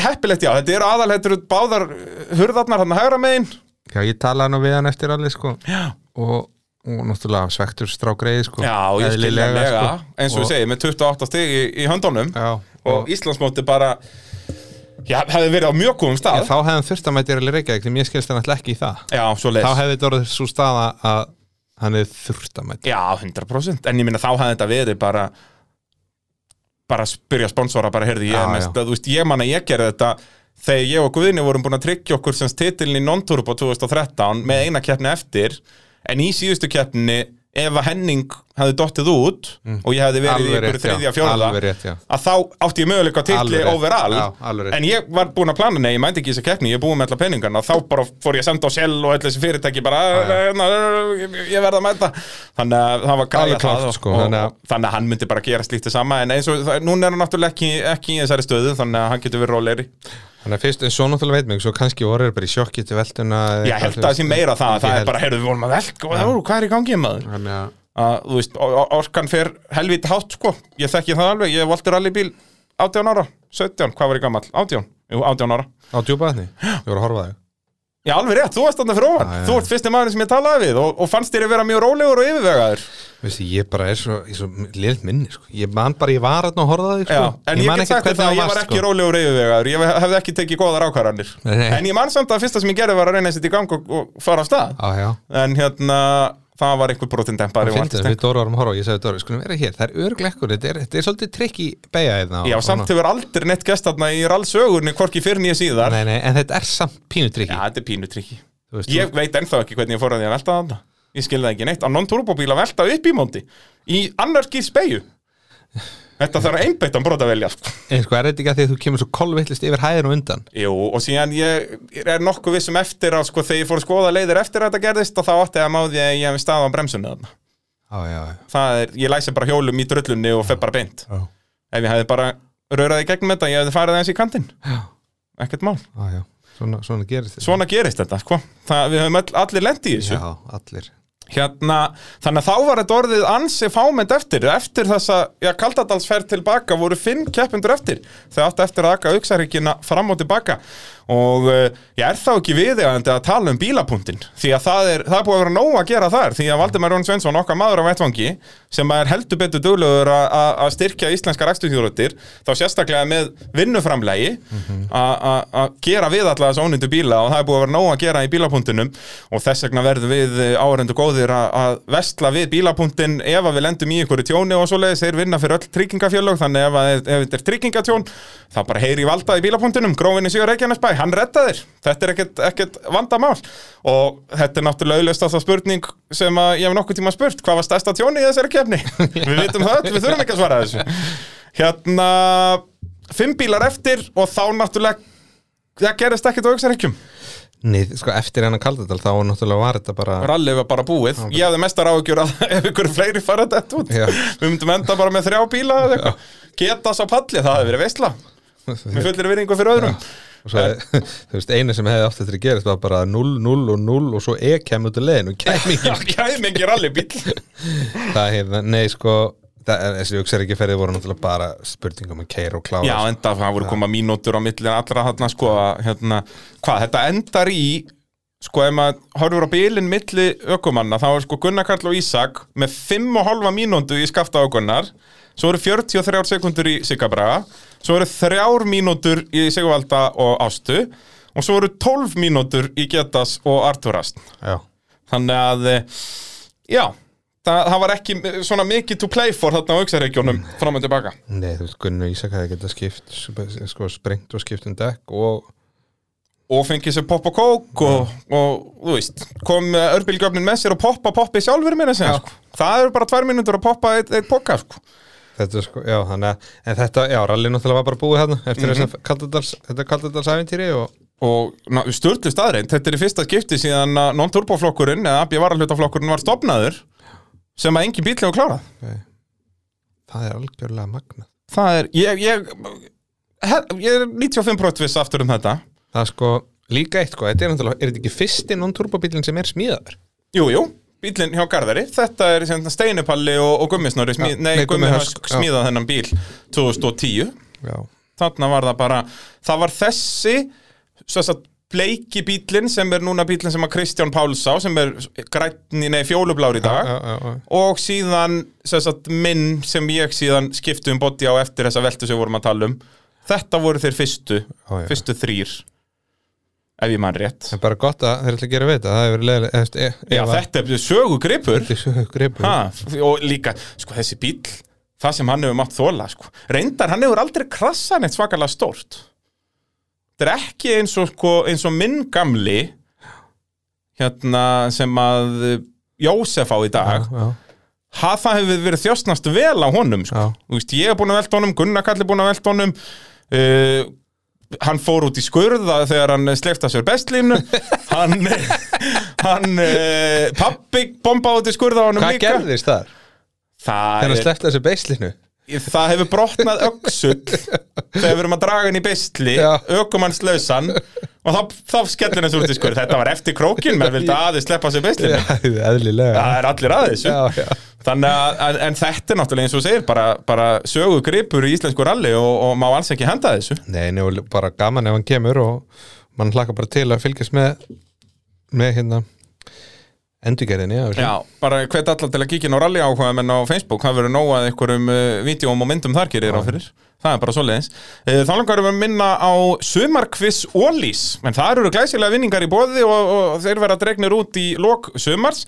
A: heppilegt já, þetta eru aðal, þetta eru báðar eh, hurðarnar hann hægra megin
B: Já, ég talaði nú við hann eftir alveg, sko
A: já.
B: og, og náttúrulega svektur strákreiði, sko
A: Já, ég skil
B: Eðlilega, sko.
A: nefnilega, eins og
B: Og-
A: ég segi, með 28 stig í, í höndunum
B: Já,
A: og
B: og
A: Íslandsmóti bara, já, hefði verið á mjög góðum stað.
B: þá hefðum þurft að mæti rally reykja, ekki, mér skilst hann alltaf ekki í það
A: já, svo leys.
B: Þá hefði þetta orðið svo staða að hann er þurft að mæta
A: Já, 100% En ég minna þá hafði þetta verið bara bara að spyrja sponsora bara heyrði ég
B: Já,
A: er mest,
B: já.
A: þú veist, ég man að ég gerði þetta þegar ég og Guðni vorum búin að tryggja okkur sem titilin í non-turbo 2013 með eina keppni eftir en í síðustu keppni ef að Henning hefði dottið út og ég hefði verið í ykkur
B: Mm. já,
A: þriðja fjórða
B: alveg rétt, já
A: að þá átti ég möguleika á titli
B: Alveg rétt.
A: overall
B: Já, alveg rétt.
A: en ég var búin að plana, nei, ég mændi ekki í þessa keppni ég er búin með alla peningarna, þá bara fór ég að senda á Shell og allir þessi fyrirtæki bara
B: já.
A: "Na, ég ég verð að mæta þannig að það var græja
B: Alveg klárt,
A: það og,
B: sko,
A: og,
B: þannig að-
A: þannig að hann myndi bara gera slíkt það sama en eins og, það, núna er hann náttúrulega ekki, ekki í þessari stöðu þannig að hann getur verið rólegri
B: Þannig að fyrst, en svo náttúrulega veit mig, svo kannski voru þeir bara í sjokki til veltuna
A: ég
B: eða eitthvað,
A: held að
B: þú
A: það sé
B: veist.
A: meira það,
B: Ég
A: það
B: held-
A: er bara, heyrðu, við vorum að velk og það, hvað er í gangi maður
B: Þannig að
A: að, þú veist, or- or- orkan fer helviti hátt, sko, ég þekki það alveg ég valdi rallybíl 18 ára 17, hvað var ég gamall, 18, jú, 18 ára
B: Á djúpaðni, ég voru að horfa á þig
A: Já, alveg rétt, þú varst þarna fyrir ofan
B: Já, já.
A: Þú ert fyrsti maðurinn sem ég talaði við og, og fannst þér að vera mjög rólegur og yfirvegaður
B: Veistu, ég bara er svo, ég er svo liðt minni, sko Ég man bara, ég var að horfa á þig,
A: Já,
B: sko
A: En ég,
B: man
A: get sagt
B: ekkert
A: þér
B: hvernig
A: það að ég
B: varst,
A: var ekki
B: sko.
A: rólegur og yfirvegaður Ég hefði ekki tekið góðar ákvarðanir
B: Nei, nei.
A: En ég man samt að fyrsta sem ég gerði var að reyna að setja í gang og, og fara af stað
B: Já, já
A: En hérna, það var einhver brotindempari
B: Fyndi, við Dóra varum að horfa og ég sagði Dóra, skulum vera hér, það er örgleikkur, þetta er, þetta er svolítið trikk í beigja hérna
A: Já, samt hefur aldrei neitt gest þarna í rallsögunni Hvorki fyrir nýja síðar
B: Nei, nei, en þetta er samt pínu
A: Já,
B: trikki
A: þetta er pínutrykki
B: Þú veist,
A: Ég veit ennþá ekki hvernig ég fór að því að velta þarna Ég skil það ekki neitt, að non-turbóbíla velta upp í móndi Í annarkið spegu Þetta þarf einbeittan brot að velja sko.
B: En sko, er þetta ekki að því að þú kemur svo kolvillist yfir hæðin og undan?
A: Jú, og síðan ég er nokkuð vissum eftir að sko þegar ég fór að skoða leiðir eftir að þetta gerðist og þá átti ég að máði að ég hefði stað á bremsunni þarna.
B: Já, já,
A: Það er, ég læsi bara hjólum í drullunni og fer bara beint.
B: já
A: Ef ég hefði bara rauraði gegnum þetta, ég hefði farið aðeins í kantinn.
B: Já,
A: Ekkert mál.
B: já, já, svona, svona gerist þetta
A: Svona gerist þetta, sko. Það, við höfum all, allir lendi í þessu.
B: Já, allir
A: Hérna, þannig að þá var þetta orðið ansi fámynd eftir. Eftir þessa, já, Kaldadalsferð tilbaka voru fimm keppendur eftir. Þau áttu eftir að aka auksaríkina fram og tilbaka. Og uh, ég er þá ekki viðegandi að tala um bílapunktinn. Því að það er, það er búið að vera nóg að gera þar. Því að Valdimar Jón Svensson, okkar maður á vettvangi, sem er heldur betur duglegur að- að að styrkja íslenskar akstuðjóðröttir, þá sérstaklega með vinnuframlegi a- a- að gera við alla þessu ónýndu bíla og það er búið að vera nóg að gera í bílapunktinum og þess vegna verðum við áhendu góðir að, að vestla við bílapunktin ef að við lendum í einhverju tjóni og svoleiðis þeir vinna fyrir öll tryggingafjölög þannig ef, að, ef þetta er tryggingatjón þá bara heyri í valda í bílapunktinum grófinni Sigur Reykjanesbæ, hann redda þér þetta er ekkert, ekkert vandamál og þetta er náttúrulega auðlust að það spurning sem að ég hef nokkuð tíma spurt hvað var stærsta tjóni í þessari kefni við vitum það, öll, við þurfum ekki að svara þessu hérna, fimm bílar eftir og þá náttúrulega það gerist ekkert á auksaríkjum
B: Nei, sko, eftir hennan Kaldadal þá náttúrulega var þetta bara (laughs)
A: Rallið var bara búið, ég hafði mestar áhugjur að (laughs) ef ykkur fleiri fara þetta út
B: Já.
A: Við myndum enda bara með þrjá bíla eða eitthvað. Geta sá palli, það hefði verið veistla Með fullir virðingu fyrir öðrum
B: Og svo, þú veist, einu sem hefði átt eftir að gerast var bara 0, 0 og 0 og svo E kemur út af leiðin og kemur
A: Já, Kæmi ekki rallybíl
B: það hefði, nei sko það er, þessi auksar ekki ferði voru náttúrulega bara spurningum að keira og klára
A: Já,
B: sko.
A: enda það voru koma mínútur á milli allra þarna sko að, hérna, Hvað, þetta endar í Sko, ef maður horfur á bílinn milli ökumanna Þá er sko Gunnar Karl og Ísak Með 5,5 mínútu í skafta á Gunnar Svo eru 43 sekundur í Sigabraga Svo eru 3 mínútur í Sigvalda og Ástu Og svo eru 12 mínútur í Getas og Arturastn
B: já.
A: Þannig að, eh, já Það, það var ekki eh, svona mikið to play for þarna á auksareikjónum fram og tilbaka
B: nei, þú veist, Gunn og Ísak hefði getað skipt sp- sko, sprengt og skipt um dekk og
A: og fengið sér popp og kók og, og þú veist, kom örbílgjöfnin með sér og poppa poppi sjálfur minna sem
B: Já.
A: sko. það eru bara tvær mínútur að poppa eitt, eitt poka sko.
B: þetta er sko, já, þannig að, en þetta, já, rally náttúrulega var bara búið hérna eftir mm -hmm. þetta Kaldadalsæventýri og
A: og störtlu staðreind, þetta er í fyrsta skipti síðan að non-turboflokkurinn eða AB varahlutaflokkurinn var stopnaður sem að engin bíl hefur klárað
B: nei, það er algjörlega magna
A: það er, ég ég, hef, ég er 95% viss aftur um þetta
B: það er sko, líka eitt sko, þetta er náttúrulega er þetta ekki fyrsti non-turbobílinn sem er smíðaður
A: Jú, jú, bílinn hjá Garðari Þetta er sem sagt, steinipalli og, og gummisnori smíð,
B: Já,
A: Nei,
B: nei, Gummi
A: gummi
B: Hösk,
A: hösk
B: já.
A: smíða þennan bíl 2010
B: já,
A: Þarna var það bara Það var þessi sem sagt, bleiki bílinn sem er núna bílinn sem að Kristján Páls á sem er grænni, nei, fjólublár í dag
B: já, já, já.
A: og síðan sem sagt, minn sem ég síðan skipti um body á eftir þessa veltu sem við vorum að tala um Þetta voru þeir fyrstu,
B: Já, já.
A: fyrstu þrýr ef ég mann rétt
B: Það er bara gott að þeir ætla að gera við þetta, það hefur leðilega, eftir, e,
A: Já, þetta er sögugripur
B: þetta er svo gripur.
A: ha, og líka, sko, þessi bíl það sem hann hefur mátt þóla, sko reyndar, hann hefur aldrei krassað neitt svakalega stórt þetta er ekki eins og, sko, eins og minn gamli hérna sem að eh, Jósef á í
B: Já,
A: dag
B: já,
A: ha, það hefur verið þjóstnast vel á honum sko.
B: já,
A: Þú veist, ég er búin að velta honum, Gunnar Kall er búin að velta honum uh, hann fór út í skurða þegar hann sleifta sér
B: (laughs)
A: bestlínu hann, eh, hann uh, pappi bombaði út í skurða á honum
B: Hvað
A: líka
B: gerðist þar?
A: það,
B: Þegar hann
A: er,
B: sleppti þessu beislinu?
A: það hefur brotnað öksull þegar við erum að draga hann í bestli
B: Já.
A: ökumannslausan og þá, þá skellir hann svo út í skurð þetta var eftir krókin, menn vildi aðeins sleppa sér bestlinu
B: Eðlilega.
A: það er allir aðeins
B: Já, já.
A: Þannig að, en, en þetta er náttúrulega eins og þú segir bara, bara sögu gripur í íslensku ralli og, og má alls ekki henda þessu
B: Nei, nú er bara gaman ef hann kemur og mann hlakka bara til að fylgjast með, með hérna, endurgerðinni. Já,
A: Já, bara hvet allar til að kíkja inn á rally áhuga menn á Facebook, það verður nóg að einhverjum uh, vídjum og myndum þar gerir á fyrir það er bara svoleiðins. Uh, þá langar við að minna á sumarkviss Ólís en það eru glæsilega vinningar í bóði og, og þeir verða dregnir út í lok sumars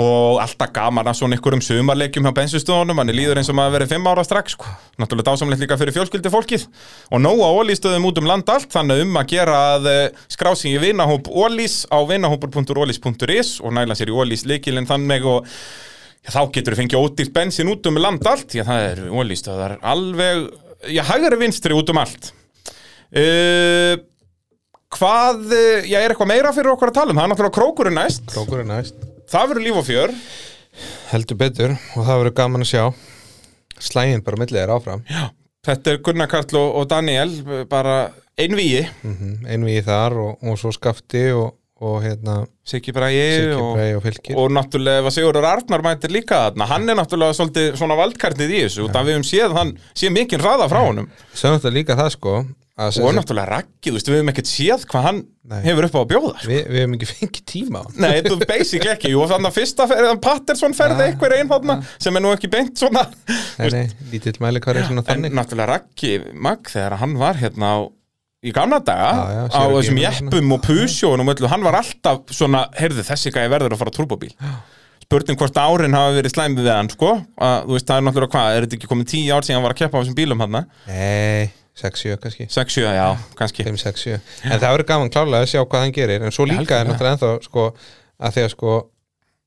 A: og alltaf gaman að svona einhverjum sumarleikjum hjá bensustöðunum manni líður eins og maður verið fimm ára strax sko. náttúrulega dásamlegt líka fyrir fjölskyldi fólkið og nóg á Ólístöðum út um land allt þannig um að gera að skrási í vinahóp Ólís á vinahópur.ólís.is og næla sér í Ólís leikilinn þannig og já, þá getur þú fengið ódýrt bensin út um land allt já, það er Ólístöðar alveg já, hægari vinstri út um allt uh, Hvað, eh, já, er eitthvað meira fyrir okkur að tala um? Það er náttúrulega krókurinn næst
B: Krókur er næst.
A: Það verður líf og fjör
B: Heldur betur og það verður gaman að sjá. Slægin bara millið er áfram.
A: Þetta er Gunnar Karl og, og Daniel bara einvíi
B: Mhm, Einvíð þar og, og svo skafti og, og hérna,
A: Siggi Bræi
B: Siggi
A: og,
B: Brei og fylgir.
A: og náttúrulega ef að Sigurður Arnar mætir líka þarna hann er náttúrulega svolítið svona valdkartið í þessu út af við höfum séð hann sé mikinn hraða frá honum
B: Sögum þetta líka það sko að sem
A: og
B: sagt,
A: náttúrulega Raggi, þú veist, við höfum ekkert séð hvað hann
B: Nei.
A: hefur upp á að bjóða sko.
B: við, við hefum ekki (laughs) fengið tíma á hann.
A: Nei, þú basic ekki, jú, þannig að fyrsta ferðan Patterson
B: Ah.
A: ferði einhver einn þarna sem er nú ekki beint svona
B: Nei, nei, lítill mæli hvað er svona
A: En
B: þannig
A: náttúrulega Raggi Magg þegar hann var hérna á, í gamla daga
B: Já, já,
A: á
B: sér ekki
A: þessum
B: hérna.
A: jeppum og pusjónum öllu, hann var alltaf svona, heyrðu þessi gæði verður að fara á turbóbíl spurning hvort árin hafi verið slæmi við hann sko, að, þú veist það er náttúrulega hvað er þetta ekki komið tíu ár síðan hann var að keppa á þessum bílum hann
B: Nei, 6-7 kannski
A: 6-7, já, kannski
B: 5-6-7 En það verður gaman klálega að sjá hvað hann gerir En svo líka
A: algjörlega.
B: er náttúrulega ennþá sko að þegar sko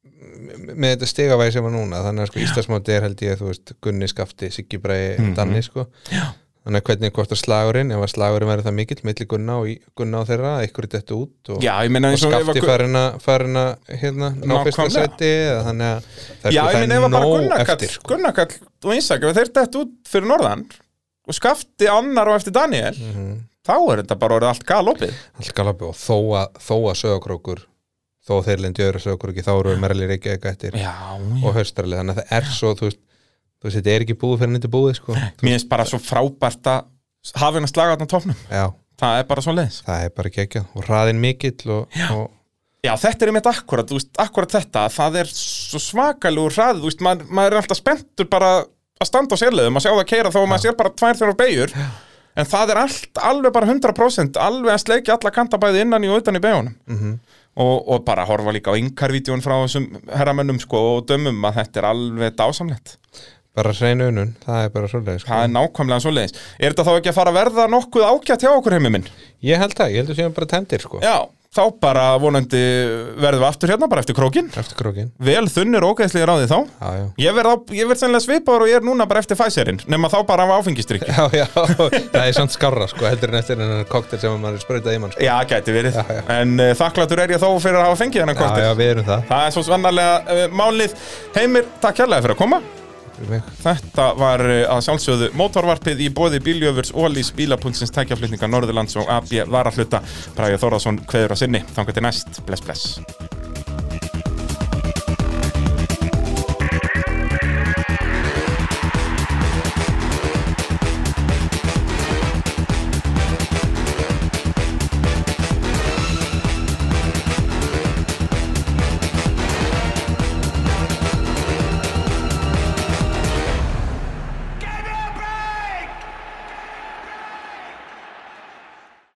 B: m- með þetta stigavæði sem var núna þannig að sko Íslandsmóti er held ég þú veist Gunni skafti, Siggi Brei, Danni sko
A: Mhm. Já.
B: Þannig að hvernig hvort að slagurinn ef að slagurinn verður það mikill, milli Gunna og, í- Gunna og þeirra, að ykkur er þetta út og
A: Já, ég meina
B: og
A: eins og ef
B: skafti
A: að-
B: farin að farin að hérna, ná fyrsta
A: Nákvæmlega.
B: seti eða þannig að það er- sko,
A: Já,
B: það
A: ég
B: er
A: meina ef að bara
B: nóg
A: Gunnarkall
B: eftir, sko.
A: Gunnarkall og Ísak, ef þeir dætt út fyrir norðan og skafti annar og eftir Daniel
B: Mhm.
A: þá er þetta bara orðið allt galopið
B: allt galabu og þó að, þó að sögakrókur þó að þeir lendi í öðru sögakróki þá eru merli reykjaðið eftir
A: Já,
B: og höstrali þannig að það er svo þú veist, þú veist, þetta er ekki búið fyrir nýttu búið sko.
A: Mér finnst bara svo frábært að hafa henn að slaga þarna á topnum
B: já,
A: Það er bara svo leiðis
B: það er bara geggjað og hraðin mikill og, og
A: Já, þetta er einmitt akkurat, þú veist, akkurat þetta Það er svo svakalugur hrað, þú veist maður, maður er alltaf spenntur bara að standa á sérleiðum að sjá það keira þó að maður sér bara tvær þjórar beigur En það er allt, alveg bara 100% alveg að sleiki alla kanta bæði innan í og utan í beigunum
B: Mhm.
A: og, og bara horfa líka á yngarvídjón frá þessum herramönnum sko og dömum að þetta er alveg dásamlegt
B: bara hreinu unun, það er bara svolítið sko.
A: Það er nákvæmlega svo leiðis Er þetta þá ekki að fara að verða nokkuð ágætt hjá okkur heimi minn?
B: ég held það, ég held að séum bara tendir sko,
A: Já, þá bara vonandi verðum við aftur hérna bara eftir krókin
B: eftir krókin
A: Vel þunnur og ógeðslega ráðið þá
B: já, já
A: Ég verð, á, ég verð sennilega svipaður og ég er núna bara eftir Pfizerinn Nefn þá bara af áfengistrykki
B: Já, (laughs) já, það er samt skarra sko, heldur en eftir en koktel sem maður er sprautað í mann sko.
A: Já, gæti verið
B: Já, já.
A: En uh, þakklatur er ég þó fyrir að hafa fengið hennan
B: Já,
A: kortir
B: já, við erum það
A: Það er svo svannarlega uh, málið Heimir, takk hérlega fyrir að koma
B: Fyrir mig.
A: Þetta var uh, að sjálfsögðu mótorvarpið í bóði bíljöfurs Ólís, bílapuntsins, tækjaflutninga Norðurlands og AB Varahluta Bræði Þórðarsson, kveður að sinni Þangar til næst, bless bless